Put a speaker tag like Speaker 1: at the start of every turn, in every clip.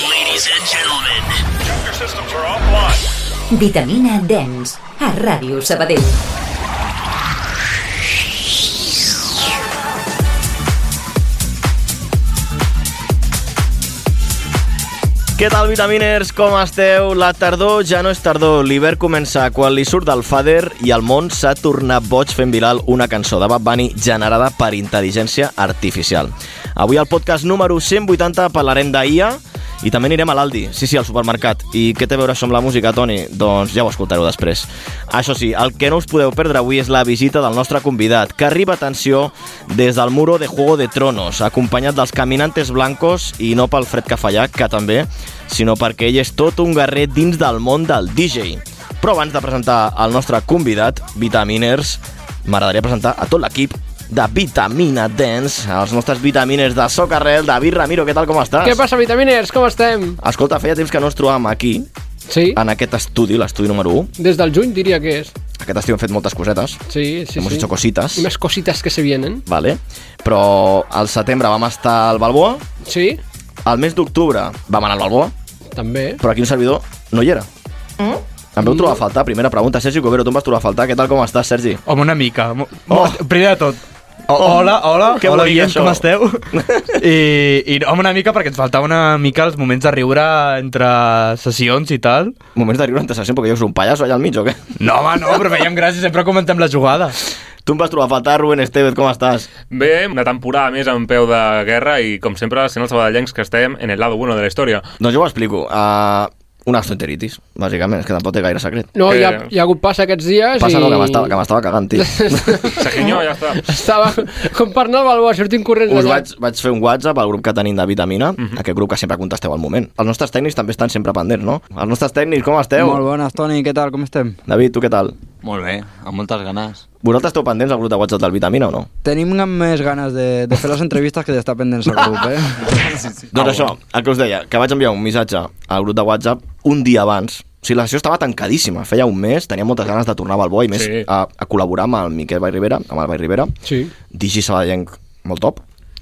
Speaker 1: Ladies and gentlemen,
Speaker 2: Your systems are offline.
Speaker 3: Vitamina Dens, a Ràdio Sabadell.
Speaker 4: Què tal, vitaminers? Com esteu? La tardor ja no és tardor. L'hivern comença quan li surt del fader i el món s'ha tornat boig fent viral una cançó de Bad Bunny generada per intel·ligència artificial. Avui al podcast número 180 parlarem d'IA i també anirem a l'Aldi, sí, sí, al supermercat. I què té a veure això amb la música, Toni? Doncs ja ho escoltareu després. Això sí, el que no us podeu perdre avui és la visita del nostre convidat, que arriba, atenció, des del Muro de Juego de Tronos, acompanyat dels Caminantes Blancos i no pel Fred Cafallà, que també, sinó perquè ell és tot un guerrer dins del món del DJ. Però abans de presentar el nostre convidat, Vitaminers, m'agradaria presentar a tot l'equip de Vitamina Dance, els nostres vitaminers de Socarrel, David Ramiro, què tal, com estàs?
Speaker 5: Què passa, vitaminers? Com estem?
Speaker 4: Escolta, feia temps que no ens trobàvem aquí,
Speaker 5: Sí,
Speaker 4: en aquest estudi, l'estudi número 1.
Speaker 5: des del juny diria que és.
Speaker 4: Aquest estiu hem fet moltes cosetes,
Speaker 5: Sí, sí,
Speaker 4: hemos
Speaker 5: sí.
Speaker 4: hecho cositas,
Speaker 5: Unes cositas que se vienen.
Speaker 4: vale? però al setembre vam estar al Balboa,
Speaker 5: Sí,
Speaker 4: al mes d'octubre vam anar al Balboa,
Speaker 5: també.
Speaker 4: però aquí un servidor no hi era. Mm? Em vau trobar a faltar, primera pregunta. Sergi Covero, tu em vas trobar a faltar. Què tal, com estàs, Sergi?
Speaker 6: Home, una mica. Mo-
Speaker 4: Oh.
Speaker 6: mo- Primer de tot,
Speaker 4: Oh.
Speaker 6: hola, hola,
Speaker 4: Que
Speaker 6: hola,
Speaker 4: bonic,
Speaker 6: Guillem,
Speaker 4: això.
Speaker 6: com esteu? I, I, home, una mica perquè ens faltava una mica els moments de riure entre sessions i tal.
Speaker 4: Moments de riure en sessió, perquè jo sóc un pallasso allà al mig, o què?
Speaker 6: No, home, no, però veiem gràcies, sempre comentem les jugades.
Speaker 4: Tu em vas trobar a faltar, Ruben Estevez, com estàs?
Speaker 2: Bé, una temporada més en peu de guerra i, com sempre, sent els sabadellencs que estem en el lado bueno de la història.
Speaker 4: Doncs jo ho explico. Uh, una gastroenteritis, bàsicament, és que tampoc té gaire secret.
Speaker 5: No,
Speaker 2: Eh,
Speaker 5: hi ha, hi ha hagut passa aquests dies
Speaker 4: Passa
Speaker 5: i...
Speaker 4: no, que m'estava que m'estava cagant, tio.
Speaker 2: Sequinyo, ja està.
Speaker 5: Estava com per anar al Balboa, sortint corrents
Speaker 4: Us
Speaker 5: d'allà.
Speaker 4: vaig, vaig fer un WhatsApp al grup que tenim de Vitamina, aquest grup que sempre contesteu al moment. Els nostres tècnics també estan sempre pendents, no? Els nostres tècnics, com esteu?
Speaker 7: Molt bones, Toni, què tal, com estem?
Speaker 4: David, tu què tal?
Speaker 8: Molt bé, amb moltes ganes.
Speaker 4: Vosaltres esteu pendents al grup de WhatsApp del Vitamina o no?
Speaker 7: Tenim gan- més ganes de, de fer les entrevistes que d'estar pendents al grup, eh?
Speaker 4: Doncs això, el que us deia, que vaig enviar un missatge al grup de WhatsApp un dia abans. O sigui, la sessió estava tancadíssima. Feia un mes, tenia moltes ganes de tornar a Balboa i més
Speaker 2: Sí.
Speaker 4: a, a col·laborar amb el Miquel Vall Rivera, amb el Vall Rivera.
Speaker 5: Sí.
Speaker 4: Digi Sabadellenc molt top.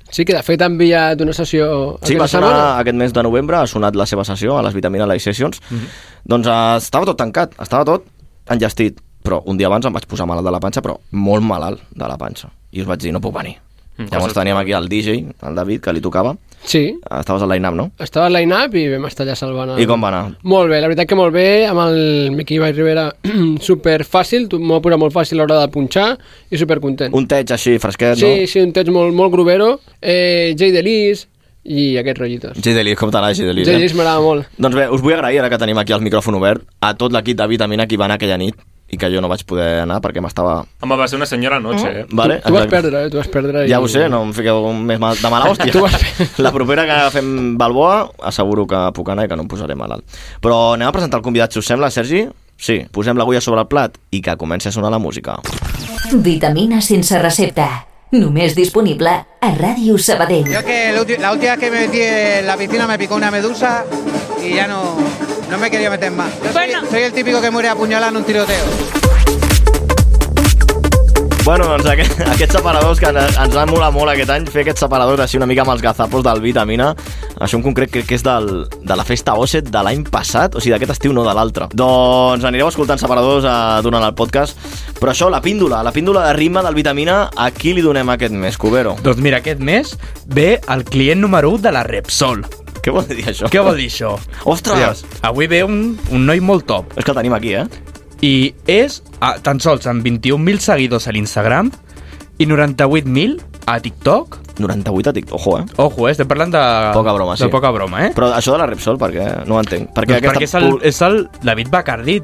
Speaker 5: Sí, que de fet ha enviat una sessió
Speaker 4: Sí, va
Speaker 5: aquesta
Speaker 4: sonar
Speaker 5: setmana.
Speaker 4: aquest mes de novembre, ha sonat la seva sessió a les Vitamina Live Sessions.
Speaker 5: Mhm.
Speaker 4: Doncs eh, estava tot tancat, estava tot enllestit. Però un dia abans em vaig posar malalt de la panxa, però molt malalt de la panxa. I us vaig dir, no puc venir.
Speaker 5: Mm,
Speaker 4: Llavors teníem aquí el DJ, el David, que li tocava.
Speaker 5: Sí,
Speaker 4: Estaves a l'Ainam, no?
Speaker 5: estava al line-up i vam estar allà salvant. el-
Speaker 4: I com va anar?
Speaker 5: Molt bé, la veritat que molt bé, amb el Miqui Vall Rivera super fàcil, m'ho ha posat molt fàcil a l'hora de punxar i super content.
Speaker 4: Un teig així, fresquet,
Speaker 5: sí, sí, un text molt, molt grovero, eh, Jay Delis i aquests rotllitos.
Speaker 4: no? Gidelis, com t'anava Gidelis?
Speaker 5: Jay Delis m'agrada molt.
Speaker 4: Doncs bé, us vull agrair, ara que tenim aquí el micròfon obert, a tot l'equip de Vitamina que hi va anar aquella nit i que jo no vaig poder anar perquè m'estava...
Speaker 2: Home, va ser una senyora noche, eh?
Speaker 4: Vale?
Speaker 5: Tu vas
Speaker 4: Exacte.
Speaker 5: perdre, eh? Tu vas perdre.
Speaker 4: Ja
Speaker 5: i-
Speaker 4: ho sé, no em fiqueu més mal, de mala hòstia.
Speaker 5: Tu vas fer-
Speaker 4: La propera que fem Balboa, asseguro que puc anar i que no em posaré malalt. Però anem a presentar el convidat, si us sembla, Sergi? Sí, posem l'agulla sobre el plat i que comenci a sonar la música.
Speaker 3: Vitamina sense recepta, només disponible a Ràdio Sabadell.
Speaker 9: Yo es que la ulti- la última vez que me metí en la piscina me picó una medusa y ya no, no me quería meter más. Yo soy, soy el típico que muere apuñalado en un tiroteo.
Speaker 4: Bueno, doncs aquest, aquests separadors que ens ens han molat molt aquest any, fer aquests separadors així una mica amb els gazapos del Vitamina, això en concret crec que és del, de la festa Osset de l'any passat, o sigui d'aquest estiu no de l'altre. Doncs anireu escoltant separadors eh, durant el podcast, però això, la píndola, la píndola de ritme del Vitamina, a qui li donem aquest mes, Cubero?
Speaker 6: Doncs mira, aquest mes ve el client número 1 de la Repsol.
Speaker 4: Què vol dir això?
Speaker 6: Què vol dir això?
Speaker 4: Ostres!
Speaker 6: Avui ve un, un noi molt top.
Speaker 4: És que el tenim aquí, eh?
Speaker 6: I és a, tan sols amb 21.000 seguidors a l'Instagram i 98.000 a TikTok.
Speaker 4: 98 a TikTok, ojo, eh?
Speaker 6: Ojo, eh? estem parlant de...
Speaker 4: Poca broma, sí.
Speaker 6: De poca broma, eh?
Speaker 4: Però això de la Repsol, per què? No ho entenc. Perquè,
Speaker 6: Doncs perquè és el,
Speaker 4: pu-
Speaker 6: és el David Bacardi.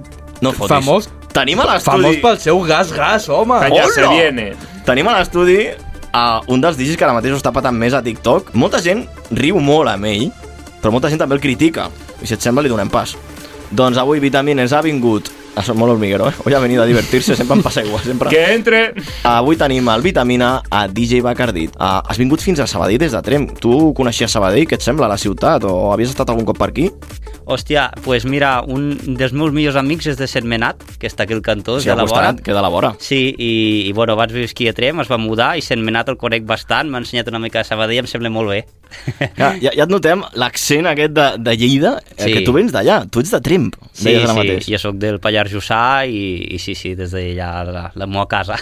Speaker 4: No fotis.
Speaker 6: Famós,
Speaker 4: Tenim a l'estudi...
Speaker 6: famós pel seu gas-gas, home.
Speaker 2: Calla,
Speaker 4: Hola!
Speaker 2: se viene.
Speaker 4: Tenim a l'estudi a un dels digis que ara mateix ho està patant més a TikTok. Molta gent riu molt amb ell, però molta gent també el critica. I si et sembla, li donem pas. Doncs avui Vitamines ha vingut... Ah, Són molt hormiguero, eh? Hoy ha venido a divertirse, sempre em passa igual, sempre.
Speaker 2: Que entre.
Speaker 4: Avui tenim el Vitamina a DJ Bacardit. Uh, has vingut fins a Sabadell des de Trem. Tu coneixies Sabadell, què et sembla, la ciutat? O havies estat algun cop per aquí?
Speaker 1: Hòstia, doncs pues mira, un dels meus millors amics és de Sentmenat, que està aquí al cantó,
Speaker 4: Sí,
Speaker 1: sí, de
Speaker 4: al
Speaker 1: la vora.
Speaker 4: costat, queda a la vora.
Speaker 1: Sí, i, i bueno, vaig viure aquí a Trem, es va mudar i Sentmenat el conec bastant, m'ha ensenyat una mica de Sabadell, em sembla molt bé.
Speaker 4: Ja, ja, ja et notem l'accent aquest de, de Lleida, sí.
Speaker 1: Sí.
Speaker 4: que tu vens d'allà, tu ets de Tremp,
Speaker 1: Sí,
Speaker 4: deies ara
Speaker 1: sí,
Speaker 4: mateix.
Speaker 1: jo sóc del Pallars Jussà i, i sí, sí, des d'allà, la, la meva casa.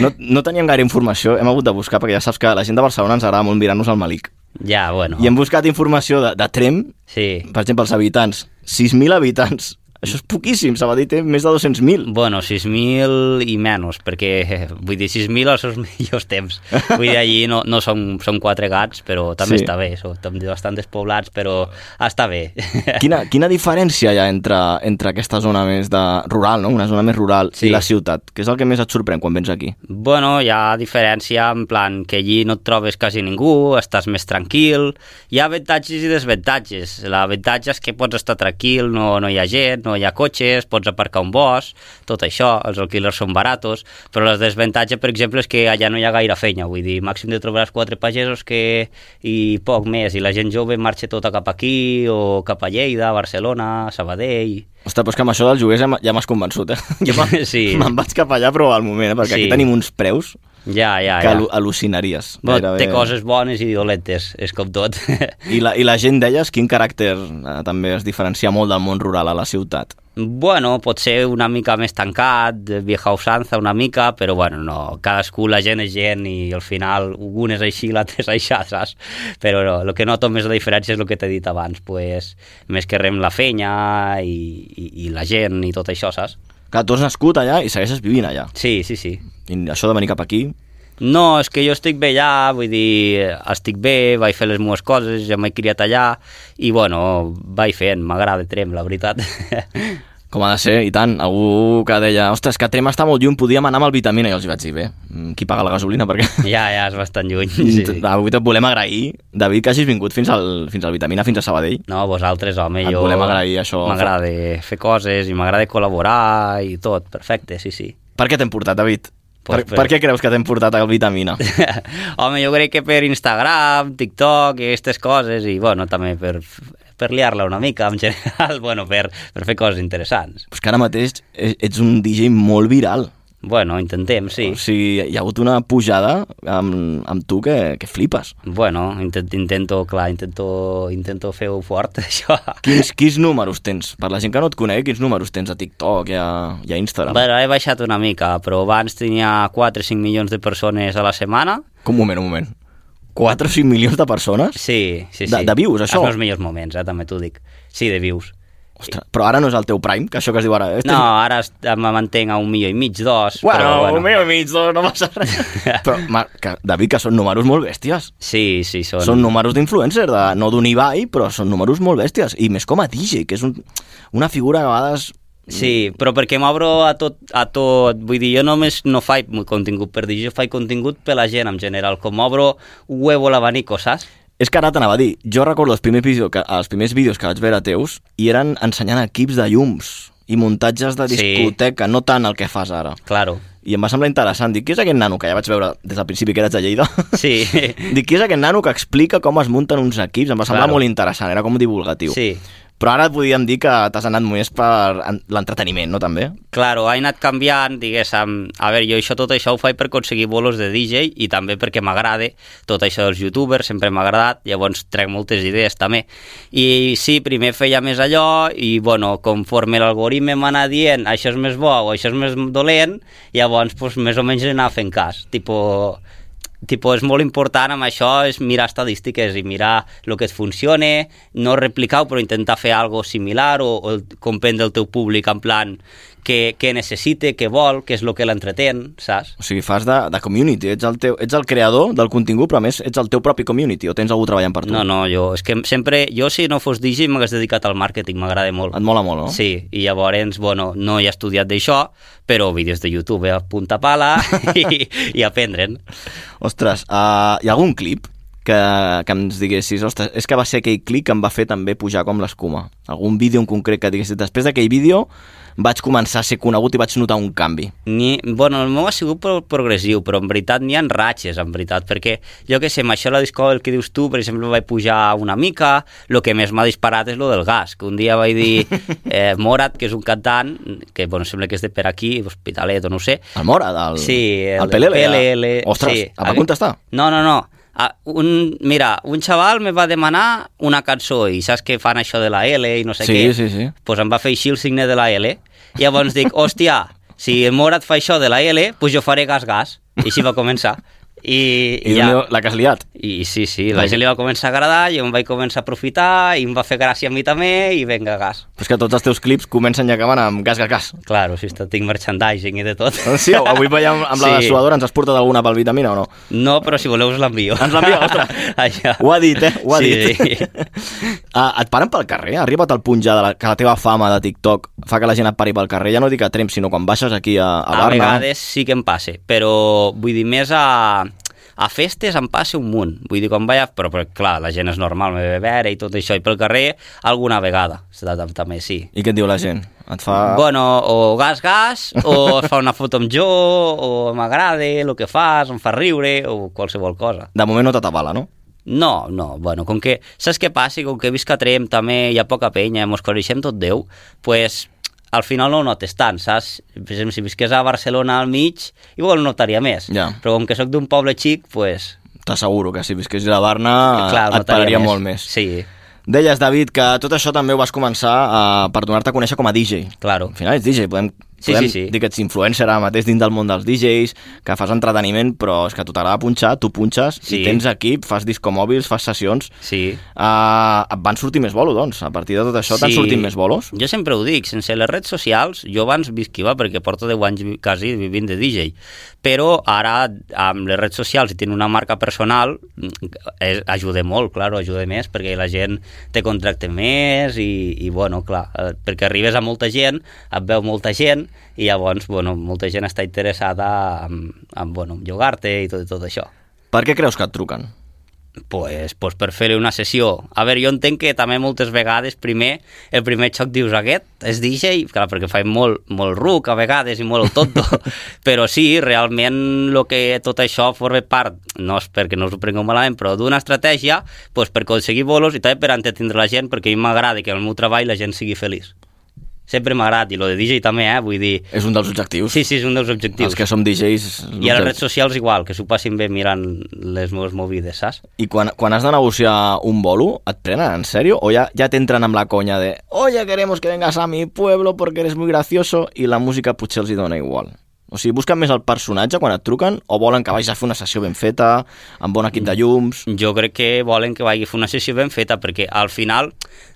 Speaker 4: No, no teníem gaire informació, hem hagut de buscar, perquè ja saps que la gent de Barcelona ens agrada molt mirar-nos al Malic.
Speaker 1: ja, bueno.
Speaker 4: I hem buscat informació de, de Tremp,
Speaker 1: Sí.
Speaker 4: per exemple, els habitants. 6.000 habitants. Això és poquíssim, Sabadell té més de 200.000.
Speaker 1: Bueno, 6.000 i menys, perquè eh, vull dir, 6.000 als seus millors temps. Vull dir, allí no, no som, som quatre gats, però també
Speaker 4: Sí.
Speaker 1: sí. està bé, som també bastant despoblats, però està bé.
Speaker 4: Quina, quina diferència hi ha entre, entre aquesta zona més de rural, no? una zona més rural,
Speaker 1: Sí.
Speaker 4: i la ciutat? Que és el que més et sorprèn quan vens aquí?
Speaker 1: Bueno, hi ha diferència en plan que allí no et trobes quasi ningú, estàs més tranquil, hi ha avantatges i desavantatges. L'avantatge és que pots estar tranquil, no, no hi ha gent, no hi ha cotxes, pots aparcar un bosc, tot això, els alquilers són baratos, però el desavantatge, per exemple, és que allà no hi ha gaire feina, vull dir, màxim de trobaràs quatre pagesos que... i poc més, i la gent jove marxa tota cap aquí, o cap a Lleida, Barcelona, Sabadell...
Speaker 4: Ostres, però és que amb això dels lloguers ja m'ha- ja m'has convençut, eh? Jo me'n
Speaker 1: Sí.
Speaker 4: me'n vaig cap allà, però al moment, eh? perquè sí.
Speaker 1: Sí.
Speaker 4: aquí tenim uns preus
Speaker 1: Ja, ja,
Speaker 4: que
Speaker 1: ja.
Speaker 4: al·lu- al·lucinaries.
Speaker 1: Bueno,
Speaker 4: gairebé.
Speaker 1: té coses bones i dolentes, és com tot.
Speaker 4: I la, I la gent d'elles, quin caràcter eh, també es diferencia molt del món rural a la ciutat?
Speaker 1: Bueno, pot ser una mica més tancat, de vieja usanza una mica, però bueno, no, cadascú, la gent és gent i al final un és així i l'altre és així, saps? Però no, el que noto més la diferència és el que t'he dit abans, pues, més que rem la fenya i, i, i la gent i tot això, saps?
Speaker 4: Clar, tu has nascut allà i segueixes vivint allà.
Speaker 1: Sí, sí, sí.
Speaker 4: I això de venir cap aquí...
Speaker 1: No, és que jo estic bé allà, vull dir, estic bé, vaig fer les meves coses, ja m'he criat allà, i bueno, vaig fent, m'agrada Trem, la veritat.
Speaker 4: Com ha de ser, i tant. Algú que deia, ostres, que Trem està molt lluny, podíem anar amb el vitamina. I jo els vaig dir, bé, mm, qui paga la gasolina? Perquè
Speaker 1: ja, ja, és bastant lluny.
Speaker 4: sí.
Speaker 1: Sí.
Speaker 4: avui et volem agrair, David, que hagis vingut fins al, fins al vitamina, fins a Sabadell.
Speaker 1: No, vosaltres, home,
Speaker 4: Et
Speaker 1: jo...
Speaker 4: volem agrair això.
Speaker 1: M'agrada fer coses i m'agrada col·laborar i tot, perfecte, sí, sí.
Speaker 4: Per què t'hem portat, David? Per,
Speaker 1: Pues,
Speaker 4: per,
Speaker 1: per-
Speaker 4: què creus que t'hem portat al vitamina?
Speaker 1: home, jo crec que per Instagram, TikTok i aquestes coses i, bueno, també per, per liar-la una mica, en general, bueno, per, per fer coses interessants.
Speaker 4: Pues que ara mateix e- ets un DJ molt viral.
Speaker 1: Bueno, intentem, sí.
Speaker 4: O sigui, hi ha hagut una pujada amb, amb tu que, que flipes.
Speaker 1: Bueno, intent, intento, clar, intento, intento fer-ho fort, això.
Speaker 4: Quins, quins números tens? Per la gent que no et conec, quins números tens a TikTok i a, i a Instagram?
Speaker 1: Bueno, he baixat una mica, però abans tenia 4 o 5 milions de persones a la setmana.
Speaker 4: Com, un moment, un moment. 4 o 5 milions de persones?
Speaker 1: Sí, sí, sí.
Speaker 4: De- de vius, això?
Speaker 1: Els meus millors moments, eh, també t'ho dic. Sí, de vius.
Speaker 4: Ostres, però ara no és el teu prime, que això que es diu ara... Este
Speaker 1: No, ara est- me mantenc a un milió i mig, dos,
Speaker 4: Bueno,
Speaker 1: però bueno.
Speaker 4: un meu i mig, no, no passa res. però, ma, que, David, que són números molt bèsties.
Speaker 1: Sí, sí, són...
Speaker 4: Són números d'influencer, de, no d'un Ibai, però són números molt bèsties. I més com a DJ, que és un, una figura que a vegades...
Speaker 1: Sí, però perquè m'obro a tot, a tot, vull dir, jo només no faig molt contingut per dir, jo faig contingut per la gent en general, com obro huevo l'abanico, saps?
Speaker 4: És que ara t'anava a dir, jo recordo els primers, vídeos que, els primers vídeos que vaig veure teus i eren ensenyant equips de llums i muntatges de
Speaker 1: Sí.
Speaker 4: discoteca, no tant el que fas ara.
Speaker 1: Claro.
Speaker 4: I em va semblar interessant. Dic, qui és aquest nano que ja vaig veure des del principi que eres de Lleida?
Speaker 1: Sí.
Speaker 4: Dic, qui és aquest nano que explica com es munten uns equips? Em va semblar
Speaker 1: Claro.
Speaker 4: molt interessant, era com divulgatiu.
Speaker 1: Sí.
Speaker 4: Però ara podríem dir que t'has anat més per en- l'entreteniment, no també?
Speaker 1: Claro, ha anat canviant, diguéssim... A veure, jo això, tot això ho faig per aconseguir bolos de DJ i també perquè m'agrada tot això dels youtubers, sempre m'ha agradat, llavors trec moltes idees també. I sí, primer feia més allò i, bueno, conforme l'algoritme m'ha anat dient això és més bo o això és més dolent, llavors, pues, més o menys anar fent cas. Tipo, tipo, és molt important amb això és mirar estadístiques i mirar el que et funcione, no replicar però intentar fer algo similar o, o el- comprendre el teu públic en plan que, que necessite, que vol, que és el que l'entretén, saps?
Speaker 4: O sigui, fas de, de community, ets el, teu, ets el creador del contingut, però a més ets el teu propi community, o tens algú treballant per tu.
Speaker 1: No, no, jo, és que sempre, jo si no fos DJ m'hagués dedicat al màrqueting, m'agrada molt.
Speaker 4: Et mola molt, no?
Speaker 1: Sí, i llavors, bueno, no he estudiat d'això, però vídeos de YouTube eh, a punta pala i, i aprendre'n.
Speaker 4: Ostres, uh, hi ha algun clip que, que ens diguessis, ostres, és que va ser aquell clic que em va fer també pujar com l'escuma. Algun vídeo en concret que diguessis, després d'aquell vídeo vaig començar a ser conegut i vaig notar un canvi.
Speaker 1: Ni, bueno, el meu ha sigut pro- progressiu, però en veritat n'hi ha ratxes, en veritat, perquè jo que sé, amb això de la disco el que dius tu, per exemple, vaig pujar una mica, el que més m'ha disparat és lo del gas, que un dia vaig dir eh, Morat, que és un cantant, que bueno, sembla que és de per aquí, Hospitalet o no ho sé,
Speaker 4: El Mora, del,
Speaker 1: Sí,
Speaker 4: el,
Speaker 1: el
Speaker 4: PLL.
Speaker 1: PLL,
Speaker 4: Ostres,
Speaker 1: sí.
Speaker 4: sí.
Speaker 1: eh?
Speaker 4: em va contestar.
Speaker 1: No, no, no. Ah, Un, mira, un xaval me va demanar una cançó i saps que fan això de la L i no sé
Speaker 4: Sí,
Speaker 1: què.
Speaker 4: sí, sí.
Speaker 1: pues em va fer així el signe de la L. I llavors dic, hòstia, si el Morat fa això de la L, pues jo faré gas-gas. I així va començar. I,
Speaker 4: I ja. la que has liat.
Speaker 1: I sí, sí, la gent li va començar a agradar, jo em vaig començar a aprofitar i em va fer gràcia a mi també i venga, gas.
Speaker 4: Però és que tots els teus clips comencen i acaben amb gas, gas, gas.
Speaker 1: Claro, si està, tinc merchandising i de tot.
Speaker 4: Sí, avui veiem amb la
Speaker 1: Sí.
Speaker 4: sí. suadora, ens has portat alguna pel vitamina o no?
Speaker 1: No, però si voleu us l'envio.
Speaker 4: Ens l'envia, ostres.
Speaker 1: Allà.
Speaker 4: Ho ha dit, eh? Ho ha
Speaker 1: sí,
Speaker 4: dit.
Speaker 1: Sí.
Speaker 4: Ah, et paren pel carrer? Ha arribat al punt ja de la, que la teva fama de TikTok fa que la gent et pari pel carrer? Ja no dic a Tremp, sinó quan baixes aquí a, a
Speaker 1: A,
Speaker 4: Barna.
Speaker 1: vegades sí que em passe, però vull dir, més a, a festes em passa un munt. Vull dir, quan vaig a... Però, però clar, la gent és normal, me ve a veure i tot això, i pel carrer alguna vegada, tam- també sí.
Speaker 4: I què et diu la gent? Et fa...
Speaker 1: Bueno, o gas, gas, o es fa una foto amb jo, o m'agrada el que fas, em fa riure, o qualsevol cosa.
Speaker 4: De moment no t'atabala, no?
Speaker 1: No, no, bueno, com que... Saps què passa? Com que visc a Trem també hi ha poca penya, mos coneixem tot Déu, pues, al final no ho notes tant, saps? Per exemple, si visqués a Barcelona al mig, igual ho notaria més.
Speaker 4: Ja.
Speaker 1: Però com que sóc d'un poble xic, pues,
Speaker 4: T'asseguro que si visqués a Barna
Speaker 1: Eh, clar,
Speaker 4: Ah,
Speaker 1: ho
Speaker 4: et
Speaker 1: notaria
Speaker 4: pararia
Speaker 1: més.
Speaker 4: molt més.
Speaker 1: Sí,
Speaker 4: Deies, David, que tot això també ho vas començar eh, per donar-te a conèixer com a DJ.
Speaker 1: claro.
Speaker 4: Al final ets DJ, podem,
Speaker 1: Sí,
Speaker 4: podem
Speaker 1: sí, sí.
Speaker 4: dir que ets influencer ara mateix dins del món dels DJs, que fas entreteniment, però és que a tu t'agrada punxar, tu punxes, i
Speaker 1: Sí.
Speaker 4: tens equip, fas discomòbils, fas sessions...
Speaker 1: Sí.
Speaker 4: Uh, et van sortir més bolos, doncs. A partir de tot això t'han sortit més bolos?
Speaker 1: Jo sempre ho dic, sense les redes socials, jo abans visquiva perquè porto 10 anys vi- quasi vivint de DJ, però ara amb les redes socials i tenir una marca personal mm, és, ajuda molt, claro, ajuda més perquè la gent te contracta més i, i bueno, clar, eh, perquè arribes a molta gent, et veu molta gent i llavors, bueno, molta gent està interessada en, en bueno, en llogar-te i tot, tot això.
Speaker 4: Per què creus que et truquen?
Speaker 1: Pues, pues per fer-li una sessió. A veure, jo entenc que també moltes vegades primer, el primer xoc dius aquest és DJ, clar, perquè faig molt, molt ruc a vegades i molt el tonto, però sí, realment el que tot això forma part, no és perquè no us ho prengueu malament, però d'una estratègia pues, per aconseguir bolos i també per entretindre la gent, perquè a mi m'agrada que en el meu treball la gent sigui feliç. Sempre m'ha agradat, i lo de DJ també, eh? vull dir...
Speaker 4: És un dels objectius.
Speaker 1: Sí, sí, és un dels
Speaker 4: Els
Speaker 1: objectius.
Speaker 4: que som DJs...
Speaker 1: I a les
Speaker 4: l'objectiu.
Speaker 1: redes socials igual, que s'ho passin bé mirant les meves movides, saps?
Speaker 4: I quan, quan has de negociar un bolo, et prenen en sèrio? O ja, ja t'entren amb la conya de Oye, queremos que vengas a mi pueblo porque eres muy gracioso i la música potser els hi dona igual. O sigui, busquen més el personatge quan et truquen o volen que vagis a fer una sessió ben feta, amb bon equip de llums...
Speaker 1: jo crec que volen que vagi a fer una sessió ben feta, perquè al final,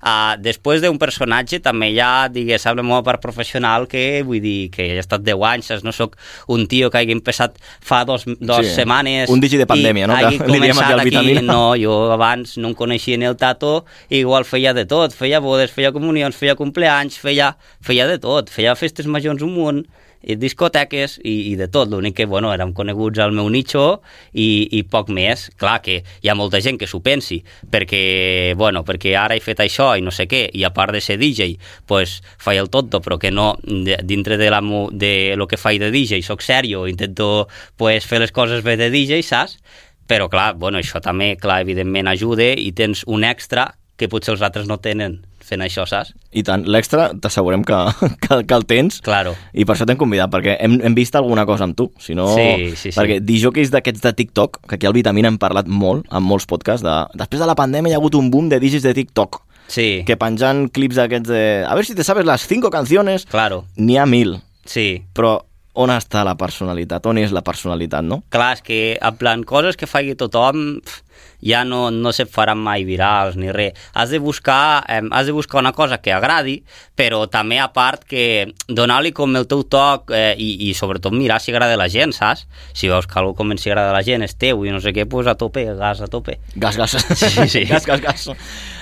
Speaker 1: uh, després d'un personatge, també hi ha, diguéssim, la meva part professional, que vull dir que he estat 10 anys, saps? no sóc un tio que hagi empezat fa dos, dos
Speaker 4: Sí,
Speaker 1: setmanes...
Speaker 4: un digi de pandèmia,
Speaker 1: i
Speaker 4: no? Que
Speaker 1: hagi
Speaker 4: li diem aquí
Speaker 1: començat
Speaker 4: al Vitamina.
Speaker 1: No, jo abans no em coneixia ni el Tato, i igual feia de tot, feia bodes, feia comunions, feia compleanys, feia, feia de tot, feia festes majors un munt, i discoteques i, i de tot. L'únic que, bueno, érem coneguts al meu nicho i, i poc més. Clar que hi ha molta gent que s'ho pensi, perquè, bueno, perquè ara he fet això i no sé què, i a part de ser DJ, pues, faig el tonto, però que no, de- dintre de, la, mo- de lo que faig de DJ, sóc serio, intento pues, fer les coses bé de DJ, saps? Però, clar, bueno, això també, clar, evidentment ajuda i tens un extra que potser els altres no tenen fent això, saps?
Speaker 4: I tant, l'extra t'assegurem que, que, que el tens
Speaker 1: Claro.
Speaker 4: i per això t'hem convidat, perquè hem, hem vist alguna cosa amb tu, si no...
Speaker 1: Sí, sí, sí.
Speaker 4: Perquè dijòqueis d'aquests de TikTok, que aquí al Vitamina hem parlat molt, en molts podcasts, de... després de la pandèmia hi ha hagut un boom de digis de TikTok,
Speaker 1: Sí,
Speaker 4: que penjant clips d'aquests de... A veure si te sabes les 5 canciones...
Speaker 1: claro,
Speaker 4: N'hi ha mil,
Speaker 1: sí.
Speaker 4: però on està la personalitat? On és la personalitat, no?
Speaker 1: clar, és que en plan coses que faci tothom pf, ja no, no se faran mai virals ni res. Has de buscar, eh, has de buscar una cosa que agradi, però també a part que donar-li com el teu toc eh, i, i sobretot mirar si agrada a la gent, saps? Si veus que algú comença a agradar a la gent és teu i no sé què, pues a tope, gas a tope.
Speaker 4: Gas, gas.
Speaker 1: Sí, sí.
Speaker 4: gas, gas, gas.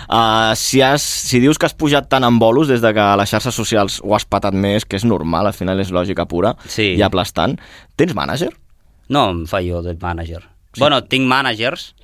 Speaker 4: Uh, si, has, si dius que has pujat tant en bolos des de que a les xarxes socials ho has patat més, que és normal, al final és lògica pura
Speaker 1: Sí.
Speaker 4: i aplastant, tens mànager?
Speaker 1: No, em fa jo de mànager. Sí. Bueno, tinc mànagers,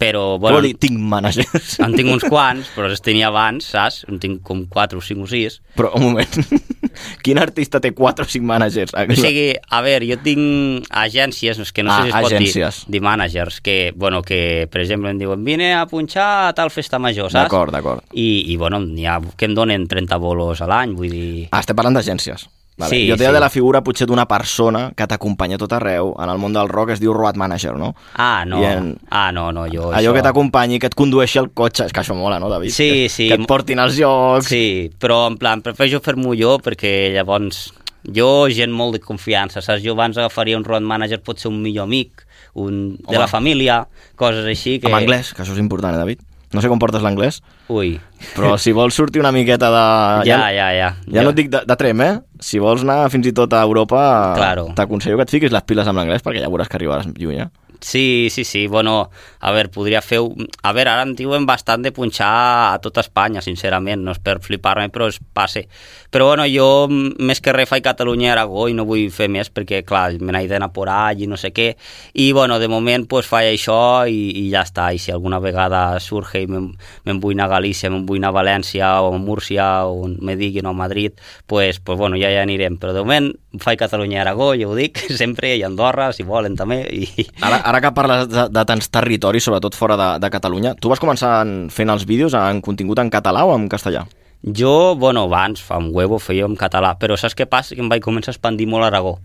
Speaker 1: però...
Speaker 4: Bueno,
Speaker 1: Bueno,
Speaker 4: vol dir, tinc managers.
Speaker 1: en tinc uns quants, però els tenia abans, saps? En tinc com 4 o 5 o 6.
Speaker 4: Però, un moment, quin artista té 4 o 5 managers?
Speaker 1: O sigui, a veure, jo tinc agències, és que no
Speaker 4: Ah,
Speaker 1: sé si es pot
Speaker 4: agències.
Speaker 1: dir, de managers, que, bueno, que, per exemple, em diuen, vine a punxar a tal festa major, saps?
Speaker 4: D'acord, d'acord.
Speaker 1: I, i bueno, n'hi ha que em donen 30 bolos a l'any, vull dir...
Speaker 4: Ah, estem parlant d'agències. Vale.
Speaker 1: Sí,
Speaker 4: Sí, jo deia
Speaker 1: sí.
Speaker 4: sí. de la figura potser d'una persona que t'acompanya a tot arreu. En el món del rock es diu road manager, no?
Speaker 1: Ah, no,
Speaker 4: i en-
Speaker 1: ah, no, no, jo...
Speaker 4: Allò
Speaker 1: això-
Speaker 4: que t'acompanyi, que et condueixi el cotxe. És que això mola, no, David?
Speaker 1: Sí,
Speaker 4: que,
Speaker 1: sí.
Speaker 4: Que et portin als llocs.
Speaker 1: Sí, però en plan, prefereixo fer-m'ho jo perquè llavors jo, gent molt de confiança, saps? Jo abans agafaria un road manager, potser un millor amic, un de
Speaker 4: Home.
Speaker 1: la família, coses així que...
Speaker 4: Amb anglès, que això és important, eh, David? No sé com portes l'anglès,
Speaker 1: Ui,
Speaker 4: però si vols sortir una miqueta de...
Speaker 1: ja, ja, ja.
Speaker 4: Ah, Ja no et dic de, de trem, eh? Si vols anar fins i tot a Europa,
Speaker 1: Claro.
Speaker 4: t'aconsello que et fiquis les piles amb l'anglès perquè ja veuràs que arribaràs lluny, eh?
Speaker 1: Sí, sí, sí, bueno, a veure, podria fer... un- A veure, ara em diuen bastant de punxar a tota Espanya, sincerament, no és per flipar-me, però es passe. Però bueno, jo m- més que res faig Catalunya i Aragó i no vull fer més perquè, clar, me n'he d'anar por all i no sé què. I bueno, de moment pues, faig això i, i ja està. I si alguna vegada surge i me'n me vull anar a Galícia, me'n vull anar a València o a Múrcia o on me diguin o a Madrid, pues, pues bueno, ja hi anirem. Però de moment faig Catalunya i Aragó, ja ho dic, sempre, i Andorra, si volen també, i,
Speaker 4: Ara, ara que parles de, de tants territoris, sobretot fora de, de Catalunya, tu vas començar en- fent els vídeos en contingut en català o en castellà?
Speaker 1: Jo, bueno, abans, fa un huevo, feia en català, però saps què passa? Que em vaig començar a expandir molt a Aragó.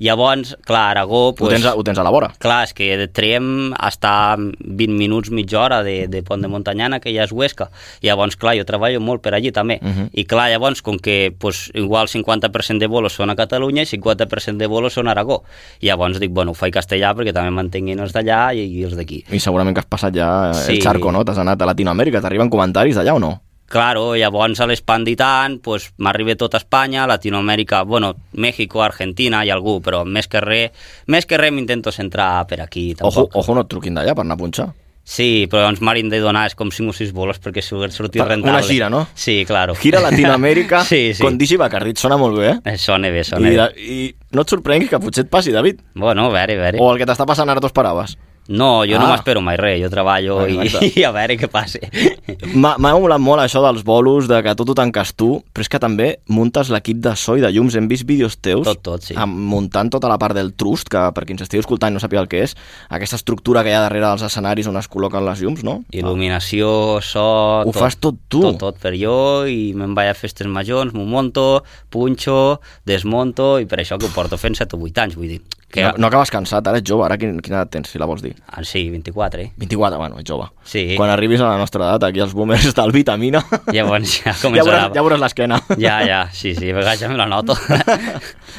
Speaker 1: Llavors, clar, Aragó...
Speaker 4: Ho,
Speaker 1: Pues,
Speaker 4: tens, a- ho tens a la vora.
Speaker 1: Clar, és que de Trem està 20 minuts, mitja hora de, de Pont de Montanyana, que ja és Huesca. Llavors, clar, jo treballo molt per allí també. Uh
Speaker 4: Mhm.
Speaker 1: -huh. I clar, llavors, com que pues, igual 50% de bolos són a Catalunya i 50% de bolos són a Aragó. Llavors dic, bueno, ho faig castellà perquè també m'entenguin els d'allà i, i els d'aquí.
Speaker 4: I segurament que has passat ja sí.
Speaker 1: Sí.
Speaker 4: el xarco, no? T'has anat a Latinoamèrica, t'arriben comentaris d'allà o no?
Speaker 1: Claro, llavors a l'expandir tant, pues, m'arriba tot Espanya, Latinoamèrica, bueno, México, Argentina i algú, però més que res, més que res m'intento centrar per aquí.
Speaker 4: Ojo,
Speaker 1: Tampoc.
Speaker 4: ojo, no et truquin d'allà per anar a punxar.
Speaker 1: Sí, però ens m'hauríem de donar és com 5 o 6 bolos perquè si hagués sortit
Speaker 4: Per-
Speaker 1: rentable.
Speaker 4: una gira, no?
Speaker 1: Sí, claro.
Speaker 4: Gira a Latinoamèrica,
Speaker 1: sí, sí.
Speaker 4: Condici Bacardit, sona molt bé, eh?
Speaker 1: Eh, Sona bé, sona
Speaker 4: I,
Speaker 1: bé.
Speaker 4: la- I no et sorprenguis que potser et passi, David.
Speaker 1: Bueno, a veure, a veure.
Speaker 4: O el que t'està passant ara t'ho esperaves.
Speaker 1: No, jo no
Speaker 4: Ah.
Speaker 1: m'espero mai res, jo treballo
Speaker 4: Ah,
Speaker 1: i,
Speaker 4: exacte.
Speaker 1: i a veure què passa.
Speaker 4: M'ha m'ha molat molt això dels bolos, de que tot ho tanques tu, però és que també muntes l'equip de so i de llums. Hem vist vídeos teus
Speaker 1: Tot, tot, sí.
Speaker 4: amb, muntant tota la part del trust, que per qui ens estigui escoltant no sàpiga el que és, aquesta estructura que hi ha darrere dels escenaris on es col·loquen les llums, no?
Speaker 1: Il·luminació, so...
Speaker 4: Ho fas tot tu.
Speaker 1: Tot, tot per jo, i me'n vaig a festes majors, m'ho monto, punxo, desmonto, i per això que ho porto fent 7 o 8 anys, vull dir. Que,
Speaker 4: Ah, No, no acabes cansat, ara ets jove, ara quin, quina edat tens, si la vols dir?
Speaker 1: Ah, Sí, 24, eh?
Speaker 4: 24, bueno, ets jove.
Speaker 1: Sí.
Speaker 4: Quan arribis a la nostra edat, aquí els boomers del vitamina,
Speaker 1: Llavors ja
Speaker 4: ja veuràs,
Speaker 1: començarà...
Speaker 4: ja veuràs l'esquena.
Speaker 1: ja, ja, sí, sí, a vegades ja me la noto.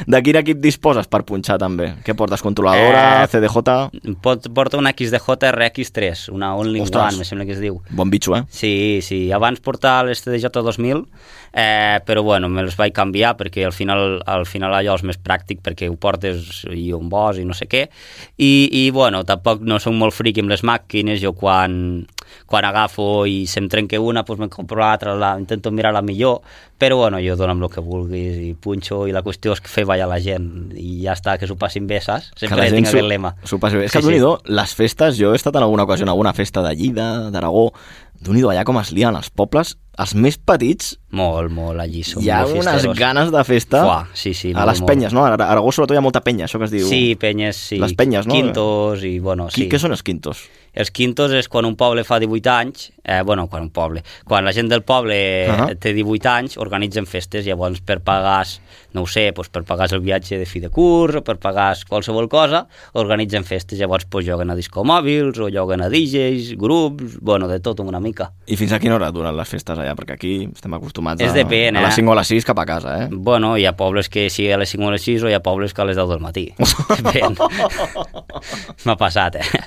Speaker 4: De quin equip disposes per punxar, també? Què portes, controladora,
Speaker 1: Eh,
Speaker 4: CDJ?
Speaker 1: Pot, porta una XDJ RX3, una Only
Speaker 4: Ostres.
Speaker 1: One, me sembla que es diu.
Speaker 4: Bon bitxo, eh?
Speaker 1: Sí, sí, abans portava les TDJ 2000, eh, però bueno, me les vaig canviar perquè al final, al final allò és més pràctic perquè ho portes i on vols i no sé què, i, i bueno, tampoc no soc molt friqui amb les màquines, jo quan, quan agafo i se em trenca una, doncs me'n compro l'altra, la, intento mirar la millor, però bueno, jo dono amb el que vulguis i punxo, i la qüestió és que fer ballar la gent i ja està, que s'ho passin bé, saps?
Speaker 4: Que la
Speaker 1: Sempre
Speaker 4: gent
Speaker 1: tinc
Speaker 4: s'ho-
Speaker 1: aquest lema.
Speaker 4: S'ho passi bé. És que, sí, déu sí. les festes, jo he estat en alguna ocasió en alguna festa de Lleida, d'Aragó, déu nhi allà com es lien els pobles, els més petits,
Speaker 1: Molt, molt, allí som
Speaker 4: hi ha
Speaker 1: molt
Speaker 4: unes
Speaker 1: fiesteros.
Speaker 4: ganes de festa
Speaker 1: Fuà, sí, sí,
Speaker 4: a
Speaker 1: molt,
Speaker 4: les
Speaker 1: molt.
Speaker 4: penyes, no? A Ara- Aragó sobretot hi ha molta penya, això que es diu...
Speaker 1: Sí, penyes, sí.
Speaker 4: Les penyes, no?
Speaker 1: Quintos i, bueno,
Speaker 4: Qui,
Speaker 1: sí.
Speaker 4: Què són els quintos?
Speaker 1: Els quintos és quan un poble fa 18 anys, eh, bueno, quan un poble, quan la gent del poble eh,
Speaker 4: Ahà.
Speaker 1: té 18 anys, organitzen festes, llavors per pagar, no ho sé, doncs per pagar el viatge de fi de curs o per pagar qualsevol cosa, organitzen festes, llavors pues, joguen a discomòbils o joguen a DJs, grups, bueno, de tot una mica.
Speaker 4: I fins a quina hora duren les festes allà? Perquè aquí estem acostumats
Speaker 1: És
Speaker 4: a,
Speaker 1: depèn,
Speaker 4: a
Speaker 1: eh?
Speaker 4: les 5 o a les 6 cap a casa, eh?
Speaker 1: Bueno, hi ha pobles que sigui a les 5 o a les 6 o hi ha pobles que a les 10 del matí. Depèn. M'ha passat, eh?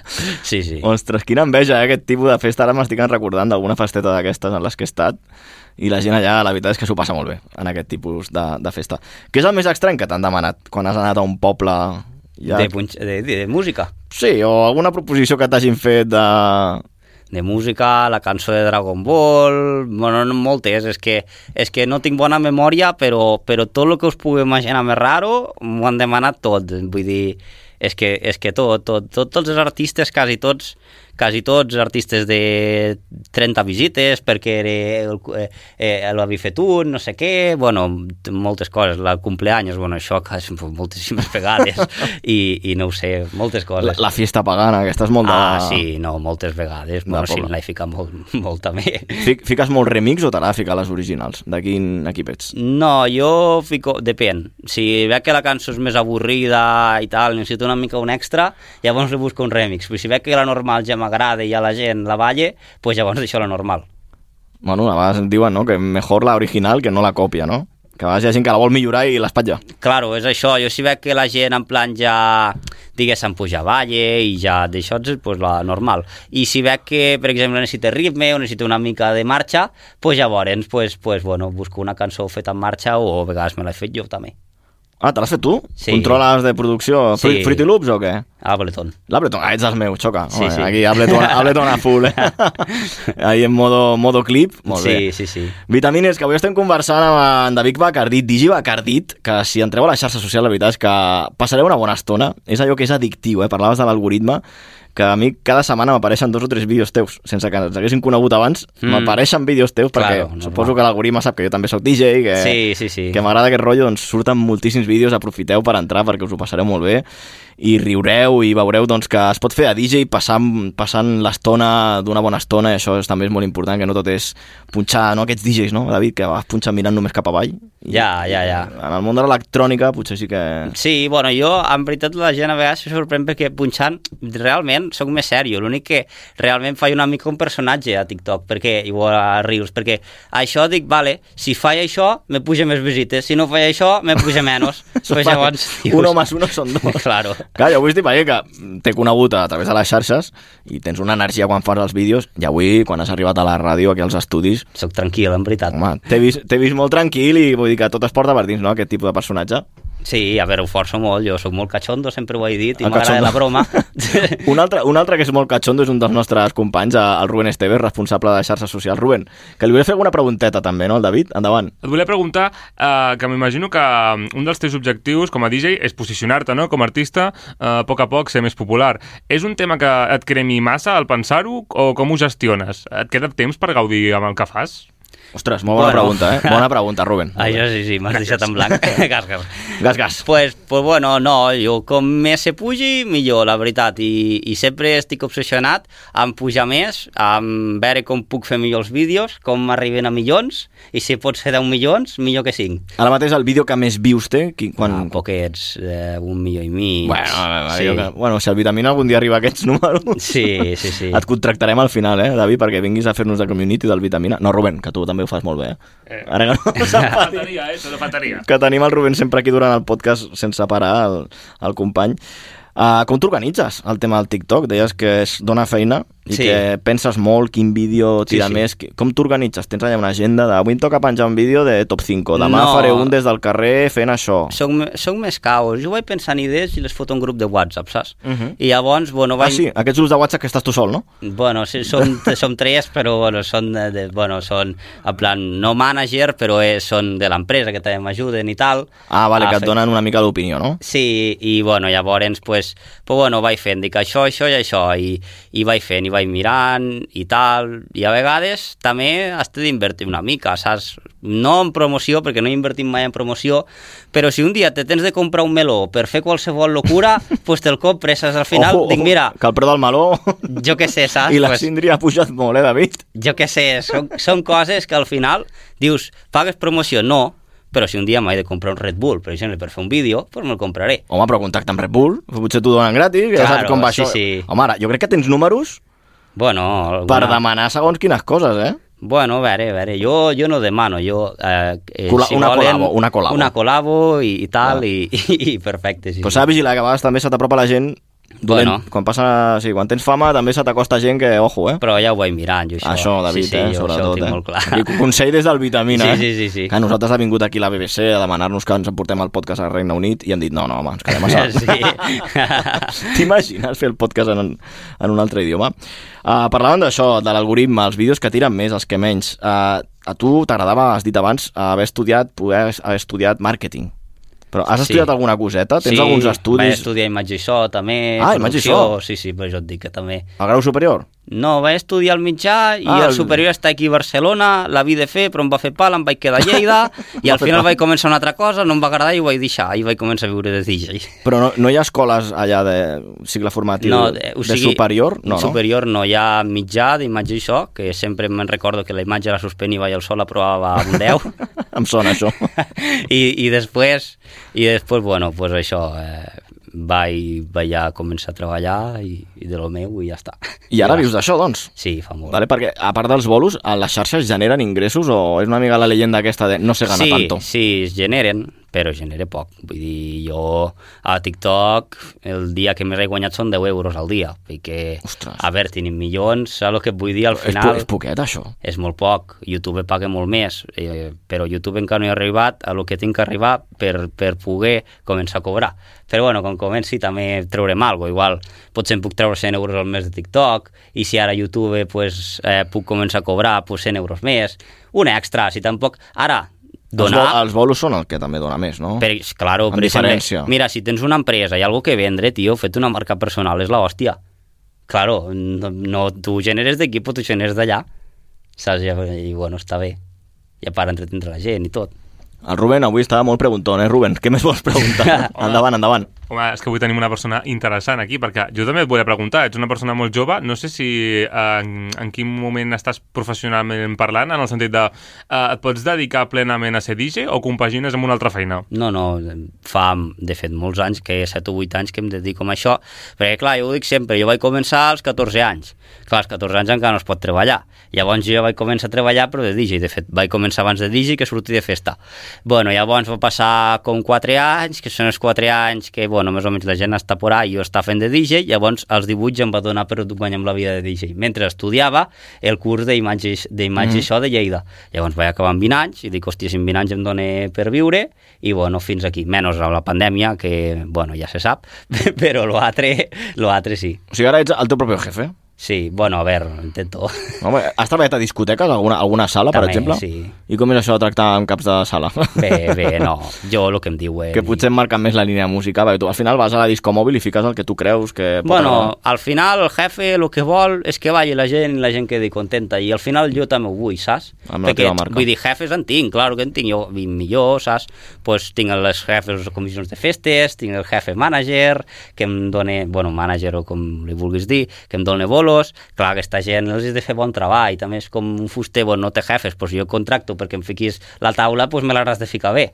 Speaker 1: Sí, sí.
Speaker 4: Ostres, quina enveja, eh, aquest tipus de festa. Ara m'estic recordant d'alguna festeta d'aquestes en les que he estat i la gent allà, la veritat és que s'ho passa molt bé en aquest tipus de, de festa. Què és el més estrany que t'han demanat quan has anat a un poble... Ja...
Speaker 1: De, punx... de, de, de música.
Speaker 4: Sí, o alguna proposició que t'hagin fet de...
Speaker 1: de música, la cançó de Dragon Ball, bueno, no, moltes, és que, és que no tinc bona memòria, però, però tot el que us pugueu imaginar més raro m'ho han demanat tot, vull dir, és que, és que tot, tot, tot, tots els artistes, quasi tots, quasi tots artistes de 30 visites, perquè era el, eh, eh, l'havi fet un, no sé què, bueno, moltes coses, la cumpleaños, bueno, això quasi moltíssimes vegades, i, i no ho sé, moltes
Speaker 4: La,
Speaker 1: coses.
Speaker 4: la fiesta pagana, aquesta és molt de...
Speaker 1: Ah, sí, no, moltes vegades.
Speaker 4: de
Speaker 1: Bueno, sí,
Speaker 4: poble.
Speaker 1: l'he ficat molt, molt també.
Speaker 4: Fic, fiques molt remix o te l'ha de ficar les originals? De quin equip ets?
Speaker 1: No, jo fico... Depèn. Si veig que la cançó és més avorrida i tal, necessito una mica un extra, llavors li busco un remix. Però si veig que la normal ja m'agrada i a la gent la balla, doncs llavors deixo la normal.
Speaker 4: Bueno, a vegades diuen no? que mejor la original que no la còpia, no? Que a vegades hi ha gent que la vol millorar i l'espatlla.
Speaker 1: Claro, és això. Jo si veig que la gent en plan ja, diguéssim, puja balle i ja d'això, doncs pues, la normal. I si veig que, per exemple, necessita ritme o necessita una mica de marxa, doncs pues, llavors, pues, pues, bueno, busco una cançó feta en marxa o a vegades me l'he fet jo també.
Speaker 4: Ah, te l'has fet tu?
Speaker 1: Sí.
Speaker 4: Controles de producció?
Speaker 1: Sí.
Speaker 4: Fru- Fruity Loops o què?
Speaker 1: Ableton.
Speaker 4: L'Ableton, ah, ets dels meus, xoca.
Speaker 1: Sí,
Speaker 4: Home,
Speaker 1: sí.
Speaker 4: Aquí, Ableton, Ableton a full, eh? Ahí en modo, modo clip, molt
Speaker 1: sí,
Speaker 4: bé.
Speaker 1: sí, sí.
Speaker 4: Vitamines, que avui estem conversant amb en David Bacardit, Digi Bacardit, que si entreu a la xarxa social, la veritat és que passareu una bona estona. És allò que és addictiu, eh? Parlaves de l'algoritme, que a mi cada setmana m'apareixen dos o tres vídeos teus, sense que ens haguessin conegut abans,
Speaker 1: Mm.
Speaker 4: m'apareixen vídeos teus, perquè
Speaker 1: Claro, normal.
Speaker 4: suposo que l'algoritme sap que jo també sóc DJ, que,
Speaker 1: Sí, sí, sí.
Speaker 4: que m'agrada aquest rotllo, doncs surten moltíssims vídeos, aprofiteu per entrar perquè us ho passareu molt bé i riureu i veureu doncs, que es pot fer a DJ passant, passant l'estona d'una bona estona i això és, també és molt important, que no tot és punxar, no aquests DJs, no, David, que vas punxant mirant només cap avall. I
Speaker 1: Ja, ja, ja.
Speaker 4: En el món de l'electrònica potser sí que...
Speaker 1: Sí, bueno, jo, en veritat, la gent a vegades se sorprèn perquè punxant, realment, sóc més serio. L'únic que realment faig una mica un personatge a TikTok, perquè, i a Rius, perquè això dic, vale, si faig això, me puja més visites, si no faig això, me puja menys. Però llavors,
Speaker 4: Uno más uno son dos.
Speaker 1: Claro.
Speaker 4: Clar, jo avui estic veient que t'he conegut a través de les xarxes i tens una energia quan fas els vídeos i avui, quan has arribat a la ràdio, aquí als estudis,
Speaker 1: Soc tranquil, en veritat.
Speaker 4: Home, t'he vist, t'he vist molt tranquil i vull dir que tot es porta per dins, no?, aquest tipus de personatge.
Speaker 1: Sí, a veure, ho forço molt, jo sóc molt cachondo, sempre ho he dit, i
Speaker 4: El
Speaker 1: m'agrada
Speaker 4: cachondo.
Speaker 1: la broma.
Speaker 4: Un altre, un altre que és molt catxondo és un dels nostres companys, eh, el Rubén Esteves, responsable de xarxes socials. Rubén, que li volia fer alguna pregunteta també, no, el David? Endavant.
Speaker 2: Et volia preguntar, eh, que m'imagino que mm, un dels teus objectius com a DJ és posicionar-te, no?, com a artista, eh, a poc a poc ser més popular. És un tema que et cremi massa al pensar-ho o com ho gestiones? Et queda temps per gaudir amb el que fas?
Speaker 4: Ostres, molt bona
Speaker 1: Bueno.
Speaker 4: pregunta, eh? Bona pregunta, Rubén. Molt
Speaker 1: Això
Speaker 4: bé.
Speaker 1: Ah, sí, sí, m'has deixat en blanc. gas, gas.
Speaker 4: Gas, gas.
Speaker 1: Pues, pues bueno, no, jo com més se pugi, millor, la veritat. I, i sempre estic obsessionat en pujar més, en veure com puc fer millor els vídeos, com arriben a milions, i si pot ser 10 milions, millor que 5.
Speaker 4: Ara mateix el vídeo que més vius té... Qui, quan...
Speaker 1: Ah, poquets, eh, un milió i mig.
Speaker 4: Bueno, sí. que... bueno, si el Vitamina algun dia arriba a aquests números...
Speaker 1: Sí, sí, sí.
Speaker 4: Et contractarem al final, eh, David, perquè vinguis a fer-nos de community del Vitamina. No, Rubén, que tu també ho fas molt bé, eh? Ara que no s'enfadi.
Speaker 2: Faltaria, eh? Això no faltaria.
Speaker 4: que tenim el Rubén sempre aquí durant el podcast sense parar, el, el company. Uh, com t'organitzes el tema del TikTok? Deies que es dona feina i
Speaker 1: Sí.
Speaker 4: que penses molt quin vídeo tira sí,
Speaker 1: Sí, sí.
Speaker 4: sí. més. Qui- Com t'organitzes? Tens allà una agenda de avui em toca penjar un vídeo de top 5, demà
Speaker 1: No.
Speaker 4: faré un des del carrer fent això.
Speaker 1: Soc, me- soc més caos. Jo vaig pensar en idees i les foto a un grup de WhatsApp, saps? I llavors, bueno,
Speaker 4: Ah,
Speaker 1: vaig...
Speaker 4: sí, aquests grups de WhatsApp que estàs tu sol, no?
Speaker 1: Bueno, sí, som, som tres, però bueno, són, de, de, bueno, són en plan no manager, però eh, són de l'empresa, que també m'ajuden i tal.
Speaker 4: Ah, vale, ah, que et
Speaker 1: fe-
Speaker 4: donen una mica d'opinió, no?
Speaker 1: Sí, i bueno, llavors, pues, pues bueno, vaig fent, dic això, això i això, i, i vaig fent, i vaig mirant, i tal, i a vegades també has d'invertir una mica, saps? No en promoció, perquè no he invertit mai en promoció, però si un dia te tens de comprar un meló per fer qualsevol locura, pues te'l compres, saps? Al final,
Speaker 4: Ojo,
Speaker 1: dic,
Speaker 4: ojo,
Speaker 1: mira,
Speaker 4: Oh, Que el preu del meló
Speaker 1: jo què sé, saps?
Speaker 4: i la
Speaker 1: pues,
Speaker 4: síndria ha pujat molt, eh, David?
Speaker 1: jo què sé, són, són coses que al final dius, pagues promoció? No, però si un dia m'he de comprar un Red Bull, per exemple, per fer un vídeo, doncs me'l compraré.
Speaker 4: Home, però contacta amb Red Bull, potser t'ho donen gratis, ja
Speaker 1: Claro,
Speaker 4: saps com va
Speaker 1: sí,
Speaker 4: això.
Speaker 1: sí.
Speaker 4: Home, ara, jo crec que tens números
Speaker 1: Bueno, alguna...
Speaker 4: per demanar segons quines coses, eh?
Speaker 1: Bueno, a veure, a veure, jo, jo no demano, jo... Eh, eh,
Speaker 4: Cola- una col·labo, una col·labo.
Speaker 1: Una col·labo i, i tal, i, i, i perfecte, sí.
Speaker 4: Però
Speaker 1: sí.
Speaker 4: s'ha de vigilar que a vegades també se t'apropa la gent dolent.
Speaker 1: Bueno.
Speaker 4: Quan, passa, sí, quan tens fama també se t'acosta gent que, ojo, eh?
Speaker 1: Però ja ho vaig mirant, jo, això.
Speaker 4: Això, David,
Speaker 1: sí, sí,
Speaker 4: eh,
Speaker 1: jo això ho
Speaker 4: sobretot.
Speaker 1: tinc
Speaker 4: eh?
Speaker 1: molt clar.
Speaker 4: I consell des del Vitamina,
Speaker 1: Sí,
Speaker 4: eh?
Speaker 1: sí, sí, sí.
Speaker 4: Que a nosaltres ha vingut aquí la BBC a demanar-nos que ens emportem el podcast al Regne Unit i hem dit, no, no, home, ens quedem a Sal-
Speaker 1: Sí.
Speaker 4: T'imagines fer el podcast en, en un altre idioma? Uh, parlàvem d'això, de l'algoritme, els vídeos que tiren més, els que menys. Ah, Uh, a tu t'agradava, has dit abans, haver estudiat, poder haver estudiat màrqueting. Però has
Speaker 1: Sí.
Speaker 4: estudiat alguna coseta? Tens
Speaker 1: sí,
Speaker 4: alguns estudis?
Speaker 1: Vaig estudiar imatge i so, també.
Speaker 4: Ah, imatge i so.
Speaker 1: producció, Sí, sí, però jo et dic que també.
Speaker 4: Al grau superior?
Speaker 1: No, vaig estudiar al mitjà i
Speaker 4: Ah, el-
Speaker 1: el superior està aquí a Barcelona, la vi de fer, però em va fer pal, em vaig quedar a Lleida i al
Speaker 4: fer
Speaker 1: final
Speaker 4: pal.
Speaker 1: vaig començar una altra cosa, no em va agradar i ho vaig deixar i vaig començar a viure de DJ.
Speaker 4: Però no, no hi ha escoles allà de cicle formatiu
Speaker 1: No,
Speaker 4: Ah, de,
Speaker 1: eh, o sigui,
Speaker 4: superior? No,
Speaker 1: superior no, hi ha mitjà d'imatge i so, que sempre me'n recordo que la imatge la suspenia i el sol la provava un 10,
Speaker 4: no? Em sona això.
Speaker 1: I, i després, i després bueno, pues això, eh, vaig, vaig ja començar a treballar i, i de lo meu i ja està.
Speaker 4: I ara vius d'això, doncs?
Speaker 1: Sí, fa molt.
Speaker 4: Vale, perquè a part dels bolos, a les xarxes generen ingressos o és una mica la leyenda aquesta de no se gana
Speaker 1: sí,
Speaker 4: tanto?
Speaker 1: Sí, es generen, però es genera poc. Vull dir, jo a TikTok el dia que més he guanyat són 10 euros al dia, perquè,
Speaker 4: Ostres.
Speaker 1: a veure, tenim milions, saps el que et vull dir?
Speaker 4: És,
Speaker 1: Al
Speaker 4: po
Speaker 1: final...
Speaker 4: és poquet, això.
Speaker 1: és molt poc, YouTube paga molt més, eh, però YouTube encara no he arribat a lo que tinc que arribar per, per poder començar a cobrar. Però bueno, quan comenci també traurem alguna cosa, igual potser em puc treure 100 euros al mes de TikTok i si ara YouTube pues, eh, puc començar a cobrar pues, 100 euros més, un extra, si tampoc... Ara,
Speaker 4: Els, bo
Speaker 1: donar...
Speaker 4: els bolos són el que també dona més, no?
Speaker 1: Per, claro,
Speaker 4: Amb
Speaker 1: per exemple,
Speaker 4: diferència.
Speaker 1: mira, si tens una empresa i algo que vendre, tio, fet una marca personal és la hòstia. Claro, no, no tu generes d'aquí, però tu generes d'allà. Saps? I, I, bueno, està bé. I a part entretindre la gent i tot.
Speaker 4: El Ruben avui estava molt preguntón, eh, Ruben? Què més vols preguntar? endavant, endavant.
Speaker 2: Home, és que avui tenim una persona interessant aquí, perquè jo també et volia preguntar, ets una persona molt jove, no sé si eh, en, en quin moment estàs professionalment parlant, en el sentit de eh, et pots dedicar plenament a ser DJ o compagines amb una altra feina?
Speaker 1: No, no, fa, de fet, molts anys, que 7 o 8 anys que em dedico a això, perquè, clar, jo ho dic sempre, jo vaig començar als 14 anys. Clar, als 14 anys encara no es pot treballar. Llavors jo vaig començar a treballar, però de DJ. De fet, vaig començar abans de DJ que sortir de festa. Bueno, llavors va passar com 4 anys, que són els 4 anys que, bueno, més o menys la gent està por ahí, jo estava fent de DJ, llavors als 18 em va donar per guanyar amb la vida de DJ. Mentre estudiava el curs d'imatges d'imatge mm. això de Lleida. Llavors vaig acabar amb 20 anys i dic, hòstia, si amb 20 anys em dona per viure i, bueno, fins aquí. Menys amb la pandèmia, que, bueno, ja se sap, però l'altre, l'altre sí.
Speaker 4: O sigui, ara ets el teu propi jefe?
Speaker 1: Sí, bueno, a veure, intento.
Speaker 4: Home, has treballat a discoteques, alguna, alguna sala, per
Speaker 1: També,
Speaker 4: exemple?
Speaker 1: sí.
Speaker 4: I com és això de tractar amb caps de sala?
Speaker 1: Bé, bé, no, jo el que em diuen...
Speaker 4: que potser marquen més la línia de música, perquè tu al final vas a la disco mòbil i fiques el que tu creus que pot agradar.
Speaker 1: Bueno, al final el jefe el que vol és que balli la gent i la gent quedi contenta i al final jo també ho vull, saps?
Speaker 4: Amb la teva marca.
Speaker 1: Vull dir, jefes en tinc, claro que en tinc, jo vinc millor, saps? pues tinc les jefes de comissions de festes, tinc el jefe manager, que em dona, bueno, manager o com li vulguis dir, que em dona bolos, clar, aquesta gent els has de fer bon treball, també és com un fuster, bueno, no té jefes, pues jo contracto perquè em fiquis la taula, pues me l'hauràs de ficar bé.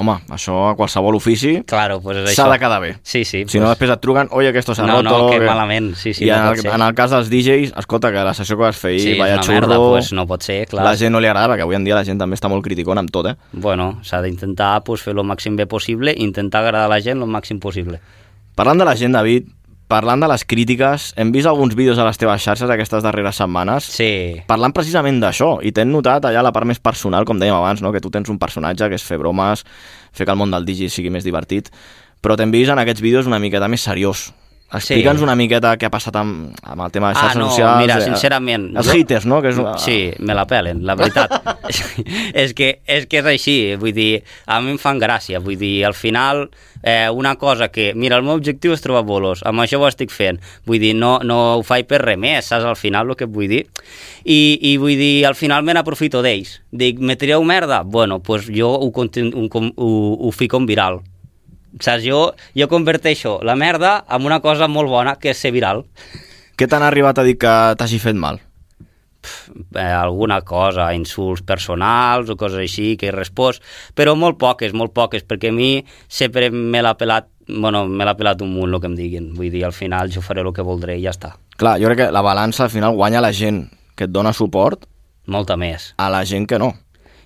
Speaker 4: Home, això a qualsevol ofici
Speaker 1: Claro, pues és
Speaker 4: s'ha
Speaker 1: això.
Speaker 4: de quedar bé.
Speaker 1: Sí, sí.
Speaker 4: Si no, després et truquen, oi, aquesto s'ha
Speaker 1: No,
Speaker 4: roto...
Speaker 1: no, que malament, sí, sí,
Speaker 4: I
Speaker 1: no
Speaker 4: en,
Speaker 1: pot
Speaker 4: el,
Speaker 1: ser.
Speaker 4: en el cas dels DJs, escolta, que la sessió que vas fer ahir,
Speaker 1: Sí, és
Speaker 4: vaya
Speaker 1: una
Speaker 4: xurro...
Speaker 1: merda, pues no pot ser, clar.
Speaker 4: La gent no li agrada, perquè avui en dia la gent també està molt criticona amb tot, eh?
Speaker 1: bueno, s'ha d'intentar pues, fer el màxim bé possible i intentar agradar a la gent el màxim possible.
Speaker 4: Parlant de la gent, David, parlant de les crítiques, hem vist alguns vídeos a les teves xarxes aquestes darreres setmanes
Speaker 1: Sí,
Speaker 4: parlant precisament d'això, i t'hem notat allà la part més personal, com dèiem abans, no? que tu tens un personatge que és fer bromes, fer que el món del digi sigui més divertit, però t'hem vist en aquests vídeos una miqueta més seriós. Explica'ns
Speaker 1: Sí.
Speaker 4: una miqueta què ha passat amb, amb el tema de
Speaker 1: Ah,
Speaker 4: xarxes
Speaker 1: no,
Speaker 4: socials.
Speaker 1: mira,
Speaker 4: eh,
Speaker 1: sincerament,
Speaker 4: Els
Speaker 1: jo-
Speaker 4: haters, no? Que és, una-
Speaker 1: sí, me la pelen, la veritat. és, que, és que és així, vull dir, a mi em fan gràcia, vull dir, al final, eh, una cosa que, mira, el meu objectiu és trobar bolos, amb això ho estic fent, vull dir, no, no ho faig per res més, saps al final el que et vull dir? I, i vull dir, al final me n'aprofito d'ells. Dic, me tireu merda? Bueno, doncs pues jo ho, continu, ho, ho, ho fico en viral, Saps? Jo, jo converteixo la merda en una cosa molt bona, que és ser viral.
Speaker 4: Què t'han arribat a dir que t'hagi fet mal?
Speaker 1: eh, alguna cosa, insults personals o coses així que he respost, però molt poques, molt poques, perquè a mi sempre me l'ha pelat, bueno, me l'ha pelat un munt el que em diguin, vull dir, al final jo faré el que voldré i ja està,
Speaker 4: Clar, jo crec que la balança al final guanya la gent que et dona suport
Speaker 1: molta més.
Speaker 4: a la gent que no.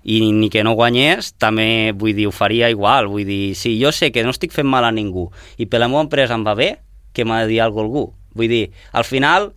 Speaker 1: I ni que no guanyés, també, vull dir, ho faria igual, vull dir, si jo sé que no estic fent mal a ningú i per la meva empresa em va bé, que m'ha de dir alguna cosa algú. Vull dir, al final,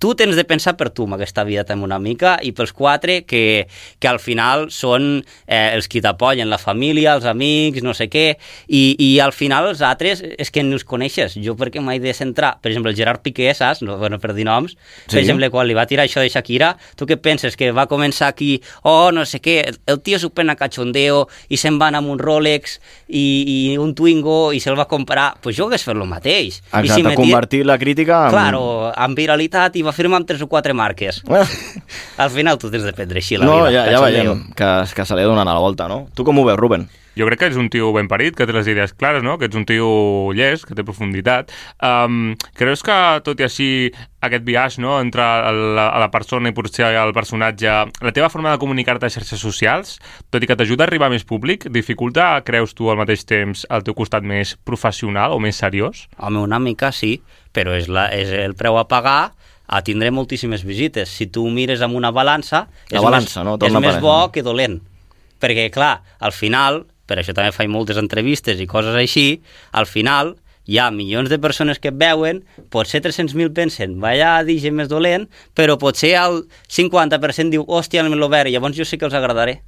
Speaker 1: tu tens de pensar per tu amb aquesta vida també una mica i pels quatre que, que al final són eh, els qui t'apoyen, la família, els amics, no sé què, i, i al final els altres és que no els coneixes. Jo perquè mai de centrar, per exemple, el Gerard Piqué, saps? No, bueno, per dir noms,
Speaker 4: Sí.
Speaker 1: per exemple, quan li va tirar això de Shakira, tu què penses? Que va començar aquí, oh, no sé què, el- el tio s'ho pren a cachondeo i se'n va anar amb un Rolex i, i un Twingo i se'l va comprar, doncs pues jo hagués fet el mateix. I
Speaker 4: Exacte,
Speaker 1: m'he tirat-
Speaker 4: convertir la crítica en...
Speaker 1: Claro, amb viralitat i va firmar amb tres o quatre marques. Al final tu tens de prendre així la
Speaker 4: Eh, no,
Speaker 1: vida.
Speaker 4: ja, ja
Speaker 1: cachondeo.
Speaker 4: veiem que, que se li ha donat la volta, no? Tu com ho veus, Ruben?
Speaker 2: Jo crec que ets un tio ben parit, que té les idees clares, no? que ets un tio llest, que té profunditat. Um, creus que, tot i així, aquest viatge no? entre la, a la persona i potser el personatge, la teva forma de comunicar-te a xarxes socials, tot i que t'ajuda a arribar a més públic, dificulta, creus tu, al mateix temps, el teu costat més professional o més seriós?
Speaker 1: Home, una mica sí, però és, la, és el preu a pagar a tindré moltíssimes visites. Si tu ho mires amb una balança,
Speaker 4: La
Speaker 1: és
Speaker 4: balança,
Speaker 1: més,
Speaker 4: no?
Speaker 1: és
Speaker 4: Torna
Speaker 1: més
Speaker 4: per-
Speaker 1: bo que dolent. Perquè, clar, al final, per això també faig moltes entrevistes i coses així, al final hi ha milions de persones que et veuen, potser 300.000 pensen, vaya DJ més dolent, però potser el 50% diu, hòstia, me lo veure, llavors jo sí que els agradaré.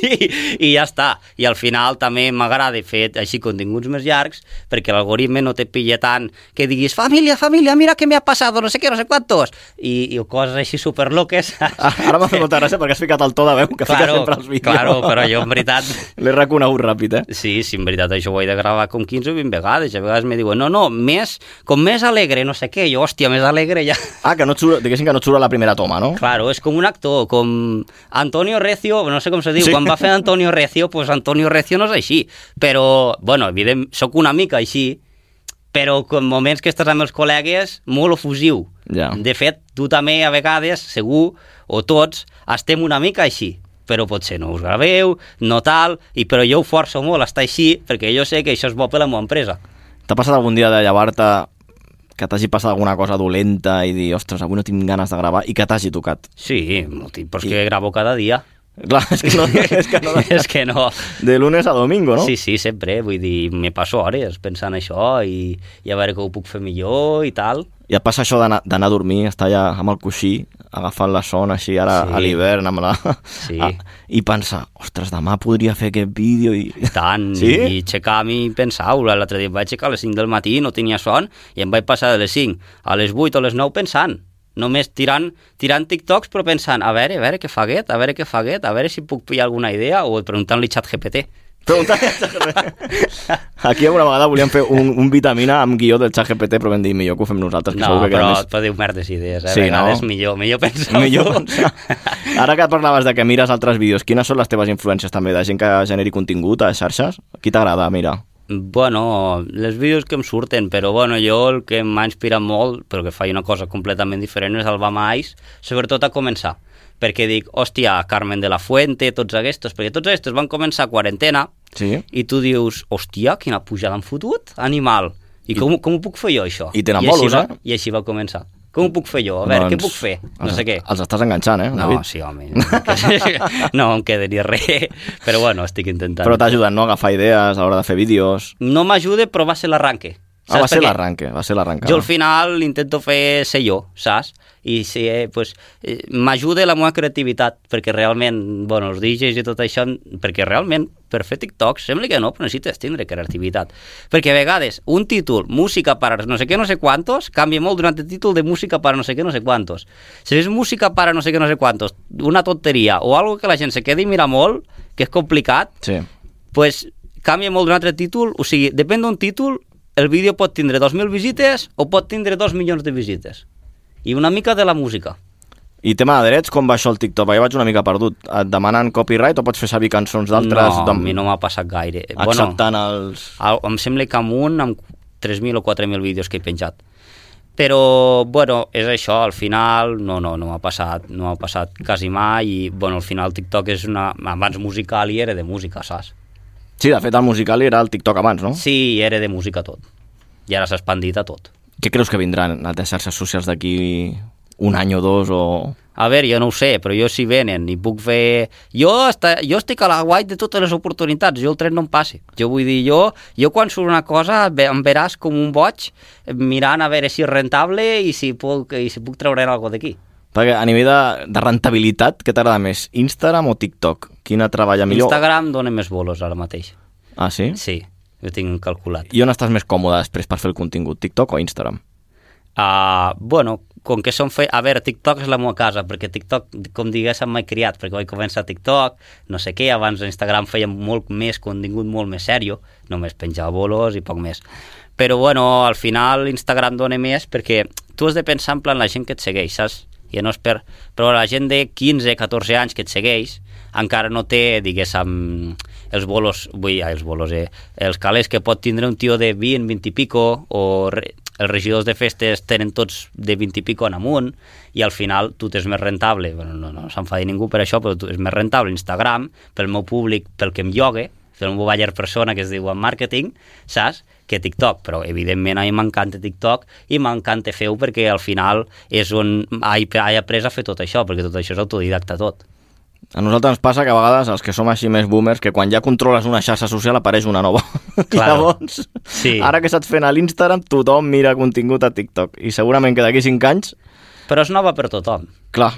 Speaker 1: I, i ja està. I al final també m'agrada fer així continguts més llargs perquè l'algoritme no te pilla tant que diguis família, família, mira què m'ha passat, no sé què, no sé quantos, i, i coses així superloques.
Speaker 4: Ah, Ara m'ha fet molta gràcia perquè has ficat el to de veu que fica sempre als vídeos.
Speaker 1: Claro, però jo en veritat...
Speaker 4: L'he reconegut ràpid, eh?
Speaker 1: Sí, sí, en veritat, això ho he de gravar com 15 o 20 vegades. A vegades me diuen, no, no, més, com més alegre, no sé què. Jo, hòstia, més alegre ja...
Speaker 4: Ah, que no et surt, diguéssim que no et surt a la primera toma, no?
Speaker 1: Claro, és com un actor, com Antonio Recio, no sé com se diu,
Speaker 4: Sí.
Speaker 1: sí. quan va fer Antonio Recio, doncs pues Antonio Recio no és així, però, bueno, evident, sóc una mica així, però en moments que estàs amb els col·legues, molt ofusiu.
Speaker 4: Ja.
Speaker 1: De fet, tu també a vegades, segur, o tots, estem una mica així però potser no us graveu, no tal, i però jo ho forço molt a estar així perquè jo sé que això és bo per la meva empresa.
Speaker 4: T'ha passat algun dia de llevar-te que t'hagi passat alguna cosa dolenta i dir, ostres, avui no tinc ganes de gravar i que t'hagi tocat.
Speaker 1: Sí, molti, però és que gravo cada dia.
Speaker 4: Clar, és que no... És que no
Speaker 1: és que no.
Speaker 4: de lunes a domingo, no?
Speaker 1: Sí, sí, sempre, eh? vull dir, me passo hores pensant això i, i a veure què ho puc fer millor i tal.
Speaker 4: I et passa això d'anar d'anar a dormir, estar allà amb el coixí, agafant la son així ara
Speaker 1: Sí.
Speaker 4: a l'hivern amb la... Ah,
Speaker 1: Sí.
Speaker 4: I pensar, ostres, demà podria fer aquest vídeo i...
Speaker 1: I tant,
Speaker 4: Sí?
Speaker 1: i aixecar-me i pensar, ula, l'altre dia em vaig aixecar a les 5 del matí, no tenia son, i em vaig passar de les 5 a les 8 o les 9 pensant, només tirant, tirant TikToks però pensant, a veure, a veure què fa aquest, a veure què fa aquest, a veure si puc pillar alguna idea o preguntant-li xat GPT.
Speaker 4: Preguntar... Aquí alguna vegada volíem fer un, un vitamina amb guió del xat GPT, però vam dir, millor que ho fem nosaltres, que
Speaker 1: No,
Speaker 4: segur que queda
Speaker 1: però, més... però diu merdes idees, eh?
Speaker 4: Sí,
Speaker 1: a vegades
Speaker 4: no?
Speaker 1: millor, millor pensar.
Speaker 4: més... Millor pensar. Ara que parlaves de que mires altres vídeos, quines són les teves influències també de gent que generi contingut a xarxes? Qui t'agrada mirar?
Speaker 1: Bueno, les vídeos que em surten, però bueno, jo el que m'ha inspirat molt, però que faig una cosa completament diferent, és el Bamais, sobretot a començar, perquè dic, hòstia, Carmen de la Fuente, tots aquests, perquè tots aquests van començar a quarantena,
Speaker 4: Sí.
Speaker 1: i tu dius, hòstia, quina pujada han fotut, animal, i com, com ho puc fer jo, això?
Speaker 4: I tenen
Speaker 1: així
Speaker 4: bolos,
Speaker 1: va,
Speaker 4: eh?
Speaker 1: I així va començar. Com ho puc fer jo? A veure, doncs, què puc fer? No
Speaker 4: els,
Speaker 1: sé què.
Speaker 4: Els estàs enganxant, eh,
Speaker 1: No,
Speaker 4: David?
Speaker 1: sí, home, no em quedaria res, però bueno, estic intentant.
Speaker 4: Però t'ha ajudat, no?, a agafar idees a l'hora de fer vídeos.
Speaker 1: No m'ajuda, però va ser l'arranque.
Speaker 4: Ah,
Speaker 1: Saps
Speaker 4: va ser
Speaker 1: per què?
Speaker 4: l'arranque, va ser l'arrenca.
Speaker 1: Jo al final intento fer ser jo, saps? I si, eh, pues, eh, m'ajuda la meva creativitat, perquè realment, bueno, els DJs i tot això, perquè realment, per fer TikTok, sembla que no, però necessites tindre creativitat. Perquè a vegades, un títol, música per no sé què, no sé quantos, canvia molt durant el títol de música per no sé què, no sé quantos. Si és música per no sé què, no sé quantos, una tonteria, o algo que la gent se quedi mira molt, que és complicat,
Speaker 4: Sí.
Speaker 1: pues, canvia molt d'un altre títol, o sigui, depèn d'un títol, el vídeo pot tindre 2.000 visites o pot tindre 2 milions de visites. I una mica de la música.
Speaker 4: I tema de drets, com va això el TikTok? Jo vaig una mica perdut. Et demanen copyright o pots fer servir cançons d'altres?
Speaker 1: no, a
Speaker 4: d'am-
Speaker 1: mi no m'ha eh, passat gaire.
Speaker 4: Acceptant els...
Speaker 1: Al- em sembla que amb un, amb 3.000 o 4.000 vídeos que he penjat. Però, bueno, és això, al final no, no, no m'ha passat, no m'ha passat quasi mai i, bueno, al final TikTok és una... abans musical i era de música, saps?
Speaker 4: Sí, de fet, el musical era el TikTok abans, no?
Speaker 1: Sí, i era de música tot. I ara s'ha expandit a tot.
Speaker 4: Què creus que vindran a les xarxes socials d'aquí un any o dos o...
Speaker 1: A veure, jo no ho sé, però jo si venen i puc fer... Jo, està, jo estic a la guai de totes les oportunitats, jo el tren no em passi. Jo vull dir, jo, jo quan surt una cosa ve- em veràs com un boig mirant a veure si és rentable i si puc, i si puc treure alguna d'aquí.
Speaker 4: Perquè a nivell de, de rentabilitat, què t'agrada més? Instagram o TikTok? Quina treballa millor?
Speaker 1: Instagram dona més bolos ara mateix.
Speaker 4: Ah, sí?
Speaker 1: Sí, ho tinc calculat.
Speaker 4: I on estàs més còmode després per fer el contingut? TikTok o Instagram?
Speaker 1: Uh, bueno, com que som fe... A veure, TikTok és la meva casa, perquè TikTok, com diguéssim, m'he criat, perquè vaig començar a TikTok, no sé què, abans a Instagram fèiem molt més contingut, molt més sèrio, només penjava bolos i poc més. Però, bueno, al final Instagram dona més perquè tu has de pensar en plan la gent que et segueix, saps? Ja no és per... Però la gent de 15, 14 anys que et segueix encara no té, diguéssim, els bolos, vull dir, els bolos, eh, els calés que pot tindre un tio de 20, 20 i pico, o re, els regidors de festes tenen tots de 20 i pico en amunt, i al final tu t'és més rentable, bueno, no, no s'enfadi ningú per això, però tu és més rentable Instagram, pel meu públic, pel que em llogue, pel meu baller persona que es diu en màrqueting, saps? que TikTok, però evidentment a mi m'encanta TikTok i m'encanta fer-ho perquè al final és on he he après a fer tot això, perquè tot això és autodidacta tot.
Speaker 4: A nosaltres ens passa que a vegades els que som així més boomers que quan ja controles una xarxa social apareix una nova.
Speaker 1: Claro.
Speaker 4: Llavors,
Speaker 1: Sí.
Speaker 4: ara que saps fent a l'Instagram, tothom mira contingut a TikTok. I segurament que d'aquí 5 anys,
Speaker 1: Però és nova per tothom.
Speaker 4: clar...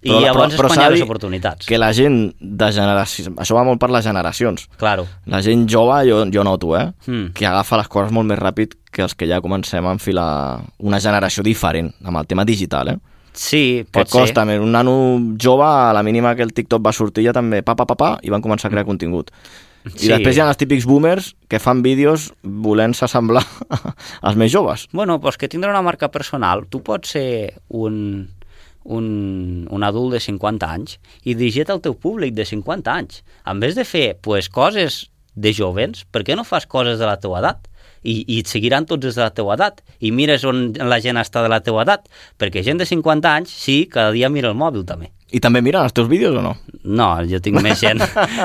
Speaker 1: I llavors és quan hi
Speaker 4: s'ha
Speaker 1: ha
Speaker 4: de
Speaker 1: les
Speaker 4: dir
Speaker 1: oportunitats.
Speaker 4: Que la gent de generació... Això va molt per les generacions.
Speaker 1: Claro.
Speaker 4: La gent jove, jo, jo noto, eh?
Speaker 1: Mm.
Speaker 4: Que agafa les coses molt més ràpid que els que ja comencem a enfilar una generació diferent amb el tema digital, eh?
Speaker 1: Sí,
Speaker 4: Que
Speaker 1: pot
Speaker 4: Pot costa,
Speaker 1: ser.
Speaker 4: més. un nano jove, a la mínima que el TikTok va sortir ja també, pa, pa, pa, pa, i van començar a crear contingut. I
Speaker 1: Mm. Sí.
Speaker 4: després hi ha els típics boomers que fan vídeos volent-se semblar als més joves.
Speaker 1: Bueno, pues que tindre una marca personal, tu pots ser un, un, un adult de 50 anys i dirigir-te al teu públic de 50 anys. En vez de fer pues, coses de jovens, per què no fas coses de la teva edat? I, i et seguiran tots des de la teva edat i mires on la gent està de la teva edat perquè gent de 50 anys sí, cada dia mira el mòbil també
Speaker 4: I també miren els teus vídeos o no?
Speaker 1: No, jo tinc més gent...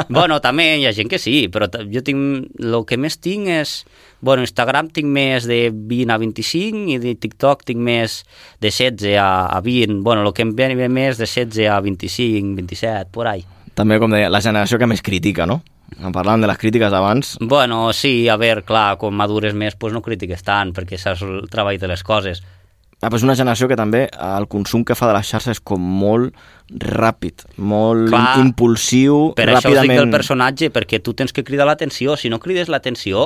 Speaker 1: bueno, també hi ha gent que sí, però t- jo tinc... El que més tinc és... Bueno, Instagram tinc més de 20 a 25 i de TikTok tinc més de 16 a, a 20. Bueno, el que em ve més de 16 a 25, 27, por ahí.
Speaker 4: També, com deia, la generació que més critica, no? En parlàvem de les crítiques abans.
Speaker 1: Bueno, sí, a veure, clar, quan madures més pues no critiques tant, perquè saps el treball de les coses.
Speaker 4: Ah, però és una generació que també el consum que fa de les xarxes és com molt ràpid, molt
Speaker 1: Clar.
Speaker 4: impulsiu,
Speaker 1: Per això us dic
Speaker 4: ràpidament...
Speaker 1: del personatge, perquè tu tens que cridar l'atenció. Si no crides l'atenció,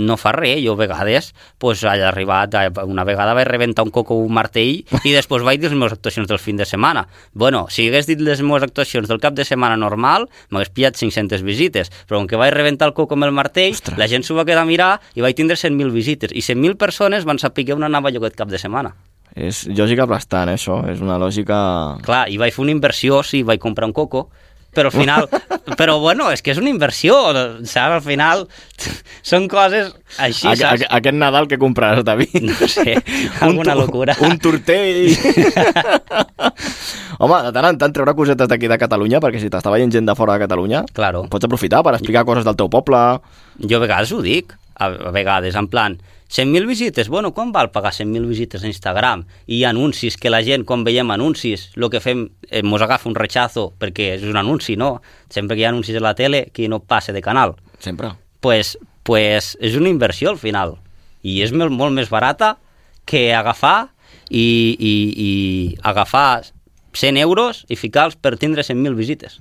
Speaker 1: no fa res. Jo a vegades, pues, he arribat, a- una vegada vaig rebentar un coco o un martell i després vaig dir les meves actuacions del fin de setmana. Bueno, si hagués dit les meves actuacions del cap de setmana normal, m'hagués pillat 500 visites, però com que vaig rebentar el coco amb el martell, Ostres. la gent s'ho va quedar a mirar i vaig tindre 100.000 visites. I 100.000 persones van saber que on anava jo aquest cap de setmana.
Speaker 4: És lògica aplastant, eh, això. És una lògica...
Speaker 1: Clar, i vaig fer una inversió, sí, vaig comprar un coco, però al final... però bueno, és que és una inversió, saps? Al final són coses així,
Speaker 4: Aqu-
Speaker 1: saps?
Speaker 4: aqu- aquest Nadal que compraràs, David?
Speaker 1: No sé,
Speaker 4: Un
Speaker 1: alguna
Speaker 4: tu-
Speaker 1: locura.
Speaker 4: Un tortell. Home, de tant en tant treure cosetes d'aquí de Catalunya, perquè si t'està veient gent de fora de Catalunya,
Speaker 1: Claro.
Speaker 4: pots aprofitar per explicar coses del teu poble.
Speaker 1: Jo a vegades ho dic, a, a vegades, en plan, 100.000 visites, bueno, quan val pagar 100.000 visites a Instagram? I anuncis, que la gent, quan veiem anuncis, el que fem, eh, mos agafa un rechazo, perquè és un anunci, no? Sempre que hi ha anuncis a la tele, qui no passa de canal.
Speaker 4: Sempre.
Speaker 1: pues, pues és una inversió al final i és molt, molt més barata que agafar i, i, i agafar 100 euros i ficar-los per tindre 100.000 visites.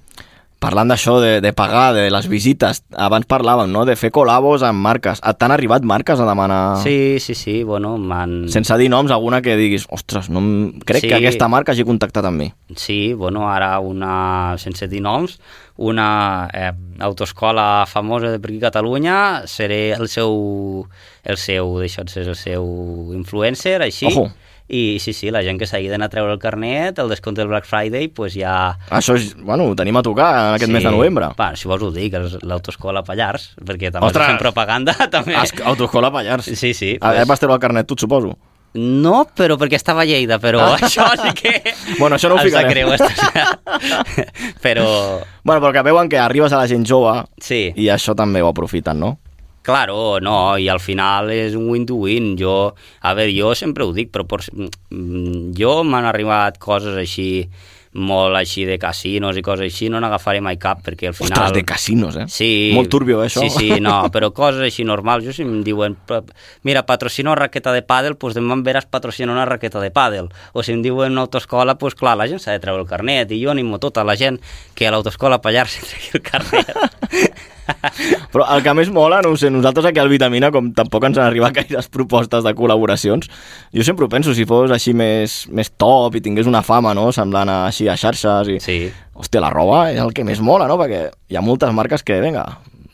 Speaker 4: Parlant d'això, de, de pagar, de les visites, abans parlàvem, no?, de fer col·labos amb marques. Et T'han arribat marques a demanar...
Speaker 1: Sí, sí, sí, bueno, m'han...
Speaker 4: Ah. Sense dir noms, alguna que diguis, ostres, no em- crec
Speaker 1: Sí.
Speaker 4: que aquesta marca hagi contactat amb mi.
Speaker 1: Sí, bueno, ara una, sense dir noms, una eh, autoescola famosa de per aquí a Catalunya, seré el seu, el seu, d'això, és el seu influencer, així.
Speaker 4: Ojo.
Speaker 1: I sí, sí, la gent que s'aïden a treure el carnet, el descompte del Black Friday, pues ja...
Speaker 4: Això és, bueno, ho tenim a tocar en aquest mes de novembre.
Speaker 1: Va, si vols ho dic, és l'autoescola Pallars, perquè també
Speaker 4: Ostres!
Speaker 1: Ostres. fem propaganda, també.
Speaker 4: As- Autoescola Pallars.
Speaker 1: Sí, sí,
Speaker 4: A,
Speaker 1: pues-
Speaker 4: Ah, eh, Vas treure el carnet tu, suposo.
Speaker 1: No, però perquè estava a Lleida, però això sí que...
Speaker 4: Ah. Bueno, això no ho
Speaker 1: Em sap
Speaker 4: ficarem.
Speaker 1: greu, esto- però...
Speaker 4: Bueno, però que veuen que arribes a la gent jove
Speaker 1: Sí.
Speaker 4: i això també ho aprofiten, no?
Speaker 1: Claro, no, i al final és un win-to-win. Jo, a veure, jo sempre ho dic, però por, mm, jo m'han arribat coses així, molt així de casinos i coses així, no n'agafaré mai cap, perquè al final...
Speaker 4: Ostres, de casinos, eh?
Speaker 1: Sí.
Speaker 4: Molt turbio, eh, això.
Speaker 1: Sí, sí, no, però coses així normals. Jo si em diuen, "Pa- mira, patrocina una raqueta de pàdel, doncs demà em veràs patrocinar una raqueta de pàdel. O si em diuen una autoescola, doncs clar, la gent s'ha de treure el carnet. I jo animo tota la gent que a l'autoescola a Pallars se tregui el carnet.
Speaker 4: Però el que més mola, no ho sé, nosaltres aquí al Vitamina, com tampoc ens han arribat gaires propostes de col·laboracions, jo sempre ho penso, si fos així més, més top i tingués una fama, no?, semblant a, així a xarxes i...
Speaker 1: Sí.
Speaker 4: Hòstia, la roba és el que més mola, no?, perquè hi ha moltes marques que, vinga,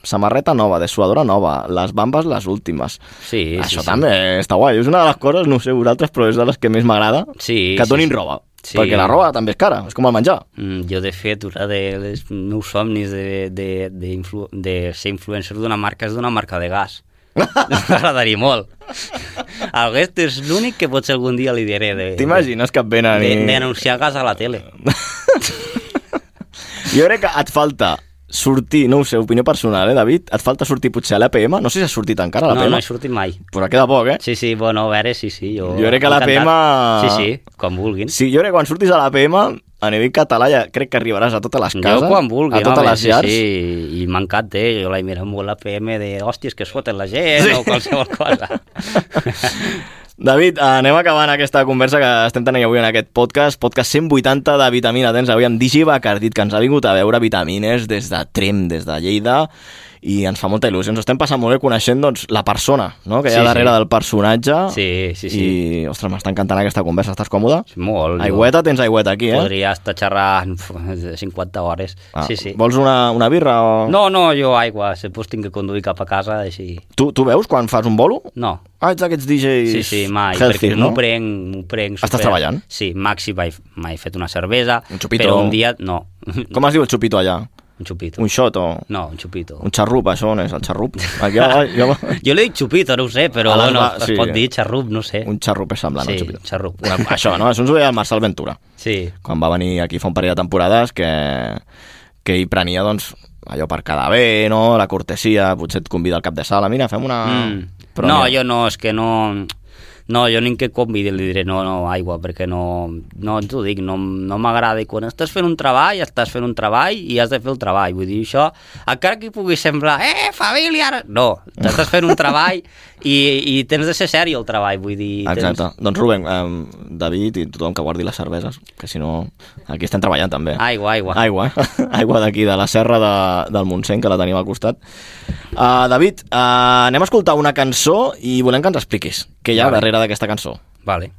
Speaker 4: samarreta nova, dessuadora nova, les bambes les últimes.
Speaker 1: Sí, sí,
Speaker 4: Això
Speaker 1: sí.
Speaker 4: també està guai. És una de les coses, no ho sé vosaltres, però és de les que més m'agrada
Speaker 1: Sí,
Speaker 4: que et
Speaker 1: sí,
Speaker 4: donin
Speaker 1: sí.
Speaker 4: roba.
Speaker 1: Sí.
Speaker 4: Perquè la roba també és cara, és com el menjar.
Speaker 1: Mm, Jo, de fet, una de les meus somnis de, de, de, influ de ser influencer d'una marca és d'una marca de gas. M'agradaria molt. Aquest és l'únic que potser algun dia li diré de...
Speaker 4: T'imagines que et
Speaker 1: de-
Speaker 4: venen i...
Speaker 1: de- D'anunciar gas a la tele.
Speaker 4: Jo crec que et falta sortir, no ho sé, opinió personal, eh, David? Et falta sortir potser a l'APM? No sé si ha sortit encara a
Speaker 1: No,
Speaker 4: l'APM.
Speaker 1: no he sortit mai.
Speaker 4: Però queda poc, eh?
Speaker 1: Sí, sí, bueno, a veure, sí, sí. Jo,
Speaker 4: Jo crec que
Speaker 1: encantat.
Speaker 4: l'APM-
Speaker 1: Sí, sí, quan vulguin.
Speaker 4: Sí, jo crec que quan surtis a l'APM, a nivell català, ja crec que arribaràs a totes les cases,
Speaker 1: jo quan vulgui,
Speaker 4: a totes
Speaker 1: home,
Speaker 4: les llars.
Speaker 1: Sí, sí, i m'encanta, eh? Jo l'he mirat molt la PM de, hòsties, que foten la gent, sí. o qualsevol cosa.
Speaker 4: David, anem acabant aquesta conversa que estem tenint avui en aquest podcast, podcast 180 de Vitamina Tens, avui amb Digi Bacardit, que ens ha vingut a veure vitamines des de Trem, des de Lleida, i ens fa molta il·lusió. Ens ho estem passant molt bé coneixent doncs, la persona no? que hi ha
Speaker 1: Sí, sí.
Speaker 4: darrere del personatge.
Speaker 1: Sí, sí, sí.
Speaker 4: I, ostres, m'està encantant aquesta conversa. Estàs còmode?
Speaker 1: Molt. jo-
Speaker 4: Aigüeta, tens aigüeta aquí, eh?
Speaker 1: Podria estar xerrant pf, 50 hores.
Speaker 4: Ah,
Speaker 1: sí, sí.
Speaker 4: Vols una, una birra o...
Speaker 1: No, no, jo aigua, si pues, tinc que conduir cap a casa, així...
Speaker 4: Tu, tu veus quan fas un bolo?
Speaker 1: No.
Speaker 4: Ah, ets d'aquests DJs
Speaker 1: Sí, sí, mai,
Speaker 4: healthy,
Speaker 1: perquè
Speaker 4: no?
Speaker 1: m'ho prenc, m'ho prenc...
Speaker 4: Estàs treballant?
Speaker 1: Sí, màxim, mai, mai he fet una cervesa,
Speaker 4: Un chupito.
Speaker 1: però un dia... No, un
Speaker 4: Com es diu el xupito allà?
Speaker 1: xupito.
Speaker 4: Un shot o...
Speaker 1: No, un xupito.
Speaker 4: Un xarrup, això on és? El xarrup? Ah, Aquí, aquí, aquí,
Speaker 1: Jo li dic xupito, no ho sé, però
Speaker 4: A les
Speaker 1: bueno,
Speaker 4: ba-
Speaker 1: es
Speaker 4: Ah, sí.
Speaker 1: pot dir xarrup, no ho sé.
Speaker 4: un xarrup és semblant
Speaker 1: sí,
Speaker 4: al xupito.
Speaker 1: xarrup.
Speaker 4: Una, això, no? Això ens ho deia el Marcel Ventura.
Speaker 1: Sí,
Speaker 4: Quan va venir aquí fa un parell de temporades que, que hi prenia, doncs, allò per quedar bé, no? La cortesia, potser et convida al cap de sala, mira, fem una...
Speaker 1: Mm. no,
Speaker 4: mira,
Speaker 1: jo no, és que no... No, jo ni que convidi li diré no, no, aigua, perquè no, no t'ho dic, no, no m'agrada. I quan estàs fent un treball, estàs fent un treball i has de fer el treball. Vull dir, això, encara que pugui semblar, eh, família, ara... No, t'estàs fent un treball i, i tens de ser sèrio el treball, vull dir...
Speaker 4: Exacte. Doncs Rubén, eh, David i tothom que guardi les cerveses, que si no... Aquí estem treballant també.
Speaker 1: Aigua, aigua.
Speaker 4: Aigua, eh? aigua d'aquí, de la serra de, del Montseny, que la tenim al costat. Uh, David, uh, anem a escoltar una cançó i volem que ens expliquis què hi ha
Speaker 1: Vale.
Speaker 4: darrere d'aquesta cançó.
Speaker 1: Tens... Vale.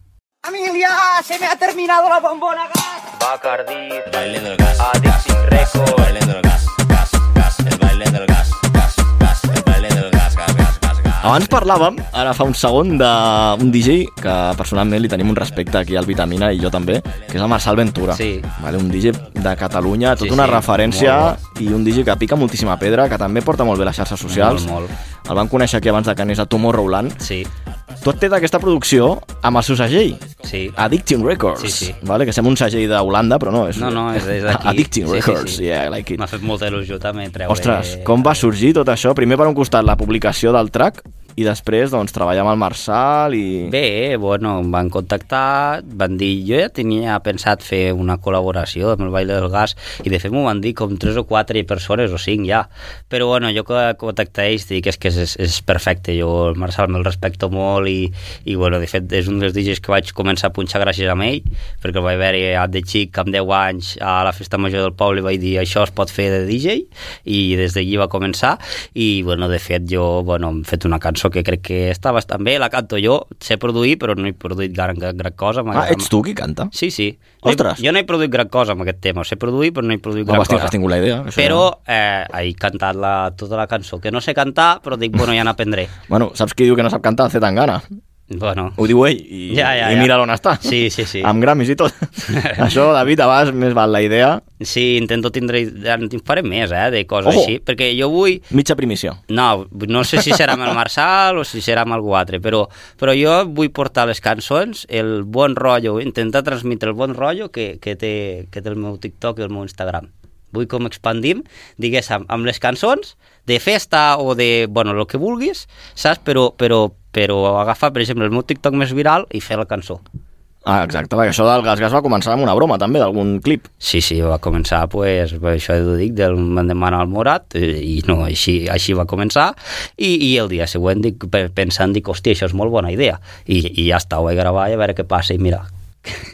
Speaker 9: ¡Familia! ¡Se me ha terminado la bombona gas!
Speaker 10: Bacardi, el baile del gas, Addiction Records, el baile del gas, gas, gas, el baile del gas, gas, gas, el baile del gas, gas, gas, gas, gas.
Speaker 4: Abans parlàvem, ara fa un segon, d'un DJ que personalment li tenim un respecte aquí al Vitamina i jo també, que és el Marçal Ventura.
Speaker 1: Sí.
Speaker 4: Vale, un DJ de Catalunya,
Speaker 1: Sí,
Speaker 4: tota una
Speaker 1: sí,
Speaker 4: referència
Speaker 1: molt
Speaker 4: i un DJ que pica moltíssima pedra, que també porta molt bé les xarxes socials.
Speaker 1: Molt, molt.
Speaker 4: El vam conèixer aquí abans de que anés a Tomorrowland.
Speaker 1: Sí,
Speaker 4: Tot té d'aquesta producció amb el seu segell,
Speaker 1: sí.
Speaker 4: Addiction Records.
Speaker 1: Sí, sí.
Speaker 4: Vale, que sembla un segell d'Holanda, però no. És,
Speaker 1: No, no, és des d'aquí.
Speaker 4: Addiction
Speaker 1: Sí, sí,
Speaker 4: Records,
Speaker 1: sí.
Speaker 4: yeah, I like it.
Speaker 1: M'ha fet molta il·lusió també treure...
Speaker 4: Ostres, com va sorgir tot això? Primer, per un costat, la publicació del track i després, doncs, treballar amb el Marçal i...
Speaker 1: Bé, bueno, em van contactar, van dir, jo ja tenia pensat fer una col·laboració amb el Baile del Gas i de fet m'ho van dir com tres o quatre persones o cinc ja, però bueno, jo que contacté ells dic és que és, és perfecte, jo el Marçal me'l respecto molt i, i bueno, de fet és un dels DJs que vaig començar a punxar gràcies a ell, perquè el vaig veure a de xic amb 10 anys a la festa major del poble i vaig dir això es pot fer de DJ i des d'allí va començar i bueno, de fet jo bueno, hem fet una cançó que crec que està bastant bé, la canto jo, sé produir però no he produït gran, gran, gran cosa
Speaker 4: Ah, ets tu qui canta?
Speaker 1: Sí, sí. No he-
Speaker 4: Ostres.
Speaker 1: jo no he produït gran cosa amb aquest tema, sé produir però no he produït
Speaker 4: No,
Speaker 1: gran
Speaker 4: vas, tinc-
Speaker 1: cosa.
Speaker 4: has tingut la idea, això
Speaker 1: Però eh, he cantat la, tota la cançó, que no sé cantar però dic, bueno, ja n'aprendré.
Speaker 4: Bueno, saps qui diu que no sap cantar? El Zetangana.
Speaker 1: Bueno,
Speaker 4: Ho diu ell i,
Speaker 1: Ja, ja,
Speaker 4: i
Speaker 1: ja.
Speaker 4: mira on està.
Speaker 1: Sí, sí, sí.
Speaker 4: Amb Grammys i tot. això, David, abans més val la idea.
Speaker 1: sí, intento tindre... En faré més, eh, de coses
Speaker 4: Ojo.
Speaker 1: així, perquè jo vull...
Speaker 4: Mitja primissió.
Speaker 1: No, no sé si serà amb el Marçal o si serà amb algú altre, però, però jo vull portar les cançons, el bon rotllo, intentar transmetre el bon rotllo que, que, té, que té el meu TikTok i el meu Instagram. vull com expandim, diguéssim, amb les cançons de festa o de, bueno, el que vulguis, saps? Però, però, però agafar, per exemple, el meu TikTok més viral i fer la cançó.
Speaker 4: Ah, exacte, perquè això del gas gas va començar amb una broma també, d'algun clip.
Speaker 1: Sí, sí, va començar, pues, això ho dic, del van demanar al Morat, eh, i no, així, així va començar, i, i el dia següent dic, pe- pensant, dic, hòstia, això és molt bona idea, i, i ja està, ho vaig gravar i a veure què passa, i mira.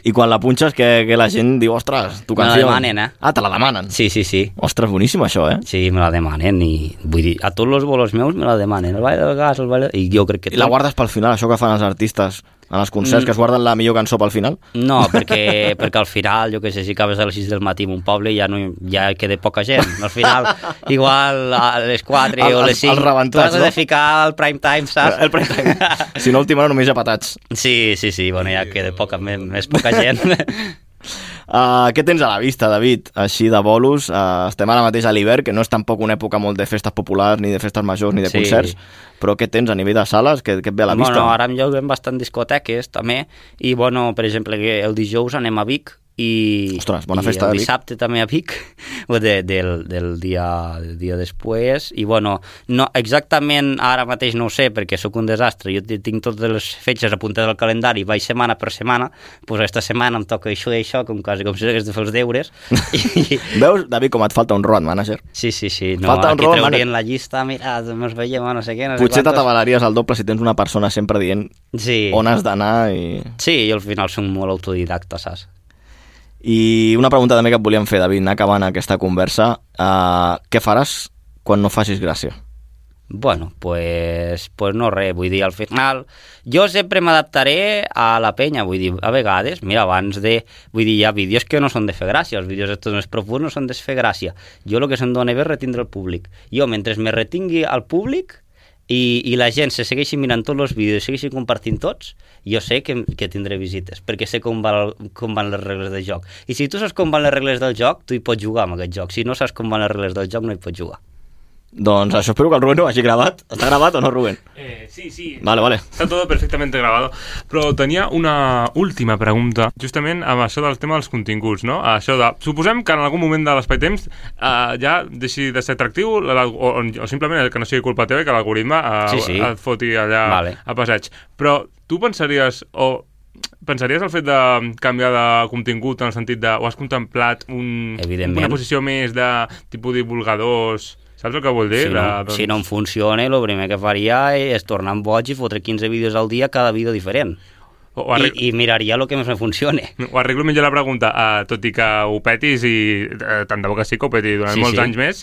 Speaker 4: I quan la punxes, que, que la gent diu, ostres, tu
Speaker 1: Me la
Speaker 4: canció...
Speaker 1: demanen, eh?
Speaker 4: Ah, te la demanen?
Speaker 1: Sí, sí, sí.
Speaker 4: Ostres, boníssim això, eh?
Speaker 1: Sí, me la demanen, i vull dir, a tots els bolos meus me la demanen, el ball del gas, el ball... I jo crec que...
Speaker 4: I la
Speaker 1: tot-
Speaker 4: guardes pel final, això que fan els artistes en els concerts,
Speaker 1: Mm.
Speaker 4: que es guarden la millor cançó pel final?
Speaker 1: No, perquè, perquè al final, jo què sé, si acabes a les 6 del matí en un poble ja no ja queda poca gent. Al final, igual a les 4
Speaker 4: El-
Speaker 1: o
Speaker 4: els-
Speaker 1: les 5,
Speaker 4: els rebentats,
Speaker 1: t'has
Speaker 4: no?
Speaker 1: de ficar el prime time, saps? El prime time.
Speaker 4: Si no, a última hora només a patats.
Speaker 1: Sí, sí, sí, bueno, ja queda poca, més, més poca gent.
Speaker 4: Uh, què tens a la vista, David? Així de bolos, uh, estem ara mateix a l'hivern, que no és tampoc una època molt de festes populars, ni de festes majors, ni de
Speaker 1: Sí.
Speaker 4: concerts, però què tens a nivell de sales? Què, què et ve a la vista?
Speaker 1: Bueno, ara em lloguen bastant discoteques, també, i, bueno, per exemple, que el dijous anem a Vic, i,
Speaker 4: Ostres, bona
Speaker 1: i
Speaker 4: festa a
Speaker 1: el
Speaker 4: Vic.
Speaker 1: dissabte també a Vic o de, del, del, dia, del dia després i bueno, no, exactament ara mateix no ho sé perquè sóc un desastre jo ti- tinc totes les fetges apuntades al calendari vaig setmana per setmana doncs aquesta setmana em toca això i això com, quasi, com si hagués de fer els deures
Speaker 4: Veus, David, com et falta un road manager?
Speaker 1: sí, sí, sí no,
Speaker 4: Falta un
Speaker 1: aquí
Speaker 4: road
Speaker 1: traurien
Speaker 4: manager.
Speaker 1: la llista mira, no es veiem, no sé què no sé
Speaker 4: Potser
Speaker 1: quantos.
Speaker 4: t'atabalaries al doble si tens una persona sempre dient
Speaker 1: sí.
Speaker 4: on has d'anar i...
Speaker 1: sí, jo al final soc molt autodidacta, saps?
Speaker 4: I una pregunta també que et volíem fer, David, anar acabant aquesta conversa. Uh, què faràs quan no facis gràcia?
Speaker 1: Bueno, pues, pues no res, vull dir, al final jo sempre m'adaptaré a la penya, vull dir, a vegades, mira, abans de... Vull dir, hi ha vídeos que no són de fer gràcia, els vídeos estos més profunds no són de fer gràcia. Jo el que se'm dóna bé és retindre el públic. Jo, mentre me retingui al públic i, i la gent se segueixi mirant tots els vídeos i segueixi compartint tots, jo sé que, que tindré visites, perquè sé com, va, el- com van les regles del joc. I si tu saps com van les regles del joc, tu hi pots jugar amb aquest joc. Si no saps com van les regles del joc, no hi pots jugar.
Speaker 4: Doncs això espero que el Rubén ho hagi gravat. Està gravat o no, Rubén?
Speaker 2: Eh, sí, sí.
Speaker 4: Vale, vale.
Speaker 2: Está todo perfectamente grabado. Però tenia una última pregunta, justament amb això del tema dels continguts, no? Això de... Suposem que en algun moment de l'espai-temps eh, ja deixi de ser atractiu l'al- o, o, o simplement que no sigui culpa teva i que l'algoritme eh,
Speaker 1: Sí, sí.
Speaker 2: et foti allà
Speaker 1: Vale.
Speaker 2: a passeig. Però tu pensaries o pensaries el fet de canviar de contingut en el sentit de... o has contemplat un,
Speaker 1: Evidentment.
Speaker 2: una posició més de tipus divulgadors... Saps el que vol dir?
Speaker 1: si, no,
Speaker 2: De- doncs,
Speaker 1: si no
Speaker 4: doncs.
Speaker 1: em funciona, el primer que faria és tornar en boig i fotre 15 vídeos al dia, cada vídeo diferent.
Speaker 2: O arreg-
Speaker 1: I, I miraria el que més me funcione.
Speaker 2: Ho arreglo millor la pregunta, uh, tot i que ho petis i uh, tant de bo que sí que ho peti durant sí,
Speaker 1: Sí,
Speaker 2: molts
Speaker 1: sí.
Speaker 2: sí. anys més,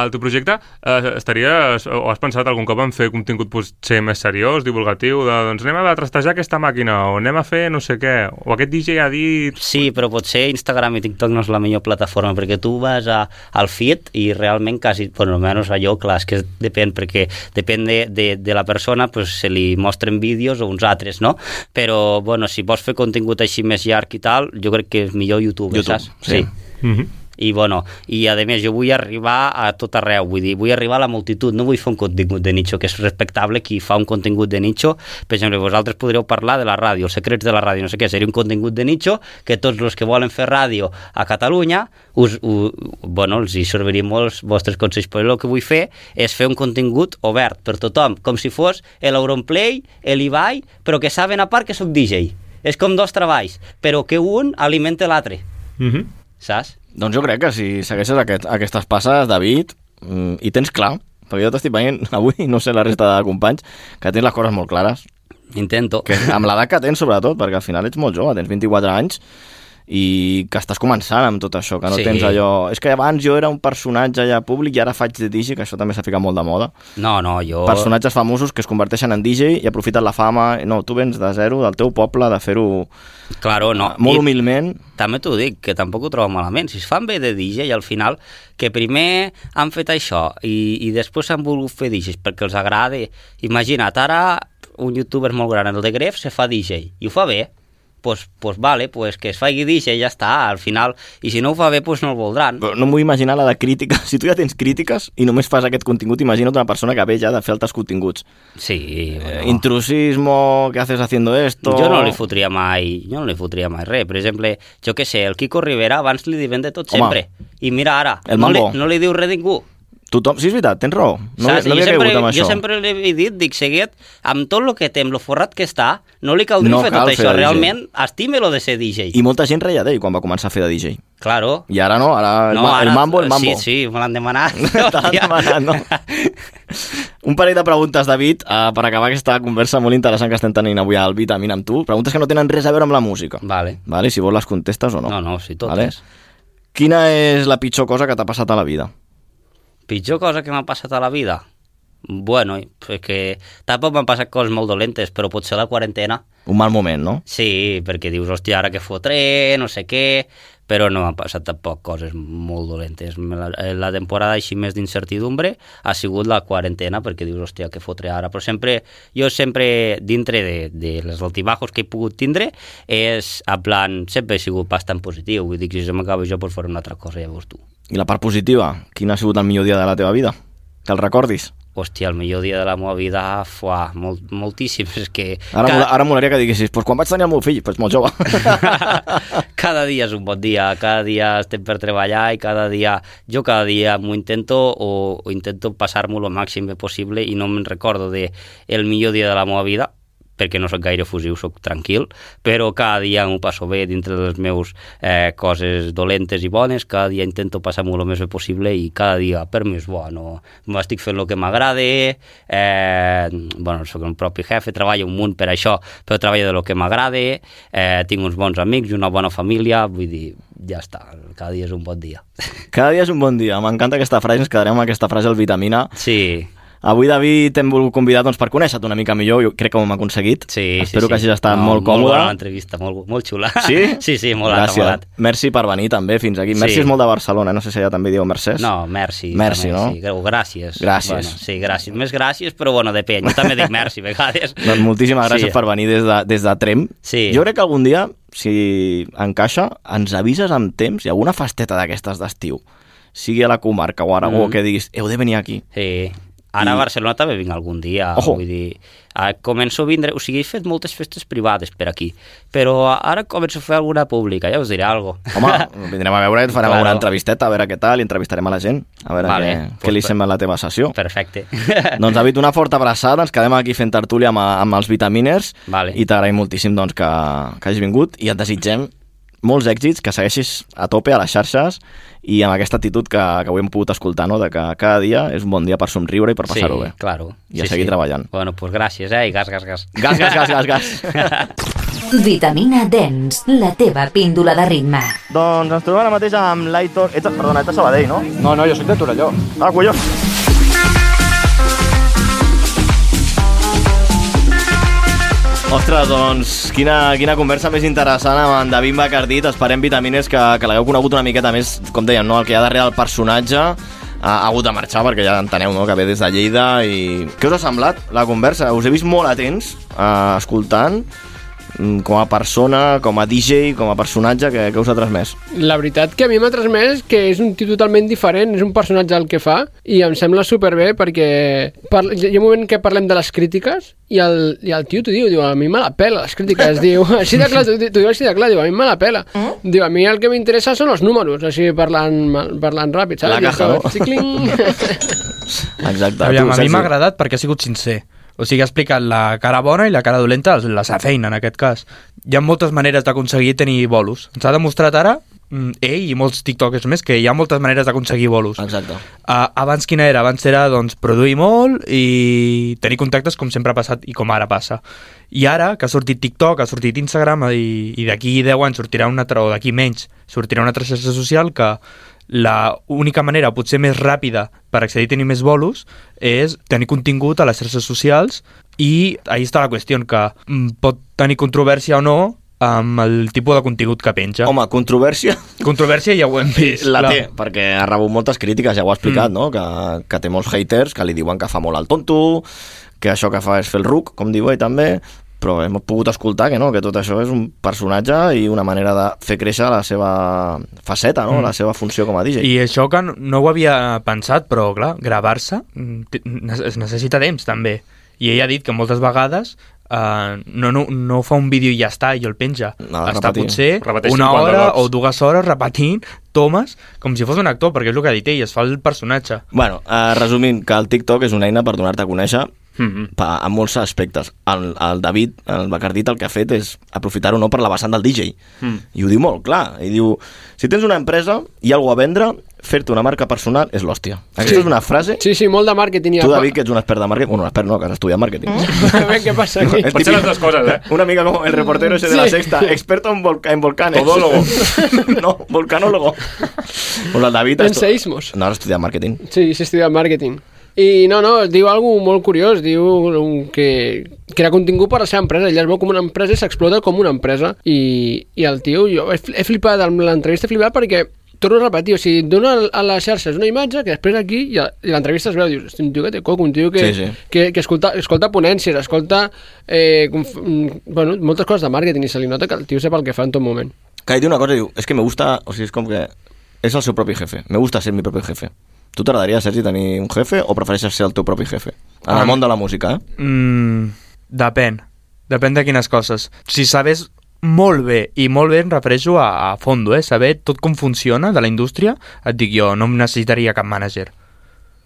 Speaker 2: el teu projecte uh, estaries, o has pensat algun cop en fer contingut potser més seriós, divulgatiu, de doncs anem a trastejar aquesta màquina, o anem a fer no sé què, o aquest DJ ha dit...
Speaker 1: Sí, però potser Instagram i TikTok no és la millor plataforma, perquè tu vas a, al feed i realment quasi, bueno, almenys a jo, clar, és que depèn, perquè depèn de, de, de la persona, pues, se li mostren vídeos o uns altres, no? Però, bueno, si vols fer contingut així més llarg i tal, jo crec que és millor YouTube,
Speaker 4: YouTube,
Speaker 1: saps?
Speaker 4: sí.
Speaker 2: Mhm.
Speaker 1: I, bueno, i a més jo vull arribar a tot arreu, vull dir, vull arribar a la multitud, no vull fer un contingut de nicho, que és respectable qui fa un contingut de nicho, per exemple, vosaltres podreu parlar de la ràdio, els secrets de la ràdio, no sé què, seria un contingut de nicho que tots els que volen fer ràdio a Catalunya, us, u, bueno, els hi serviria molt els vostres consells, però el que vull fer és fer un contingut obert per tothom, com si fos l'Euronplay, l'Ibai, però que saben a part que sóc DJ. És com dos treballs, però que un alimenta l'altre,
Speaker 2: Mhm.
Speaker 1: saps?
Speaker 4: Doncs jo crec que si segueixes aquest, aquestes passes, David, mm, i tens clar, perquè jo t'estic veient avui, no sé la resta de companys, que tens les coses molt clares,
Speaker 1: Intento.
Speaker 4: que amb l'edat que tens sobretot, perquè al final ets molt jove, tens 24 anys, i que estàs començant amb tot això, que no
Speaker 1: Sí.
Speaker 4: tens allò... És que abans jo era un personatge ja públic i ara faig de DJ, que això també s'ha ficat molt de moda.
Speaker 1: No, no, jo...
Speaker 4: personatges famosos que es converteixen en DJ i aprofiten la fama. No, tu vens de zero, del teu poble, de fer-ho
Speaker 1: Claro, no.
Speaker 4: Ah, molt
Speaker 1: I
Speaker 4: humilment.
Speaker 1: També t'ho dic, que tampoc ho trobo malament. Si es fan bé de DJ i al final que primer han fet això i, i després han volgut fer DJs perquè els agrada. Imagina't, ara un youtuber molt gran, el de Gref, se fa DJ i ho fa bé, pues, pues vale, pues que es faci DJ i ja està, al final, i si no ho fa bé, pues no el voldran.
Speaker 4: Però no m'ho imaginar la de crítica. Si tu ja tens crítiques i només fas aquest contingut, imagina't una persona que ve ja de fer altres continguts.
Speaker 1: Sí,
Speaker 4: bueno. Intrusismo, ¿qué haces haciendo esto?
Speaker 1: Eh, Jo no li fotria mai, jo no li fotria mai res. Per exemple, jo que sé, el Quico Rivera abans li diuen de tot
Speaker 4: Home.
Speaker 1: sempre. I mira ara,
Speaker 4: El
Speaker 1: no li,
Speaker 4: Mambo.
Speaker 1: no li diu res a ningú.
Speaker 4: Tothom... Sí, és veritat, tens raó. No,
Speaker 1: Saps?
Speaker 4: Saps, no
Speaker 1: I
Speaker 4: li
Speaker 1: jo,
Speaker 4: he
Speaker 1: sempre,
Speaker 4: cregut amb
Speaker 1: jo
Speaker 4: això.
Speaker 1: sempre li he dit, dic, seguit, amb tot el que té, amb el forrat que està, no li caldria
Speaker 4: No
Speaker 1: fer
Speaker 4: cal
Speaker 1: tot
Speaker 4: fer
Speaker 1: això.
Speaker 4: de DJ.
Speaker 1: Realment, estime-lo de ser DJ.
Speaker 4: I molta gent reia d'ell quan va començar a fer de DJ.
Speaker 1: Claro.
Speaker 4: I ara no, ara el, no, ara, el mambo, el mambo.
Speaker 1: Sí, sí, me l'han demanat.
Speaker 4: T'han demanat, no? Un parell de preguntes, David, uh, per acabar aquesta conversa molt interessant que estem tenint avui al Vitamina amb tu. Preguntes que no tenen res a veure amb la música.
Speaker 1: Vale.
Speaker 4: Vale, si vols les contestes o no.
Speaker 1: No, no, sí, totes.
Speaker 4: Quina és la pitjor cosa que t'ha passat a la vida?
Speaker 1: Pitjor cosa que m'ha passat a la vida? Bueno, pues que tampoc m'han passat coses molt dolentes, però potser la quarantena.
Speaker 4: Un mal moment, no?
Speaker 1: Sí, perquè dius, hòstia, ara que fotré, no sé què... Però no m'han passat tampoc coses molt dolentes. La, eh, la temporada així més d'incertidumbre ha sigut la quarantena, perquè dius, hòstia, que fotré ara. Però sempre, jo sempre, dintre de, de les altibajos que he pogut tindre, és, a plan, sempre he sigut bastant positiu. Vull dir que si se m'acaba jo, pues faré una altra cosa, llavors tu.
Speaker 4: I la part positiva, quin ha sigut el millor dia de la teva vida? Que el recordis.
Speaker 1: Hòstia, el millor dia de la meva vida, fuà, molt, moltíssim. És que
Speaker 4: Ara,
Speaker 1: ca-
Speaker 4: Cal... ara molaria que diguessis, pues quan vaig tenir el meu fill, pues molt jove.
Speaker 1: cada dia és un bon dia, cada dia estem per treballar i cada dia, jo cada dia m'ho intento o, o intento passar-m'ho el màxim bé possible i no me'n recordo de el millor dia de la meva vida, perquè no sóc gaire fusiu, sóc tranquil, però cada dia m'ho passo bé dintre de les meus eh, coses dolentes i bones, cada dia intento passar-m'ho el més bé possible i cada dia per mi és bo, no? m'estic fent el que m'agrada, eh, bueno, sóc el propi jefe, treballo un munt per això, però treballo de lo que m'agrada, eh, tinc uns bons amics, una bona família, vull dir, ja està, cada dia és un bon dia.
Speaker 4: Cada dia és un bon dia. M'encanta aquesta frase, ens quedarem amb aquesta frase al Vitamina.
Speaker 1: Sí.
Speaker 4: Avui, David, t'hem volgut convidar doncs, per conèixer-te una mica millor. Jo crec que ho hem aconseguit.
Speaker 1: Sí,
Speaker 4: Espero
Speaker 1: sí, sí.
Speaker 4: que hagis estat
Speaker 1: No,
Speaker 4: molt
Speaker 1: Molt
Speaker 4: còmode.
Speaker 1: bona entrevista, molt, molt xula.
Speaker 4: Sí?
Speaker 1: Sí, sí, molt
Speaker 4: Gràcies.
Speaker 1: agradat.
Speaker 4: Merci per venir també fins aquí.
Speaker 1: Sí.
Speaker 4: Merci és molt de Barcelona, no sé si allà també dieu Mercès.
Speaker 1: No, merci.
Speaker 4: Merci,
Speaker 1: també,
Speaker 4: no?
Speaker 1: Sí, greu, gràcies.
Speaker 4: Gràcies.
Speaker 1: Bueno, sí, gràcies. Més gràcies, però bueno, depèn. Jo també dic merci a vegades.
Speaker 4: Doncs moltíssimes gràcies
Speaker 1: Sí.
Speaker 4: per venir des de, des de Trem.
Speaker 1: Sí.
Speaker 4: Jo crec que algun dia, si encaixa, ens avises amb temps i alguna festeta d'aquestes d'estiu, sigui a la comarca o a Aragó,
Speaker 1: Mm.
Speaker 4: mm. que diguis, heu de venir aquí.
Speaker 1: Sí. Ara a Barcelona també vinc algun dia,
Speaker 4: Ojo.
Speaker 1: vull dir, ah, començo a vindre, o sigui, he fet moltes festes privades per aquí, però ara començo a fer alguna pública, ja us diré alguna cosa.
Speaker 4: Home, vindrem a veure, et farem claro.
Speaker 1: Claro.
Speaker 4: una entrevisteta, a veure què tal, i entrevistarem a la gent, a veure
Speaker 1: Vale,
Speaker 4: vale, què,
Speaker 1: pues
Speaker 4: què li
Speaker 1: per-
Speaker 4: sembla la teva sessió.
Speaker 1: Perfecte.
Speaker 4: Doncs David, una forta abraçada, ens quedem aquí fent tertúlia amb, amb els vitaminers
Speaker 1: Vale.
Speaker 4: i t'agraïm moltíssim doncs, que, que hagis vingut i et desitgem molts èxits, que segueixis a tope a les xarxes i amb aquesta actitud que, que avui hem pogut escoltar, no? de que cada dia és un bon dia per somriure i per passar-ho
Speaker 1: sí,
Speaker 4: bé.
Speaker 1: Claro.
Speaker 4: eh? I a seguir treballant.
Speaker 1: Bueno, doncs pues gràcies, eh? I gas, gas, gas.
Speaker 4: Gas, gas, gas, gas, gas.
Speaker 3: Vitamina Dens, la teva píndola de ritme.
Speaker 4: doncs ens trobem ara mateix amb l'Aitor... Ets, perdona, ets a Sabadell, no?
Speaker 7: No, no, jo soc de Torelló.
Speaker 4: Ah, collons! Ostres, doncs, quina, quina conversa més interessant amb en David Bacardit. Esperem, vitamines, que, que l'hagueu conegut una miqueta més, com dèiem, no? el que hi ha darrere del personatge. Ha, ha hagut de marxar, perquè ja enteneu no? que ve des de Lleida. I... Què us ha semblat, la conversa? Us he vist molt atents, eh, escoltant, mm, com a persona, com a DJ, com a personatge, que, que us ha transmès?
Speaker 5: La veritat que a mi m'ha transmès que és un tio totalment diferent, és un personatge el que fa i em sembla superbé perquè par... hi ha un moment que parlem de les crítiques i el, i el tio t'ho diu, diu, a mi me la pela les crítiques, diu, així de clar, t'ho t'ho diu així de clar, diu, a mi me la pela. Diu, a mi el que m'interessa són els números, així parlant, mal- parlant ràpid, saps?
Speaker 4: La
Speaker 5: I
Speaker 4: caja,
Speaker 5: això,
Speaker 4: no?
Speaker 5: xicling.
Speaker 4: Exacte.
Speaker 6: Aviam, a mi
Speaker 4: Sergi.
Speaker 6: m'ha agradat perquè ha sigut sincer. O sigui, ha explicat la cara bona i la cara dolenta, la seva feina, en aquest cas. Hi ha moltes maneres d'aconseguir tenir bolos. Ens ha demostrat ara, mm, ell i molts tiktokers més, que hi ha moltes maneres d'aconseguir bolos.
Speaker 4: Exacte.
Speaker 6: Uh, abans quina era? Abans era doncs, produir molt i tenir contactes com sempre ha passat i com ara passa. I ara, que ha sortit TikTok, ha sortit Instagram i, i d'aquí 10 anys sortirà una altra, o d'aquí menys, sortirà una altra xarxa social que la única manera, potser més ràpida, per accedir a tenir més bolos és tenir contingut a les xarxes socials i ahí està la qüestió, que mm, pot tenir controvèrsia o no amb el tipus de contingut que penja.
Speaker 4: Home, controvèrsia...
Speaker 6: Controvèrsia ja ho hem vist.
Speaker 4: La
Speaker 6: clar.
Speaker 4: té, perquè ha rebut moltes crítiques, ja ho ha explicat, mm. no? Que, que té molts haters que li diuen que fa molt el tonto, que això que fa és fer el ruc, com diu ell també, però hem pogut escoltar que no, que tot això és un personatge i una manera de fer créixer la seva faceta, no?
Speaker 6: Mm.
Speaker 4: la seva funció com a DJ.
Speaker 6: I això que no- no ho havia pensat, però clar, gravar-se mm, té- ne- es necessita temps també. I ella ha dit que moltes vegades eh, no, no, no fa un vídeo i ja està, i el penja.
Speaker 4: No,
Speaker 6: està
Speaker 4: repetir.
Speaker 6: potser
Speaker 2: Repeteix
Speaker 6: una
Speaker 2: 50
Speaker 6: hora
Speaker 2: cops.
Speaker 6: o dues hores repetint tomes com si fos un actor, perquè és el que ha dit ell, es fa el personatge.
Speaker 4: Bueno, eh, resumint, que el TikTok és una eina per donar-te a conèixer
Speaker 2: Mhm.
Speaker 4: pa, en molts aspectes. El, el David, el Bacardit, el que ha fet és aprofitar-ho no per la vessant del DJ.
Speaker 2: Mm.
Speaker 4: I ho diu molt clar. I diu, si tens una empresa i alguna a vendre, fer-te una marca personal és l'hòstia. Aquesta
Speaker 5: Sí.
Speaker 4: és una frase...
Speaker 5: Sí, sí, molt de màrqueting. i
Speaker 4: Tu,
Speaker 5: apa-
Speaker 4: David, que ets un expert de màrqueting... Bueno, expert no, que has estudiat màrqueting.
Speaker 5: A veure què passa aquí.
Speaker 4: El
Speaker 2: Mm. Pot ser
Speaker 4: típic-
Speaker 2: les dues coses, eh?
Speaker 4: Una mica como el reportero ese de la
Speaker 5: Sí.
Speaker 4: sexta, experto en, volca- en volcanes.
Speaker 2: Todólogo.
Speaker 4: no, volcanólogo. Bueno, el David... ha
Speaker 5: En
Speaker 4: estu-
Speaker 5: seísmos.
Speaker 4: No, ha estudiat màrqueting.
Speaker 5: Sí, s'ha estudiat màrqueting. I no, no, diu algo molt curiós, diu un- que crea contingut per a la seva empresa, ella es veu com una empresa i s'explota com una empresa. I, I el tio, jo he, fl- he flipat amb l'entrevista, he flipat perquè torno a repetir, o sigui, dona a les xarxes una imatge que després aquí i a- i l'entrevista es veu, dius, "Hosti, un tio que té coco, un tio que,
Speaker 4: Sí, sí.
Speaker 5: que, que escolta, escolta ponències, escolta eh, conf- mm, bueno, moltes coses de màrqueting i se li nota que el tio sap el que fa en tot moment.
Speaker 4: Que diu una cosa, diu, és que me gusta... O sigui, és com que... És el seu propi jefe. Me gusta ser mi propi jefe. Tu t'agradaria, Sergi, tenir un jefe o prefereixes ser el teu propi jefe? En el món de la música, eh?
Speaker 6: Mm, depèn. Depèn de quines coses. Si sabes molt bé, i molt bé em refereixo a, a fondo, eh? saber tot com funciona de la indústria, et dic jo, no em necessitaria cap mànager.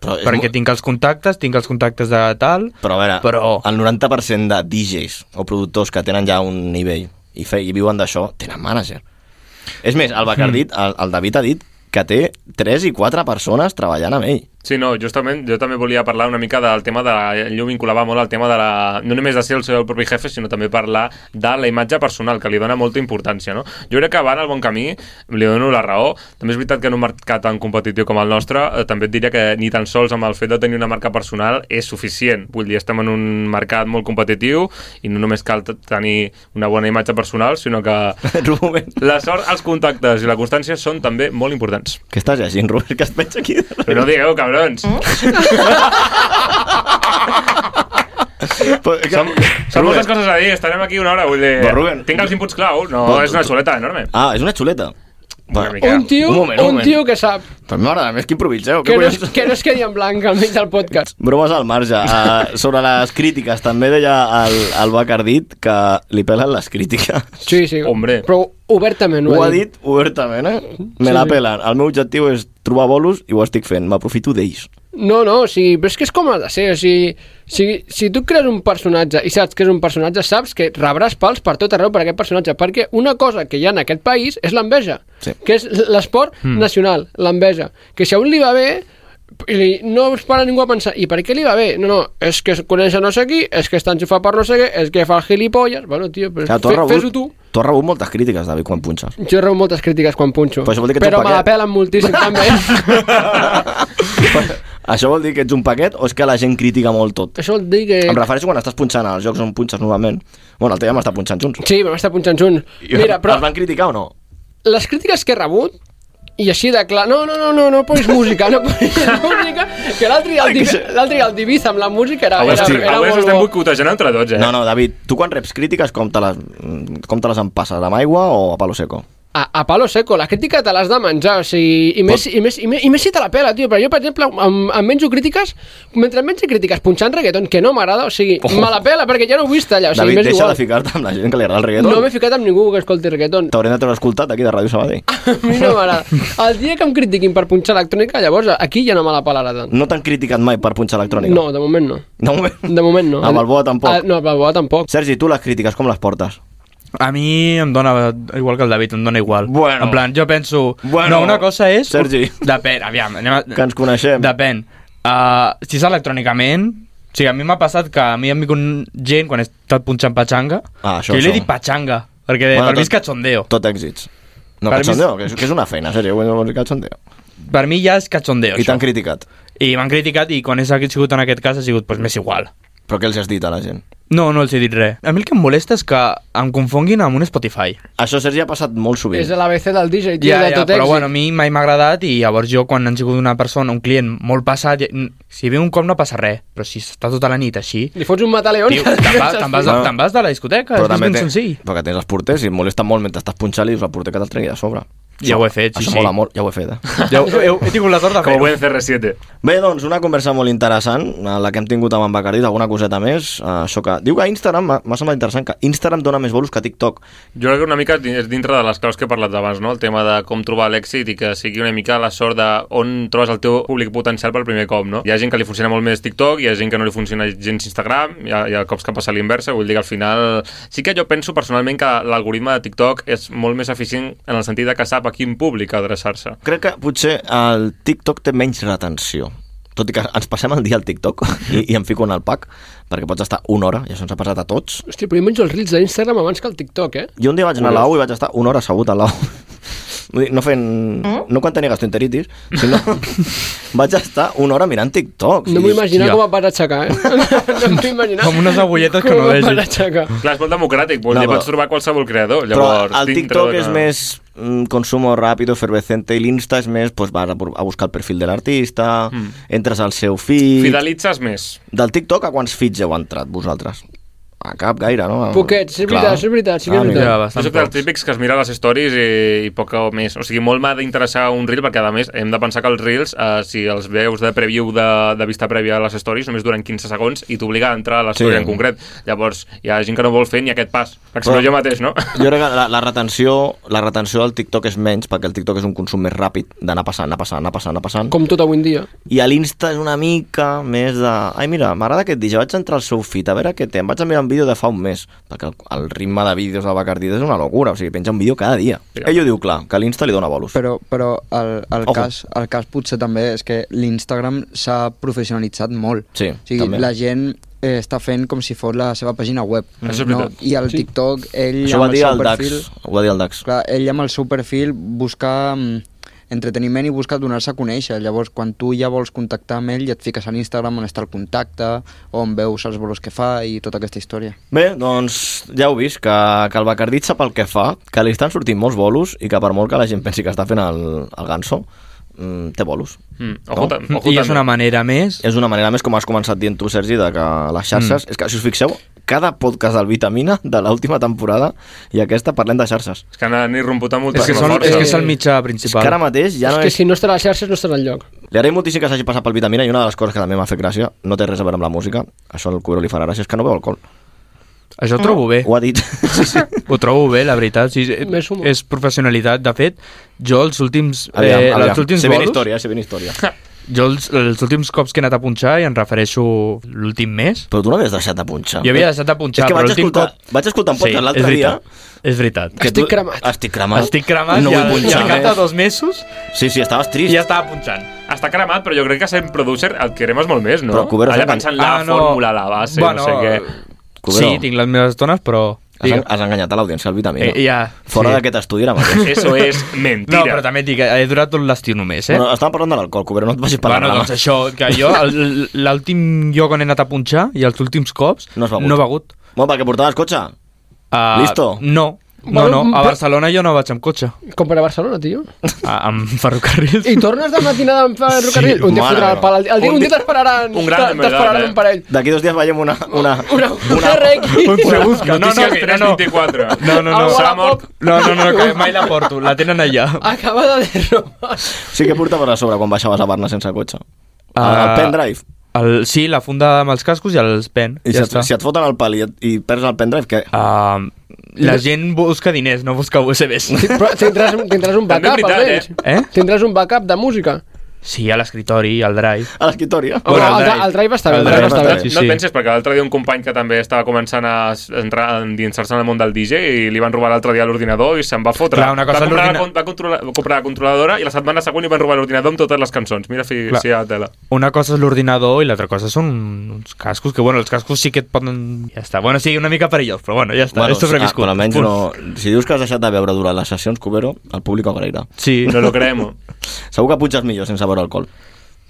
Speaker 4: Però és
Speaker 6: Perquè
Speaker 4: mo-
Speaker 6: tinc els contactes, tinc els contactes de tal...
Speaker 4: Però a veure, però...
Speaker 6: Però-
Speaker 4: el 90% de DJs o productors que tenen ja un nivell i, fe, i viuen d'això, tenen mànager. És més, el Bacardit, el, el David ha dit que té 3 i 4 persones treballant amb ell.
Speaker 2: Sí, no, justament jo també volia parlar una mica del tema de... Jo ho vinculava molt al tema de la... No només de ser el seu propi jefe, sinó també parlar de la imatge personal, que li dona molta importància, no? Jo crec que va en el bon camí, li dono la raó. També és veritat que en un mercat tan competitiu com el nostre, eh, també et diria que ni tan sols amb el fet de tenir una marca personal és suficient. Vull dir, estem en un mercat molt competitiu i no només cal t- tenir una bona imatge personal, sinó que
Speaker 4: En un moment.
Speaker 2: la sort, els contactes i la constància són també molt importants.
Speaker 4: Què estàs llegint, Robert, que es penja aquí?
Speaker 2: Però no digueu, cabrons!
Speaker 4: Però, que...
Speaker 2: Són, són moltes coses a dir, estarem aquí una hora, vull dir...
Speaker 4: Però, Rubén,
Speaker 2: tinc els inputs claus, no,
Speaker 4: Però,
Speaker 2: és una xuleta enorme.
Speaker 4: Ah, és una xuleta.
Speaker 2: Una mica. Ja.
Speaker 5: Un tio,
Speaker 4: Un
Speaker 5: un,
Speaker 4: moment, un moment.
Speaker 5: tio que sap
Speaker 4: Però mare, a més que improviseu.
Speaker 5: que
Speaker 4: què
Speaker 5: no, es,
Speaker 4: collons?
Speaker 5: que no es quedi en blanc al mig del podcast.
Speaker 4: Bromes al marge. Uh, sobre les crítiques, també deia el, el Bacardit que li pelen les crítiques.
Speaker 5: Sí, sí.
Speaker 2: Hombre.
Speaker 5: Però obertament
Speaker 4: Ho ha dit obertament, eh? Me
Speaker 5: Sí,
Speaker 4: la
Speaker 5: sí.
Speaker 4: pelen. El meu objectiu és trobar bolos i ho estic fent. M'aprofito d'ells.
Speaker 5: No, no, o sigui, però és que és com ha de ser, o sigui, si, si tu crees un personatge i saps que és un personatge, saps que rebràs pals per tot arreu per aquest personatge, perquè una cosa que hi ha en aquest país és l'enveja,
Speaker 4: Sí. Hmm.
Speaker 5: que és l'esport nacional, l'enveja, que si a un li va bé, i li, no es para ningú a pensar, i per què li va bé? No, no, és que es coneix a no sé qui, és que està enxufat per no sé què, és que fa el gilipolles, bueno, tio, però
Speaker 4: Clar, tu has
Speaker 5: fe- fes-ho
Speaker 4: rebut,
Speaker 5: tu.
Speaker 4: tu has rebut moltes crítiques, David, quan punxes.
Speaker 5: Jo rebo moltes crítiques quan punxo,
Speaker 4: Però això vol dir que ets
Speaker 5: però
Speaker 4: un
Speaker 5: me la
Speaker 4: paquet.
Speaker 5: pelen moltíssim també.
Speaker 4: Això vol dir que ets un paquet o és que la gent critica molt tot?
Speaker 5: Això vol dir que...
Speaker 4: Em refereixo quan estàs punxant als jocs on punxes normalment. Bueno, el teu ja m'està punxant junts.
Speaker 5: Sí, vam estar punxant junts. Mira, però
Speaker 4: Els van criticar o no?
Speaker 5: les crítiques que he rebut i així de clar, no, no, no, no, no posis música, no posis música, que l'altre dia el Div- l'altre dia el Diviza amb la música era,
Speaker 2: Avui,
Speaker 5: era,
Speaker 2: estem,
Speaker 5: era
Speaker 2: avui ens
Speaker 5: molt
Speaker 2: estem
Speaker 5: bo.
Speaker 2: boicotejant entre tots, eh?
Speaker 4: No, no, David, tu quan reps crítiques com te les, mm, com te les empasses? Amb aigua o a palo seco?
Speaker 5: A, a palo seco, la crítica te l'has de menjar, o sigui, i més, i, més, i, més, i més si te la pela, tio, però jo, per exemple, em, em menjo crítiques, mentre em menjo crítiques punxant reggaeton, que no m'agrada, o sigui,
Speaker 4: Oh.
Speaker 5: me la pela perquè ja no ho he vist allà, o sigui,
Speaker 4: David,
Speaker 5: m'és
Speaker 4: deixa
Speaker 5: igual.
Speaker 4: de ficar-te amb la gent que li agrada el reggaeton.
Speaker 5: No m'he ficat amb ningú que escolti reggaeton.
Speaker 4: T'haurem de treure escoltat aquí de Ràdio Sabadell.
Speaker 5: A mi no m'agrada. El dia que em critiquin per punxar electrònica, llavors aquí ja no me la pelarà tant.
Speaker 4: No t'han criticat mai per punxar electrònica?
Speaker 5: No, de moment no.
Speaker 4: De moment,
Speaker 5: De moment no.
Speaker 4: A Balboa tampoc.
Speaker 5: Ah, no, a Balboa tampoc.
Speaker 4: Sergi, tu les crítiques com les portes?
Speaker 6: A mi em dona, igual que el David, em dona igual.
Speaker 4: Bueno.
Speaker 6: En plan, jo penso...
Speaker 4: Bueno,
Speaker 6: no, una cosa és...
Speaker 4: Sergi.
Speaker 6: Depèn, aviam, anem a...
Speaker 4: Que ens coneixem.
Speaker 6: Depèn. Uh, si és electrònicament... O sigui, a mi m'ha passat que a mi em vingut gent quan he estat punxant patxanga,
Speaker 4: Ah, això,
Speaker 6: que jo li
Speaker 4: això.
Speaker 6: dic patxanga, perquè
Speaker 4: Bueno,
Speaker 6: bueno, per mi
Speaker 4: tot-
Speaker 6: és cachondeo.
Speaker 4: Tot èxits. No,
Speaker 6: Per mi és-
Speaker 4: cachondeo, que és, que és una feina, Sergi, bueno, cachondeo.
Speaker 6: Per mi ja és cachondeo,
Speaker 4: I
Speaker 6: això.
Speaker 4: t'han criticat.
Speaker 6: I m'han criticat i quan he sigut en aquest cas ha sigut pues, més igual.
Speaker 4: Però què els has dit a la gent?
Speaker 6: No, no els he dit res. A mi el que em molesta és que em confonguin amb un Spotify.
Speaker 4: Això, Sergi, ha passat molt sovint.
Speaker 5: És de l'ABC del DJ, tio,
Speaker 6: Ja,
Speaker 5: de
Speaker 6: ja,
Speaker 5: tot èxit.
Speaker 6: però bueno, a mi mai m'ha agradat i llavors jo quan han sigut una persona, un client molt passat, ja- n- si ve un cop no passa res, però si està tota la nit així...
Speaker 5: Li fots un mataleón.
Speaker 6: Tio, te'n vas, te'n vas, de- te'n vas de la discoteca,
Speaker 4: Però
Speaker 6: és que és
Speaker 4: també
Speaker 6: ben
Speaker 4: té-
Speaker 6: senzill.
Speaker 4: Perquè tens els porters i et molesta molt mentre estàs punxant i dius, el porter que te'l tregui de sobre.
Speaker 6: Ja ho he fet, sí,
Speaker 4: Això
Speaker 6: sí.
Speaker 4: mola molt, ja ho he fet, eh?
Speaker 6: Ja, ho- he, he tingut la sort de
Speaker 2: Com
Speaker 6: fer-ho.
Speaker 2: ho en CR7.
Speaker 4: Bé, doncs, una conversa molt interessant, a la que hem tingut amb en Bacardit, alguna coseta més. eh, Això que... Diu que Instagram, m'ha- m'ha semblat interessant, que Instagram dona més bolos que TikTok.
Speaker 2: Jo crec que una mica és dintre de les claus que he parlat abans, no? El tema de com trobar l'èxit i que sigui una mica la sort de on trobes el teu públic potencial per primer cop, no? Hi ha gent que li funciona molt més TikTok, hi ha gent que no li funciona gens Instagram, hi ha, hi ha cops que passa a l'inversa, vull dir que al final... Sí que jo penso personalment que l'algoritme de TikTok és molt més eficient en el sentit de que sap a quin públic adreçar-se.
Speaker 4: Crec que potser el TikTok té menys retenció. Tot i que ens passem el dia al TikTok i, i em fico en el pack, perquè pots estar una hora, i això ens ha passat a tots.
Speaker 5: Hòstia, però jo menjo els reels d'Instagram abans que el TikTok, eh?
Speaker 4: Jo un dia vaig anar a l'AU i vaig estar una hora assegut a l'AU. Vull dir, No fent...
Speaker 5: Mm?
Speaker 4: No quan tenia gastroenteritis, sinó... vaig estar una hora mirant TikToks. I
Speaker 5: No m'ho
Speaker 4: dius,
Speaker 5: imaginava com
Speaker 6: Hòstia.
Speaker 5: em vas aixecar, eh? No m'ho imaginava
Speaker 6: Com unes agulletes que
Speaker 5: com
Speaker 6: no
Speaker 5: em vas
Speaker 6: vegis.
Speaker 5: aixecar.
Speaker 2: Clar, és molt democràtic, vol
Speaker 4: No,
Speaker 2: dir,
Speaker 4: però-
Speaker 2: pots trobar qualsevol creador. Llavors,
Speaker 4: Però el
Speaker 2: dintre
Speaker 4: TikTok
Speaker 2: de-
Speaker 4: és més mm, consumo ràpid, efervescente, i l'Insta és més, doncs, vas a, bur- a buscar el perfil de l'artista,
Speaker 5: Mm.
Speaker 4: entres al seu feed...
Speaker 2: Fidelitzes més.
Speaker 4: Del TikTok a quants feeds heu entrat vosaltres? A cap gaire, no?
Speaker 5: Poquets, és veritat, és veritat, sí que és veritat.
Speaker 6: Ja,
Speaker 2: Jo
Speaker 6: bastant
Speaker 2: soc dels
Speaker 6: pocs.
Speaker 2: típics que es mira les stories i, i poc o més. O sigui, molt m'ha d'interessar un reel, perquè a més hem de pensar que els reels, eh, si els veus de preview de, de vista prèvia a les stories, només duren 15 segons i t'obliga a entrar a la
Speaker 4: Sí.
Speaker 2: story sí. en concret. Llavors, hi ha gent que no vol fer ni aquest pas, perquè si no
Speaker 4: Però-
Speaker 2: jo mateix, no?
Speaker 4: Jo crec que la, la, retenció, la retenció del TikTok és menys, perquè el TikTok és un consum més ràpid d'anar passant, anar passant, anar passant, anar passant.
Speaker 5: Com tot avui en dia.
Speaker 4: I a l'Insta és una mica més de... Ai, mira, m'agrada aquest vídeo, vaig entrar al seu feed, a veure què té, em vaig a mirar un vídeo de fa un mes, perquè el, el ritme de vídeos de Bacardit és una locura, o sigui, penja un vídeo cada dia.
Speaker 2: Sí.
Speaker 4: Ell ho diu clar, que a l'Insta li dona bolos.
Speaker 7: Però, però el, el,
Speaker 4: Ojo.
Speaker 7: cas, el cas potser també és que l'Instagram s'ha professionalitzat molt.
Speaker 4: Sí,
Speaker 7: o sigui,
Speaker 4: també.
Speaker 7: la gent eh, està fent com si fos la seva pàgina web.
Speaker 2: Això és
Speaker 7: no?
Speaker 2: veritat.
Speaker 7: I el TikTok, ell
Speaker 4: Això ho va
Speaker 7: amb el
Speaker 4: dir
Speaker 7: seu
Speaker 4: el
Speaker 7: perfil...
Speaker 4: DAX, ho va dir el DAX.
Speaker 7: Clar, ell amb el seu perfil busca mm, entreteniment i busca donar-se a conèixer. Llavors, quan tu ja vols contactar amb ell, ja et fiques a l'Instagram on està el contacte, on veus els bolos que fa i tota aquesta història.
Speaker 4: Bé, doncs ja heu vist que, que el Bacardit sap el que fa, que li estan sortint molts bolos i que per molt que la gent pensi que està fent el, el ganso, mm, té bolos.
Speaker 2: Mm, ojo,
Speaker 4: No?
Speaker 2: no? ojo,
Speaker 6: I és
Speaker 2: també.
Speaker 6: una manera més...
Speaker 4: És una manera més, com has començat dient tu, Sergi, de que les xarxes... Mm. És que, si us fixeu, cada podcast del Vitamina de l'última temporada i aquesta parlem de xarxes.
Speaker 2: És que n'han irromput amb molta
Speaker 6: És que, són,
Speaker 2: força.
Speaker 6: és que és el mitjà principal.
Speaker 4: És que ara mateix ja
Speaker 5: és
Speaker 4: no
Speaker 5: que
Speaker 4: és...
Speaker 5: si no estarà a les xarxes no estarà enlloc.
Speaker 4: Li agraïm moltíssim que s'hagi passat pel Vitamina i una de les coses que també m'ha fet gràcia, no té res a veure amb la música, això el Cuero li farà gràcia, és que no beu alcohol.
Speaker 6: Això ho trobo bé.
Speaker 4: Ho ha dit. sí, sí.
Speaker 6: Ho trobo bé, la veritat. Sí, eh,
Speaker 5: Més humor.
Speaker 6: és professionalitat. De fet, jo els últims...
Speaker 4: Aviam,
Speaker 6: eh,
Speaker 4: aviam.
Speaker 6: els últims
Speaker 4: se ve
Speaker 6: bolos-
Speaker 4: història, se ve història.
Speaker 6: Jo els, els últims cops que he anat a punxar, i en refereixo l'últim mes,
Speaker 4: Però tu no havies deixat de punxar.
Speaker 6: jo havia deixat de punxar,
Speaker 4: és que
Speaker 6: però
Speaker 4: vaig
Speaker 6: l'últim
Speaker 4: escoltar,
Speaker 6: cop...
Speaker 4: vaig escoltar un podcast
Speaker 6: és
Speaker 4: l'altre dia.
Speaker 6: veritat, És veritat.
Speaker 4: Que
Speaker 5: Estic cremat.
Speaker 4: Estic cremat.
Speaker 6: Estic cremat
Speaker 4: no
Speaker 6: i,
Speaker 4: vull
Speaker 6: al, i
Speaker 4: punxar
Speaker 6: al cap de
Speaker 4: més.
Speaker 6: dos mesos
Speaker 4: Sí, sí, estaves trist.
Speaker 6: ja estava punxant.
Speaker 2: Està cremat, però jo crec que sent producer et cremes molt més, no?
Speaker 4: Però Cubero
Speaker 2: Allà
Speaker 4: s'ha
Speaker 2: pensant la
Speaker 6: Ah, no.
Speaker 2: fórmula, la base, no
Speaker 6: Bueno,
Speaker 2: sé què.
Speaker 4: Cubero,
Speaker 6: Sí, tinc les meves estones, però...
Speaker 4: Has, en- has enganyat a l'audiència, el Vitamina.
Speaker 6: Eh, ja,
Speaker 4: Ah, Fora
Speaker 6: sí.
Speaker 4: d'aquest estudi ara mateix.
Speaker 2: Eso és mentira.
Speaker 6: No, però també et dic, he durat tot l'estiu només, eh?
Speaker 4: Bueno, estàvem parlant de l'alcohol, Cubero, no et vagis per
Speaker 6: bueno,
Speaker 4: la
Speaker 6: doncs això, que jo, el- l'últim lloc on he anat a punxar i els últims cops,
Speaker 4: No has begut.
Speaker 6: No he begut.
Speaker 4: Bueno, perquè portaves cotxe.
Speaker 6: Uh,
Speaker 4: Listo.
Speaker 6: No, no,
Speaker 5: Bueno,
Speaker 6: no. A
Speaker 5: però-
Speaker 6: Barcelona jo no vaig amb cotxe,
Speaker 5: Com per a Barcelona, tio.
Speaker 6: a, amb ferrocarrils.
Speaker 5: I tornes de matinada amb ferrocarril.
Speaker 4: Sí,
Speaker 5: un dia
Speaker 4: mare
Speaker 5: fotrà el
Speaker 4: meva.
Speaker 5: pal. al dia- El dia,
Speaker 2: Un
Speaker 5: un dia
Speaker 2: di-
Speaker 5: t'esperaran.
Speaker 2: un gran
Speaker 5: t'es-
Speaker 2: numeralet,
Speaker 5: T'esperaran
Speaker 2: eh?
Speaker 5: un parell.
Speaker 4: D'aquí dos dies veiem una... una,
Speaker 5: Una, una,
Speaker 6: Un
Speaker 5: RX.
Speaker 6: segon. busca. No, no,
Speaker 2: Notícies
Speaker 6: que no, no.
Speaker 2: 324.
Speaker 6: No, no, no.
Speaker 5: Agua,
Speaker 2: S'ha mort.
Speaker 5: pop.
Speaker 6: No, no, no, que mai la porto, la tenen allà.
Speaker 5: Acabada de robar.
Speaker 4: Sí que portaves a sobre quan baixaves a Barna sense cotxe. Uh, el
Speaker 6: Ah,
Speaker 4: pendrive.
Speaker 6: El, sí, la funda amb els cascos i els pen.
Speaker 4: I si,
Speaker 6: ja
Speaker 4: et, si
Speaker 6: està.
Speaker 4: et foten el pal i, et, i perds el pendrive, què?
Speaker 6: Ah, la gent busca diners, no busca USBs.
Speaker 5: Però tindràs, tindràs un
Speaker 2: També és
Speaker 5: backup,
Speaker 2: veritat,
Speaker 5: almenys.
Speaker 6: eh? Eh?
Speaker 5: Tindràs un backup de música.
Speaker 6: Sí, a l'escritori, al drive.
Speaker 4: A l'escriptori. eh?
Speaker 5: Oh,
Speaker 6: Bueno,
Speaker 5: el,
Speaker 6: el
Speaker 5: dri-
Speaker 6: drive.
Speaker 5: el drive està bé.
Speaker 6: El
Speaker 5: El drive
Speaker 4: drive està
Speaker 5: està bé.
Speaker 4: bé.
Speaker 6: Sí,
Speaker 2: no
Speaker 6: sí.
Speaker 2: et penses, perquè l'altre dia un company que també estava començant a s- entrar a endinsar-se en el món del DJ i li van robar l'altre dia l'ordinador i se'n va fotre.
Speaker 6: Clar, una cosa
Speaker 2: va, comprar la,
Speaker 6: l'ordina-
Speaker 2: con- va, controlar, va comprar la controladora i la setmana següent li van robar l'ordinador amb totes les cançons. Mira, fi,
Speaker 6: Clar.
Speaker 2: si hi ha tela.
Speaker 6: Una cosa és l'ordinador i l'altra cosa són uns cascos, que bueno, els cascos sí que et poden... Ja està, bueno, sí, una mica perillós, però bueno, ja està, bueno, he sobreviscut.
Speaker 4: però ah, almenys
Speaker 6: Punt.
Speaker 4: no... Si dius que has deixat de veure durant les sessions, Cubero, el públic ho agrairà.
Speaker 6: Sí,
Speaker 2: No lo creemos.
Speaker 4: Segur que punxes millor sense veure alcohol.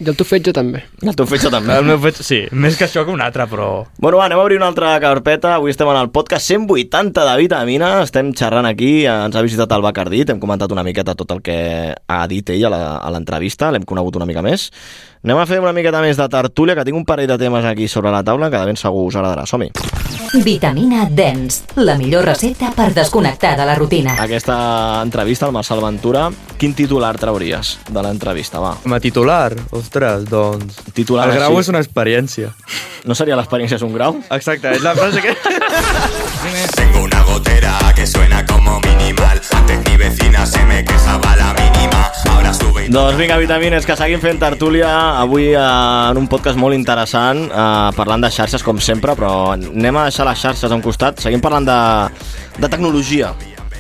Speaker 5: I el tu fetge també.
Speaker 4: El teu fetge també.
Speaker 6: El meu fet, sí, més que això que un altre, però...
Speaker 4: Bueno, va, anem a obrir una altra carpeta. Avui estem en el podcast 180 de Vitamina. Estem xerrant aquí, Eh, ens ha visitat el Bacardí, hem comentat una miqueta tot el que ha dit ell a la- a l'entrevista, l'hem conegut una mica més. Anem a fer una miqueta més de tertúlia, que tinc un parell de temes aquí sobre la taula que de ben segur us agradarà. Som-hi.
Speaker 3: Vitamina Dens, la millor recepta per desconnectar de la rutina.
Speaker 4: Aquesta entrevista al Marcel Ventura, quin titular trauries de l'entrevista, va?
Speaker 6: Com a titular, ostres, doncs...
Speaker 4: Titular
Speaker 6: El grau
Speaker 4: així.
Speaker 6: és una experiència.
Speaker 4: No seria l'experiència és un grau?
Speaker 6: Exacte, és la frase que...
Speaker 10: Tengo una gotera que suena como minimal. Antes mi vecina se me quejaba la mínima. Ahora sube y
Speaker 4: Doncs vinga, vitamines, que seguim fent tertúlia avui eh, en un podcast molt interessant, eh, parlant de xarxes com sempre, però anem a deixar les xarxes a un costat, seguim parlant de, de tecnologia.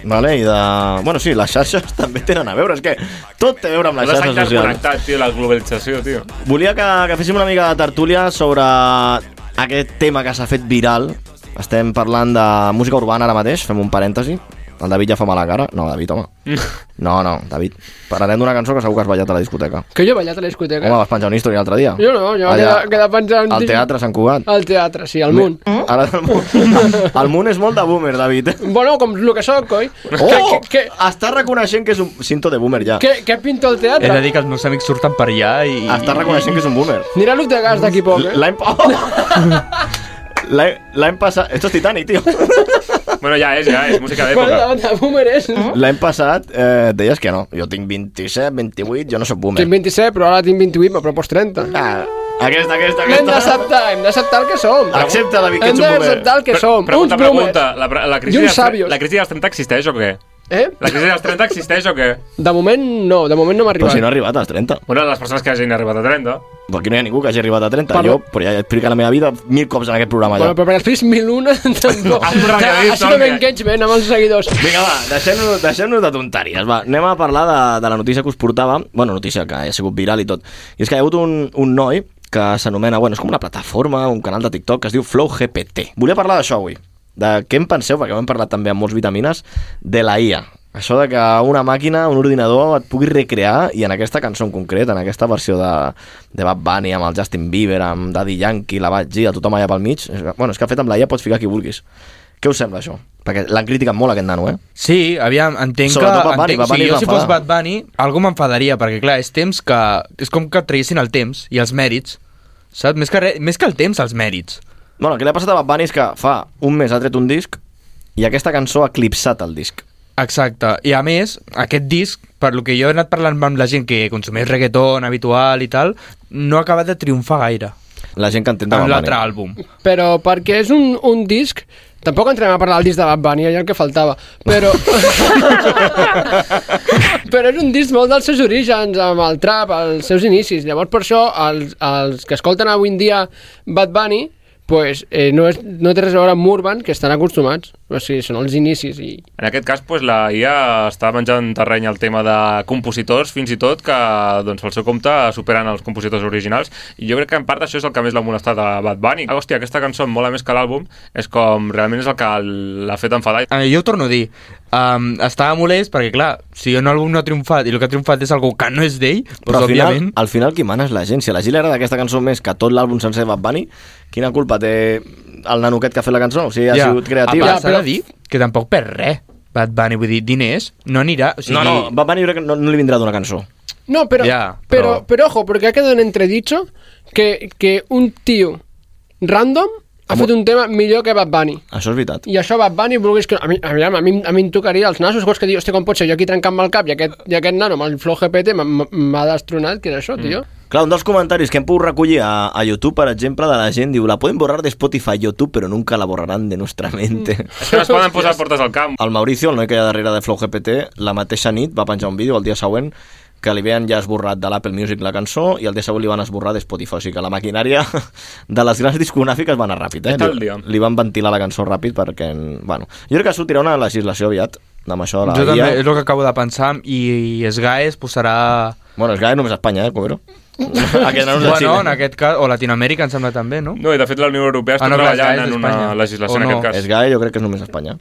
Speaker 4: Vale, i de... Bueno, sí, les xarxes també tenen a veure, és que tot té a veure amb les
Speaker 2: Les
Speaker 4: xarxes
Speaker 2: actes
Speaker 4: socials.
Speaker 2: connectats, tio, la globalització, tio.
Speaker 4: Volia que, que féssim una mica de tertúlia sobre aquest tema que s'ha fet viral. Estem parlant de música urbana ara mateix, fem un parèntesi. El David ja fa mala cara. No, David, home. No, no, David. Parlarem d'una cançó que segur que has ballat a la discoteca.
Speaker 5: Que jo he ballat a la discoteca.
Speaker 4: Home, vas penjar un history l'altre dia.
Speaker 5: Jo no, jo
Speaker 4: Allà,
Speaker 5: queda, queda penjant...
Speaker 4: Al teatre Sant Cugat.
Speaker 5: Al teatre, sí, al munt.
Speaker 4: Ara el munt. el munt és molt de boomer, David.
Speaker 5: Bueno, com el que sóc, coi.
Speaker 4: Oh!
Speaker 5: Que, que,
Speaker 4: Està reconeixent que és un... Cinto de boomer, ja.
Speaker 5: que, que pinto al
Speaker 6: He de
Speaker 5: teatre?
Speaker 6: dir que els meus amics surten per allà i...
Speaker 4: Està reconeixent que és un boomer.
Speaker 5: Anirà l'Uc de gas d'aquí poc, eh?
Speaker 4: L'any... Oh! L'any l'any passat... Esto es Titanic, tío.
Speaker 2: Bueno, ja és, ja és, música
Speaker 5: Bueno,
Speaker 2: d'època.
Speaker 5: davant de boomer és...
Speaker 4: L'any passat eh, deies que no. Jo tinc 27, 28, jo no sóc boomer.
Speaker 5: Tinc 27, però ara tinc 28, però pots 30.
Speaker 4: Ah, aquesta, aquesta,
Speaker 5: Hem
Speaker 4: aquesta.
Speaker 5: d'acceptar, hem d'acceptar el que som.
Speaker 4: Accepta, David, que
Speaker 5: Hem
Speaker 4: ets un boomer.
Speaker 5: d'acceptar el que
Speaker 2: Pre-
Speaker 5: som.
Speaker 2: Pregunta,
Speaker 5: Uns bloomers.
Speaker 2: pregunta, la, pre- la,
Speaker 5: I
Speaker 2: crisi
Speaker 5: uns
Speaker 2: dels, tre-
Speaker 5: sabios.
Speaker 2: la crisi dels 30 existeix o què?
Speaker 5: Eh?
Speaker 2: La crisi dels 30 existeix o què?
Speaker 5: De moment no, de moment no m'ha
Speaker 4: Però
Speaker 5: arribat.
Speaker 4: si no ha arribat als 30.
Speaker 2: Bueno, les persones que hagin arribat a 30.
Speaker 4: Però aquí no hi ha ningú que hagi arribat a 30.
Speaker 5: Parla-
Speaker 4: Jo, però ja he explicat la meva vida mil cops en aquest programa.
Speaker 5: Bueno,
Speaker 4: Ja.
Speaker 5: però perquè has vist 1001 tampoc.
Speaker 2: Has tornat a dir,
Speaker 5: Així no
Speaker 2: Toni.
Speaker 5: m'engagement amb els seguidors.
Speaker 4: Vinga, va, deixem-nos deixem de tonteries. Va, anem a parlar de, de la notícia que us portava. Bueno, notícia que ha sigut viral i tot. I és que hi ha hagut un, un noi que s'anomena... Bueno, és com una plataforma, un canal de TikTok que es diu FlowGPT. Volia parlar d'això avui. De què en penseu, perquè ho hem parlat també amb molts vitamines, de la IA. Això de que una màquina, un ordinador, et pugui recrear, i en aquesta cançó en concret, en aquesta versió de, de Bad Bunny, amb el Justin Bieber, amb Daddy Yankee, la Bad G, a tothom allà pel mig... És, que- bueno, és que fet amb la IA pots ficar qui vulguis. Què us sembla, això? Perquè l'han criticat molt, aquest nano, eh?
Speaker 6: Sí, aviam, entenc
Speaker 4: Sobretot
Speaker 6: que...
Speaker 4: Bad Bunny,
Speaker 6: entenc,
Speaker 4: Bad Bunny
Speaker 6: si
Speaker 4: es va
Speaker 6: jo si fos
Speaker 4: enfadar.
Speaker 6: Bad Bunny, algú m'enfadaria, perquè clar, és temps que... És com que traguessin el temps i els mèrits, saps? Més que, re, més que el temps, els mèrits.
Speaker 4: Bueno, el que li ha passat a Bad Bunny és que fa un mes ha tret un disc i aquesta cançó ha eclipsat el disc.
Speaker 6: Exacte, i a més, aquest disc, per lo que jo he anat parlant amb la gent que consumeix reggaeton habitual i tal, no ha acabat de triomfar gaire
Speaker 4: La gent que entén de
Speaker 6: amb
Speaker 4: Bad
Speaker 6: l'altre
Speaker 4: Bunny.
Speaker 6: àlbum.
Speaker 5: Però perquè és un, un disc... Tampoc entrem a parlar del disc de Bad Bunny, allò el que faltava, però... però és un disc molt dels seus orígens, amb el trap, els seus inicis. Llavors, per això, els, els que escolten avui en dia Bad Bunny, pues, eh, no, és, no té res a veure amb Urban, que estan acostumats. O sigui, són els inicis i...
Speaker 2: En aquest cas, pues, la IA està menjant terreny al tema de compositors, fins i tot, que doncs, pel seu compte superen els compositors originals. I jo crec que en part això és el que més l'ha molestat a Bad Bunny. Ah, hòstia, aquesta cançó em mola més que l'àlbum, és com realment és el que l'ha fet enfadar.
Speaker 6: Eh, jo ho torno a dir, um, estava molest perquè, clar, si un àlbum no ha triomfat i el que ha triomfat és algú que no és d'ell,
Speaker 4: Però
Speaker 6: doncs,
Speaker 4: al final,
Speaker 6: òbviament...
Speaker 4: al final qui mana és la gent. Si a la gent li agrada aquesta cançó més que tot l'àlbum sencer de Bad Bunny, quina culpa té el nano aquest que ha fet la cançó? O sigui, ha
Speaker 6: Ja.
Speaker 4: sigut creatiu.
Speaker 5: Ja,
Speaker 6: A part, s'ha
Speaker 5: però-
Speaker 6: de dir que tampoc per res. Bad Bunny, vull dir, diners, no anirà... O sigui,
Speaker 4: No, no, Bad Bunny jo crec que no, no li vindrà d'una cançó.
Speaker 5: No, pero,
Speaker 6: Ya,
Speaker 5: pero,
Speaker 6: pero-
Speaker 5: pero ojo, porque ha quedado en entredicho que, que un tío random ha
Speaker 4: Home.
Speaker 5: fet un tema millor que Bad Bunny.
Speaker 4: Això és veritat.
Speaker 5: I això Bad Bunny vulguis que... A mi, a mi, a mi, a mi em tocaria els nassos, saps que dius, hòstia, com pot ser? Jo aquí trencant-me el cap i aquest, i aquest nano amb el flow GPT m'ha- m'ha destronat, que era això, tio?
Speaker 4: Clar, un dels comentaris que hem pogut recollir a, a YouTube, per exemple, de la gent diu la pueden borrar de Spotify i YouTube, però nunca la borraran de nuestra mente.
Speaker 2: És que no es poden posar portes al camp.
Speaker 4: El Mauricio, el noi que hi ha darrere de Flow GPT, la mateixa nit va penjar un vídeo el dia següent que li havien ja esborrat de l'Apple Music la cançó i el dia següent li van esborrar de Spotify. O sigui que la maquinària de les grans discogràfiques va anar ràpid. Eh?
Speaker 2: Està al
Speaker 4: Li,
Speaker 2: dia.
Speaker 4: li van ventilar la cançó ràpid perquè... Bueno, jo crec que sortirà una legislació aviat amb això de la
Speaker 6: jo
Speaker 4: IA.
Speaker 6: també, és el que acabo de pensar, i, i Sgae es posarà...
Speaker 4: Bueno, és gaire només a Espanya, eh, Cubero? Aquest nano és de
Speaker 6: Bueno,
Speaker 4: Xile.
Speaker 6: en aquest cas, o Latinoamèrica, em sembla també, no?
Speaker 2: No, i de fet la Unió Europea està
Speaker 6: Ah, no, clar,
Speaker 2: treballant
Speaker 6: és
Speaker 2: en una
Speaker 6: d'Espanya.
Speaker 2: legislació
Speaker 6: O
Speaker 2: en
Speaker 6: no,
Speaker 2: aquest cas.
Speaker 4: És gaire, jo crec que és només a Espanya.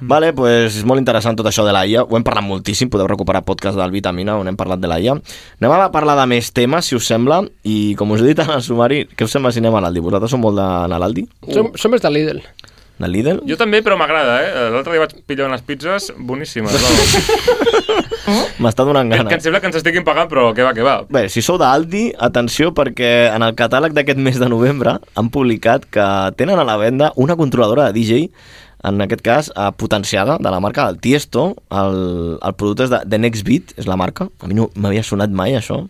Speaker 4: Vale, pues és molt interessant tot això de la IA. Ho hem parlat moltíssim, podeu recuperar podcast del Vitamina on hem parlat de la IA. Anem a parlar de més temes, si us sembla, i com us he dit en el sumari, què us sembla si anem a l'Aldi? Vosaltres som molt d'anar a l'Aldi?
Speaker 5: Som, som més de Lidl.
Speaker 4: De Lidl?
Speaker 2: Jo també, però m'agrada, eh? L'altre dia vaig pillar unes pizzas boníssimes. Vamos.
Speaker 4: M'està donant
Speaker 2: que, que
Speaker 4: gana.
Speaker 2: em sembla que ens estiguin pagant, però que va, que va.
Speaker 4: Bé, si sou d'Aldi, atenció, perquè en el catàleg d'aquest mes de novembre han publicat que tenen a la venda una controladora de DJ, en aquest cas eh, potenciada, de la marca del Tiesto. El, el producte és de The Next Beat, és la marca. A mi no m'havia sonat mai, això.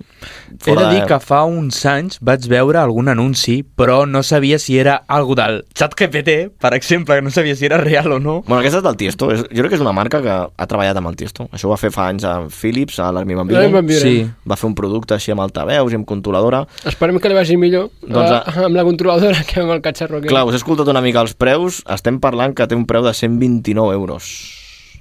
Speaker 6: He de dir que fa uns anys vaig veure algun anunci, però no sabia si era algo del xat GPT, per exemple, que no sabia si era real o no.
Speaker 4: Bueno, aquesta és del Tiesto. És, jo crec que és una marca que ha treballat amb el Tiesto. Això ho va fer fa anys amb Philips, a l'Army Van
Speaker 5: L'Armin Van
Speaker 4: Buren.
Speaker 5: Buren.
Speaker 6: Sí.
Speaker 4: Va fer un producte així amb altaveus i amb controladora.
Speaker 5: Esperem que li vagi millor
Speaker 4: Doncs,
Speaker 5: doncs,
Speaker 4: ah.
Speaker 5: amb la controladora que amb el catxarro aquí.
Speaker 4: Clar, us he escoltat una mica els preus. Estem parlant que té un preu de 129 euros.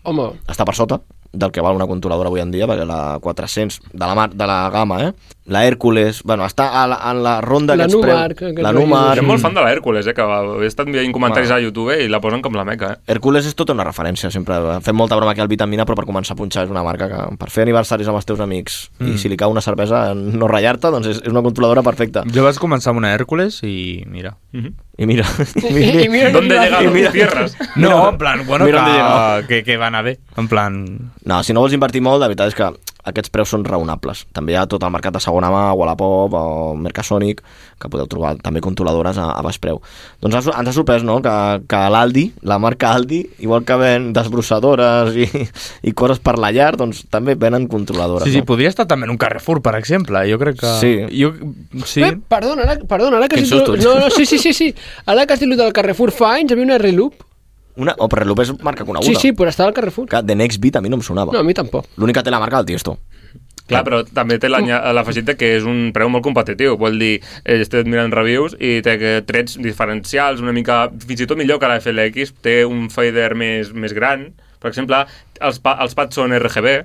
Speaker 5: Home,
Speaker 4: Està per sota del que val una controladora avui en dia, perquè la 400, de la, mar, de la gamma, eh? La Hércules, bueno, està a la, en la ronda
Speaker 5: La
Speaker 4: aquests
Speaker 5: Numark,
Speaker 4: preus.
Speaker 5: aquest
Speaker 4: La
Speaker 5: rotllo.
Speaker 4: Numark.
Speaker 2: Era molt fan de la Hèrcules, eh? Que va, he estat veient comentaris a YouTube i la posen com la meca, eh?
Speaker 4: Hércules és tota una referència, sempre fem molta broma aquí al Vitamina, però per començar a punxar és una marca que per fer aniversaris amb els teus amics mm. i si li cau una cervesa no ratllar-te, doncs és, és una controladora perfecta.
Speaker 6: Jo vaig començar amb una Hèrcules i mira...
Speaker 4: I mira...
Speaker 5: I, i mira,
Speaker 2: ¿Dónde llega
Speaker 4: I mira-
Speaker 2: los tierras?
Speaker 6: No, en plan, bueno,
Speaker 4: Mira on he
Speaker 6: que,
Speaker 4: llegat.
Speaker 6: que, que va anar bé. En plan,
Speaker 4: No, si no vols invertir molt, la veritat és que aquests preus són raonables. També hi ha tot el mercat de segona mà, Wallapop o Mercasonic, que podeu trobar també controladores a, a baix preu. Doncs ha sor- ens ha sorprès, no?, que, que l'Aldi, la marca Aldi, igual que ven desbrossadores i, i coses per la llar, doncs també venen controladores.
Speaker 6: Sí, sí,
Speaker 4: no?
Speaker 6: podria estar també en un Carrefour, per exemple. Jo crec que...
Speaker 4: Sí.
Speaker 6: Jo, sí.
Speaker 5: Eh, perdona, ara, perdona, ara que
Speaker 4: Que
Speaker 5: has
Speaker 4: insulto.
Speaker 5: dit... No, no, sí, sí, sí, sí. Ara que has dit lo del Carrefour fa anys, hi havia una Reloop.
Speaker 4: Una, o per és marca coneguda.
Speaker 5: Sí, sí, però estava al Carrefour.
Speaker 4: Que The Next Beat a mi no em sonava.
Speaker 5: No, a mi tampoc.
Speaker 4: L'única té la marca del Tiesto.
Speaker 2: Clar, però també té l'anya-
Speaker 5: Mm.
Speaker 2: l'afegit de que és un preu molt competitiu. Vol dir, eh, estic mirant reviews i té que trets diferencials, una mica, fins i tot millor que la FLX, té un fader més, més gran. Per exemple, els, pa, els pads són RGB,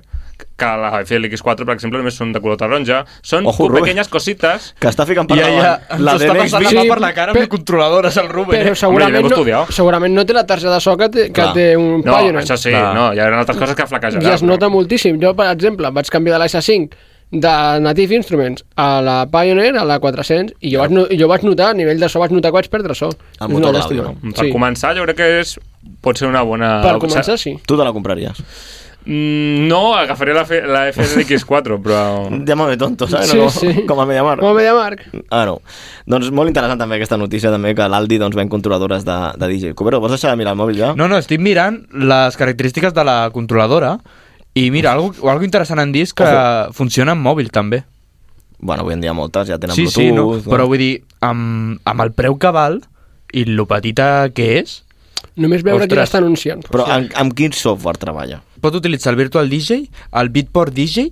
Speaker 2: que la FLX4, per exemple, només són de color taronja. Són
Speaker 4: Ojo, Rubén.
Speaker 2: pequeñas cositas.
Speaker 4: Que està ficant per
Speaker 6: Ja, ja,
Speaker 4: davant.
Speaker 6: ens està passant la
Speaker 5: Big-
Speaker 6: mà per la cara amb
Speaker 5: Pe-
Speaker 6: el controlador, és el Ruben.
Speaker 5: Però
Speaker 6: eh?
Speaker 5: segurament,
Speaker 2: l'hem
Speaker 5: no,
Speaker 2: estudiat.
Speaker 5: segurament no té la targeta de so que té, que
Speaker 4: Clar.
Speaker 5: té un
Speaker 2: No,
Speaker 5: Pioneer.
Speaker 2: això sí,
Speaker 6: Clar.
Speaker 2: no, hi ha altres coses que flaquejaran.
Speaker 5: I es nota moltíssim. Jo, per exemple, vaig canviar de l'AS5 de Native Instruments a la Pioneer, a la 400, i jo, vaig, no, jo vaig notar, a nivell de so, vaig notar que vaig perdre so.
Speaker 4: El
Speaker 5: És
Speaker 4: motor
Speaker 5: una
Speaker 4: d'àudio,
Speaker 5: llàstima.
Speaker 2: Per
Speaker 5: sí.
Speaker 2: començar, jo crec que és, pot ser una bona...
Speaker 5: per començar, sí.
Speaker 4: Tu te la compraries.
Speaker 2: Mm, No, agafaré la, F- la FLX4, però...
Speaker 4: Llámame tonto, ¿sabes?
Speaker 5: Sí,
Speaker 4: No,
Speaker 5: sí.
Speaker 4: Com a media mar.
Speaker 5: Com a media marc.
Speaker 4: Ah, no. Doncs molt interessant també aquesta notícia també que l'Aldi doncs, ven controladores de, de DJ. Cubero, vols deixar de mirar el mòbil ja?
Speaker 6: No, no, estic mirant les característiques de la controladora i mira, algo, algo interessant han dit és que
Speaker 4: Ojo.
Speaker 6: funciona amb mòbil també.
Speaker 4: Bueno, avui en dia moltes ja tenen
Speaker 6: Sí,
Speaker 4: Bluetooth.
Speaker 6: sí, no? però vull dir, amb, amb el preu que val i lo petita que és,
Speaker 5: Només veure qui
Speaker 6: Ostres.
Speaker 5: l'està anunciant.
Speaker 4: Però amb, amb quin software treballa?
Speaker 6: pot utilitzar el Virtual DJ, el Bitport DJ,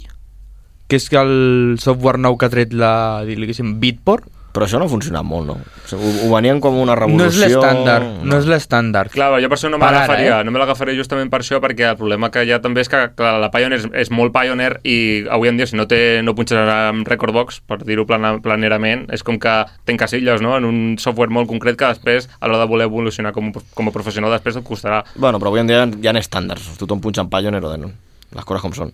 Speaker 6: que és el software nou que ha tret la, diguéssim, Bitport,
Speaker 4: Però això no ha funcionat molt, no? O sigui, ho, ho venien com una
Speaker 6: no és
Speaker 4: revolució...
Speaker 6: l'estàndard, no és l'estàndard.
Speaker 2: Clar, però jo per això no me
Speaker 6: Per ara,
Speaker 2: l'agafaria,
Speaker 6: eh?
Speaker 2: no me l'agafaré justament per això, perquè el problema que hi ha també és que clar, la Pioneer és, és molt Pioneer i avui en dia si no té, no punxarà amb Record Box, per dir-ho plana, planerament, és com que t'encasilles no? en un software molt concret que després, a l'hora de voler evolucionar com, a- com a professional, després et costarà.
Speaker 4: Bueno, però avui en dia hi ha estàndards. Tothom punxa en Pioneer o Denon. Les coses com són.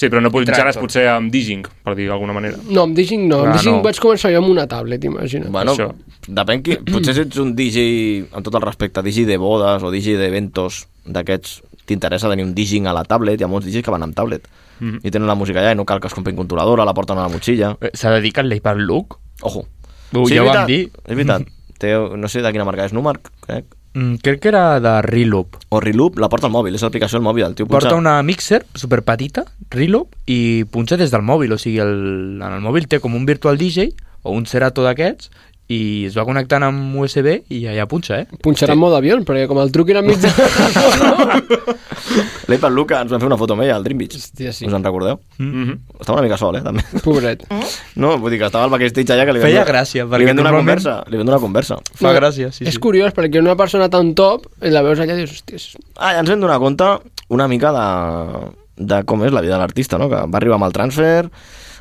Speaker 2: Sí, però no punxaràs potser amb Diging, per dir d'alguna manera.
Speaker 5: No, amb Diging no. Amb
Speaker 6: Ah,
Speaker 5: Diging
Speaker 6: no.
Speaker 5: vaig començar jo amb una tablet, imagina't.
Speaker 4: Bueno,
Speaker 2: Això.
Speaker 4: depèn qui... Potser si ets un DJ, amb tot el respecte, DJ de bodes o DJ d'eventos d'aquests, t'interessa tenir un DJing a la tablet, hi ha molts DJs que van amb tablet
Speaker 6: Mhm.
Speaker 4: i tenen la música allà i no cal que es comprin controladora, la porten a la motxilla.
Speaker 6: Eh, S'ha dedicat l'Hyperloop?
Speaker 4: Ojo.
Speaker 6: Ho- ja
Speaker 4: és
Speaker 6: ho
Speaker 4: veritat,
Speaker 6: vam dir.
Speaker 4: És veritat. Té, no sé de quina marca és, Numark, crec.
Speaker 6: Mm, crec que era de Reloop.
Speaker 4: O Reloop, la porta al mòbil, és l'aplicació al mòbil. El tio
Speaker 6: Porta
Speaker 4: punxa-
Speaker 6: una mixer superpetita, Reloop, i punxa des del mòbil. O sigui, el, en el mòbil té com un virtual DJ o un Serato d'aquests i es va connectant amb USB i allà punxa, eh?
Speaker 5: Punxarà en mode avió, perquè com el truquin a mig de...
Speaker 4: L'Apple Luca ens van fer una foto amb ella al Dream Beach.
Speaker 5: Hòstia, sí.
Speaker 4: Us en recordeu?
Speaker 2: Mm -hmm.
Speaker 4: Estava una mica sol, eh, també.
Speaker 5: Pobret.
Speaker 4: No, vull dir que estava al backstage allà que li van
Speaker 6: Feia
Speaker 4: donar-
Speaker 6: gràcia,
Speaker 4: Li
Speaker 6: perquè
Speaker 4: van donar
Speaker 6: normalment-
Speaker 4: conversa. Li van donar conversa.
Speaker 6: Fa gràcia, sí,
Speaker 5: és
Speaker 6: sí.
Speaker 5: curiós, perquè una persona tan top, la veus allà i dius, hòstia, és-
Speaker 4: Ah, ja ens hem donat compte una mica de, de com és la vida de l'artista, no? Que va arribar amb el transfer,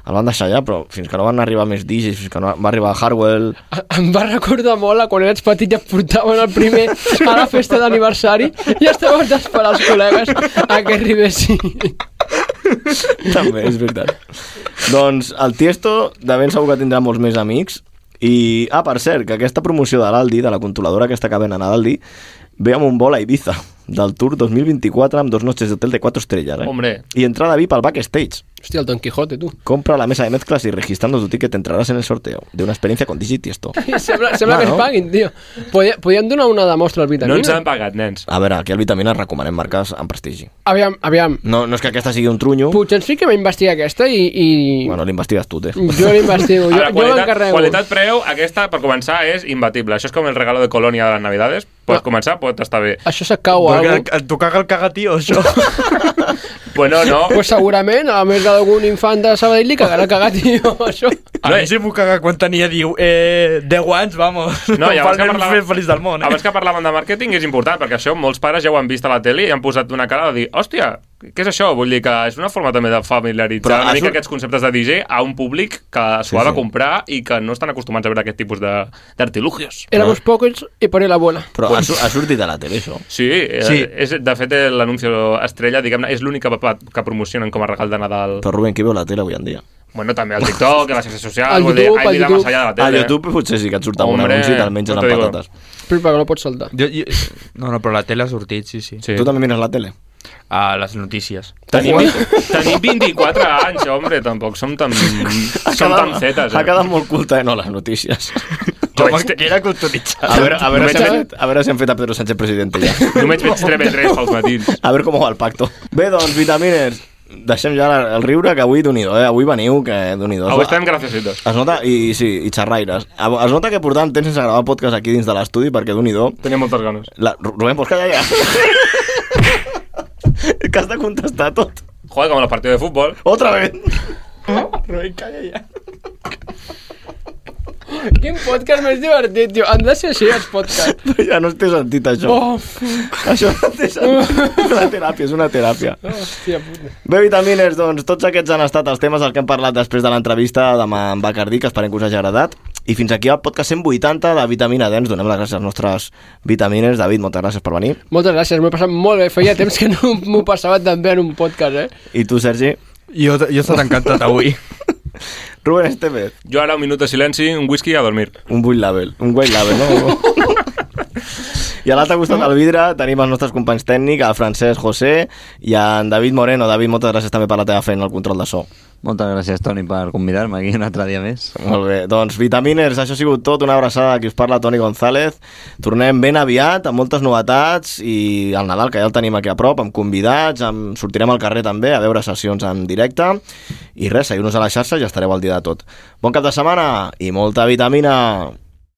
Speaker 4: el van deixar allà, però fins que no van arribar més DJs, fins que no va arribar Harwell...
Speaker 5: Em va recordar molt a quan eres petit i et portaven el primer a la festa d'aniversari i estaves d'esperar els col·legues a que arribessin.
Speaker 4: També, és veritat. doncs el Tiesto de ben segur que tindrà molts més amics i, ah, per cert, que aquesta promoció de l'Aldi, de la controladora aquesta que ven a l'Aldi, ve amb un vol a Ibiza, del Tour 2024 amb dos noches d'hotel de 4 estrelles, eh?
Speaker 2: Hombre.
Speaker 4: I entrada VIP al backstage.
Speaker 5: Hòstia, el Don Quijote, tu.
Speaker 4: Compra la mesa de mezclas y registrando tu ticket entrarás en el sorteo de una experiencia con DJ Tiesto.
Speaker 5: Sembla, sembla
Speaker 4: Va,
Speaker 5: que
Speaker 4: no?
Speaker 5: ens paguin, tio. Podien, podien donar una demostra al
Speaker 2: No ens
Speaker 5: vitamina.
Speaker 2: han pagat, nens.
Speaker 4: A veure, aquí al Vitamina recomanem marques amb prestigi.
Speaker 5: aviam, aviam.
Speaker 4: No, no és que aquesta sigui un trunyo,
Speaker 5: Potser ens fiquem a investigar aquesta i... i...
Speaker 4: bueno, l'investigues tu, té.
Speaker 5: Jo l'investigo, jo,
Speaker 2: Ara,
Speaker 5: jo
Speaker 2: qualitat,
Speaker 5: l'encarrego.
Speaker 2: qualitat preu, aquesta, per començar, és imbatible. Això és com el regalo de Colònia de les Navidades. Pots
Speaker 6: Ah.
Speaker 5: No.
Speaker 2: començar, pot estar bé.
Speaker 5: Això se cau a
Speaker 6: Perquè
Speaker 5: algú.
Speaker 6: et- et tu caga el cagatio, això.
Speaker 2: Bueno, no.
Speaker 5: Pues segurament, a la merda d'algun infant de Sabadell li cagarà cagat, tio, això.
Speaker 6: A mi si m'ho caga quan tenia, diu, eh, 10 anys, vamos.
Speaker 2: No, i abans,
Speaker 6: Em fa
Speaker 2: que
Speaker 6: el nen més
Speaker 2: parlàvem,
Speaker 6: feliç del món, eh?
Speaker 2: abans que parlàvem de màrqueting és important, perquè això molts pares ja ho han vist a la tele i han posat una cara de dir, hòstia, què és això? Vull dir que és una forma també de familiaritzar
Speaker 4: Però
Speaker 2: una
Speaker 4: ha
Speaker 2: mica
Speaker 4: sor-
Speaker 2: aquests conceptes de DJ a un públic que s'ho ha de comprar i que no estan acostumats a veure aquest tipus de- d'artilugios.
Speaker 5: Éramos pocos y por la abuela.
Speaker 4: Però ha, sur- ha sortit a la tele, això.
Speaker 2: Sí, eh,
Speaker 6: Sí.
Speaker 2: És, de fet eh, l'anunci estrella, diguem-ne, és l'única que, que promocionen com a regal de Nadal.
Speaker 4: Però Rubén, qui veu la tele avui en dia?
Speaker 2: Bueno, també al TikTok, a les xarxes socials,
Speaker 5: Al
Speaker 2: vull dir,
Speaker 5: YouTube,
Speaker 2: hay
Speaker 5: al
Speaker 2: vida
Speaker 5: YouTube.
Speaker 2: más allá de la
Speaker 4: A
Speaker 2: tele.
Speaker 4: YouTube potser sí que et surt algun
Speaker 2: Hombre,
Speaker 4: anunci d'almenys
Speaker 2: no
Speaker 4: amb
Speaker 2: te digo.
Speaker 4: patates.
Speaker 5: Flipa, que no pots saltar.
Speaker 6: Jo, jo, no, no, però la tele ha sortit, sí, sí.
Speaker 2: Sí.
Speaker 4: Tu també mires la tele?
Speaker 6: A les notícies.
Speaker 2: Tenim, tenim 24 anys, hombre, tampoc som tan, som tan zetes.
Speaker 4: Ha quedat molt culta, eh? no, les notícies.
Speaker 2: Només, te-
Speaker 6: Era culturitzat.
Speaker 4: A veure, a veure,
Speaker 2: Només
Speaker 4: si, han
Speaker 2: veig-
Speaker 4: fet, a veure si han fet a Pedro Sánchez president ja.
Speaker 2: només veig TV3 pels matins.
Speaker 4: A veure com va el pacto. Bé, doncs, vitamines, deixem ja la- el riure, que avui, d'un do eh? Avui veniu, que d'un do
Speaker 2: Avui estem graciositos.
Speaker 4: Es nota, i sí, i xerraires. A- Es nota que portàvem temps sense gravar podcast aquí dins de l'estudi, perquè d'un i do...
Speaker 2: Tenia moltes ganes.
Speaker 4: La... Ru- Rubén, vols callar ja? que has de contestar tot.
Speaker 2: Joder, com a la partida de futbol.
Speaker 4: Otra vez.
Speaker 5: Quin podcast més divertit, tio. Han de ser així els podcasts.
Speaker 4: ja no té sentit, això.
Speaker 5: Oh,
Speaker 4: Això no té sentit. És una teràpia, és una teràpia.
Speaker 5: hòstia puta.
Speaker 4: Bé, vitamines, doncs tots aquests han estat els temes dels que hem parlat després de l'entrevista de en Bacardí, que esperem que us hagi agradat. I fins aquí el podcast 180 de Vitamina D. Ens donem les gràcies als nostres vitamines. David, moltes gràcies per venir.
Speaker 5: Moltes gràcies, m'ho he passat molt bé. Feia temps que no m'ho passava tan bé en un podcast, eh?
Speaker 4: I tu, Sergi.
Speaker 6: Jo, jo he estat encantat avui.
Speaker 4: Rubén Estevez,
Speaker 2: Jo ara un minut de silenci, un whisky i a dormir.
Speaker 4: un bull label, un white label, no? I a l'altre costat del vidre tenim els nostres companys tècnics, el Francesc José i en David Moreno. David, moltes gràcies també per la teva feina al control de so.
Speaker 7: Moltes gràcies, Toni, per convidar-me aquí un altre dia més.
Speaker 4: Molt bé, doncs Vitaminers, això ha sigut tot, una abraçada a qui us parla Toni González, tornem ben aviat amb moltes novetats i el Nadal que ja el tenim aquí a prop, amb convidats amb... sortirem al carrer també a veure sessions en directe i res, seguiu-nos a la xarxa i estareu al dia de tot. Bon cap de setmana i molta vitamina!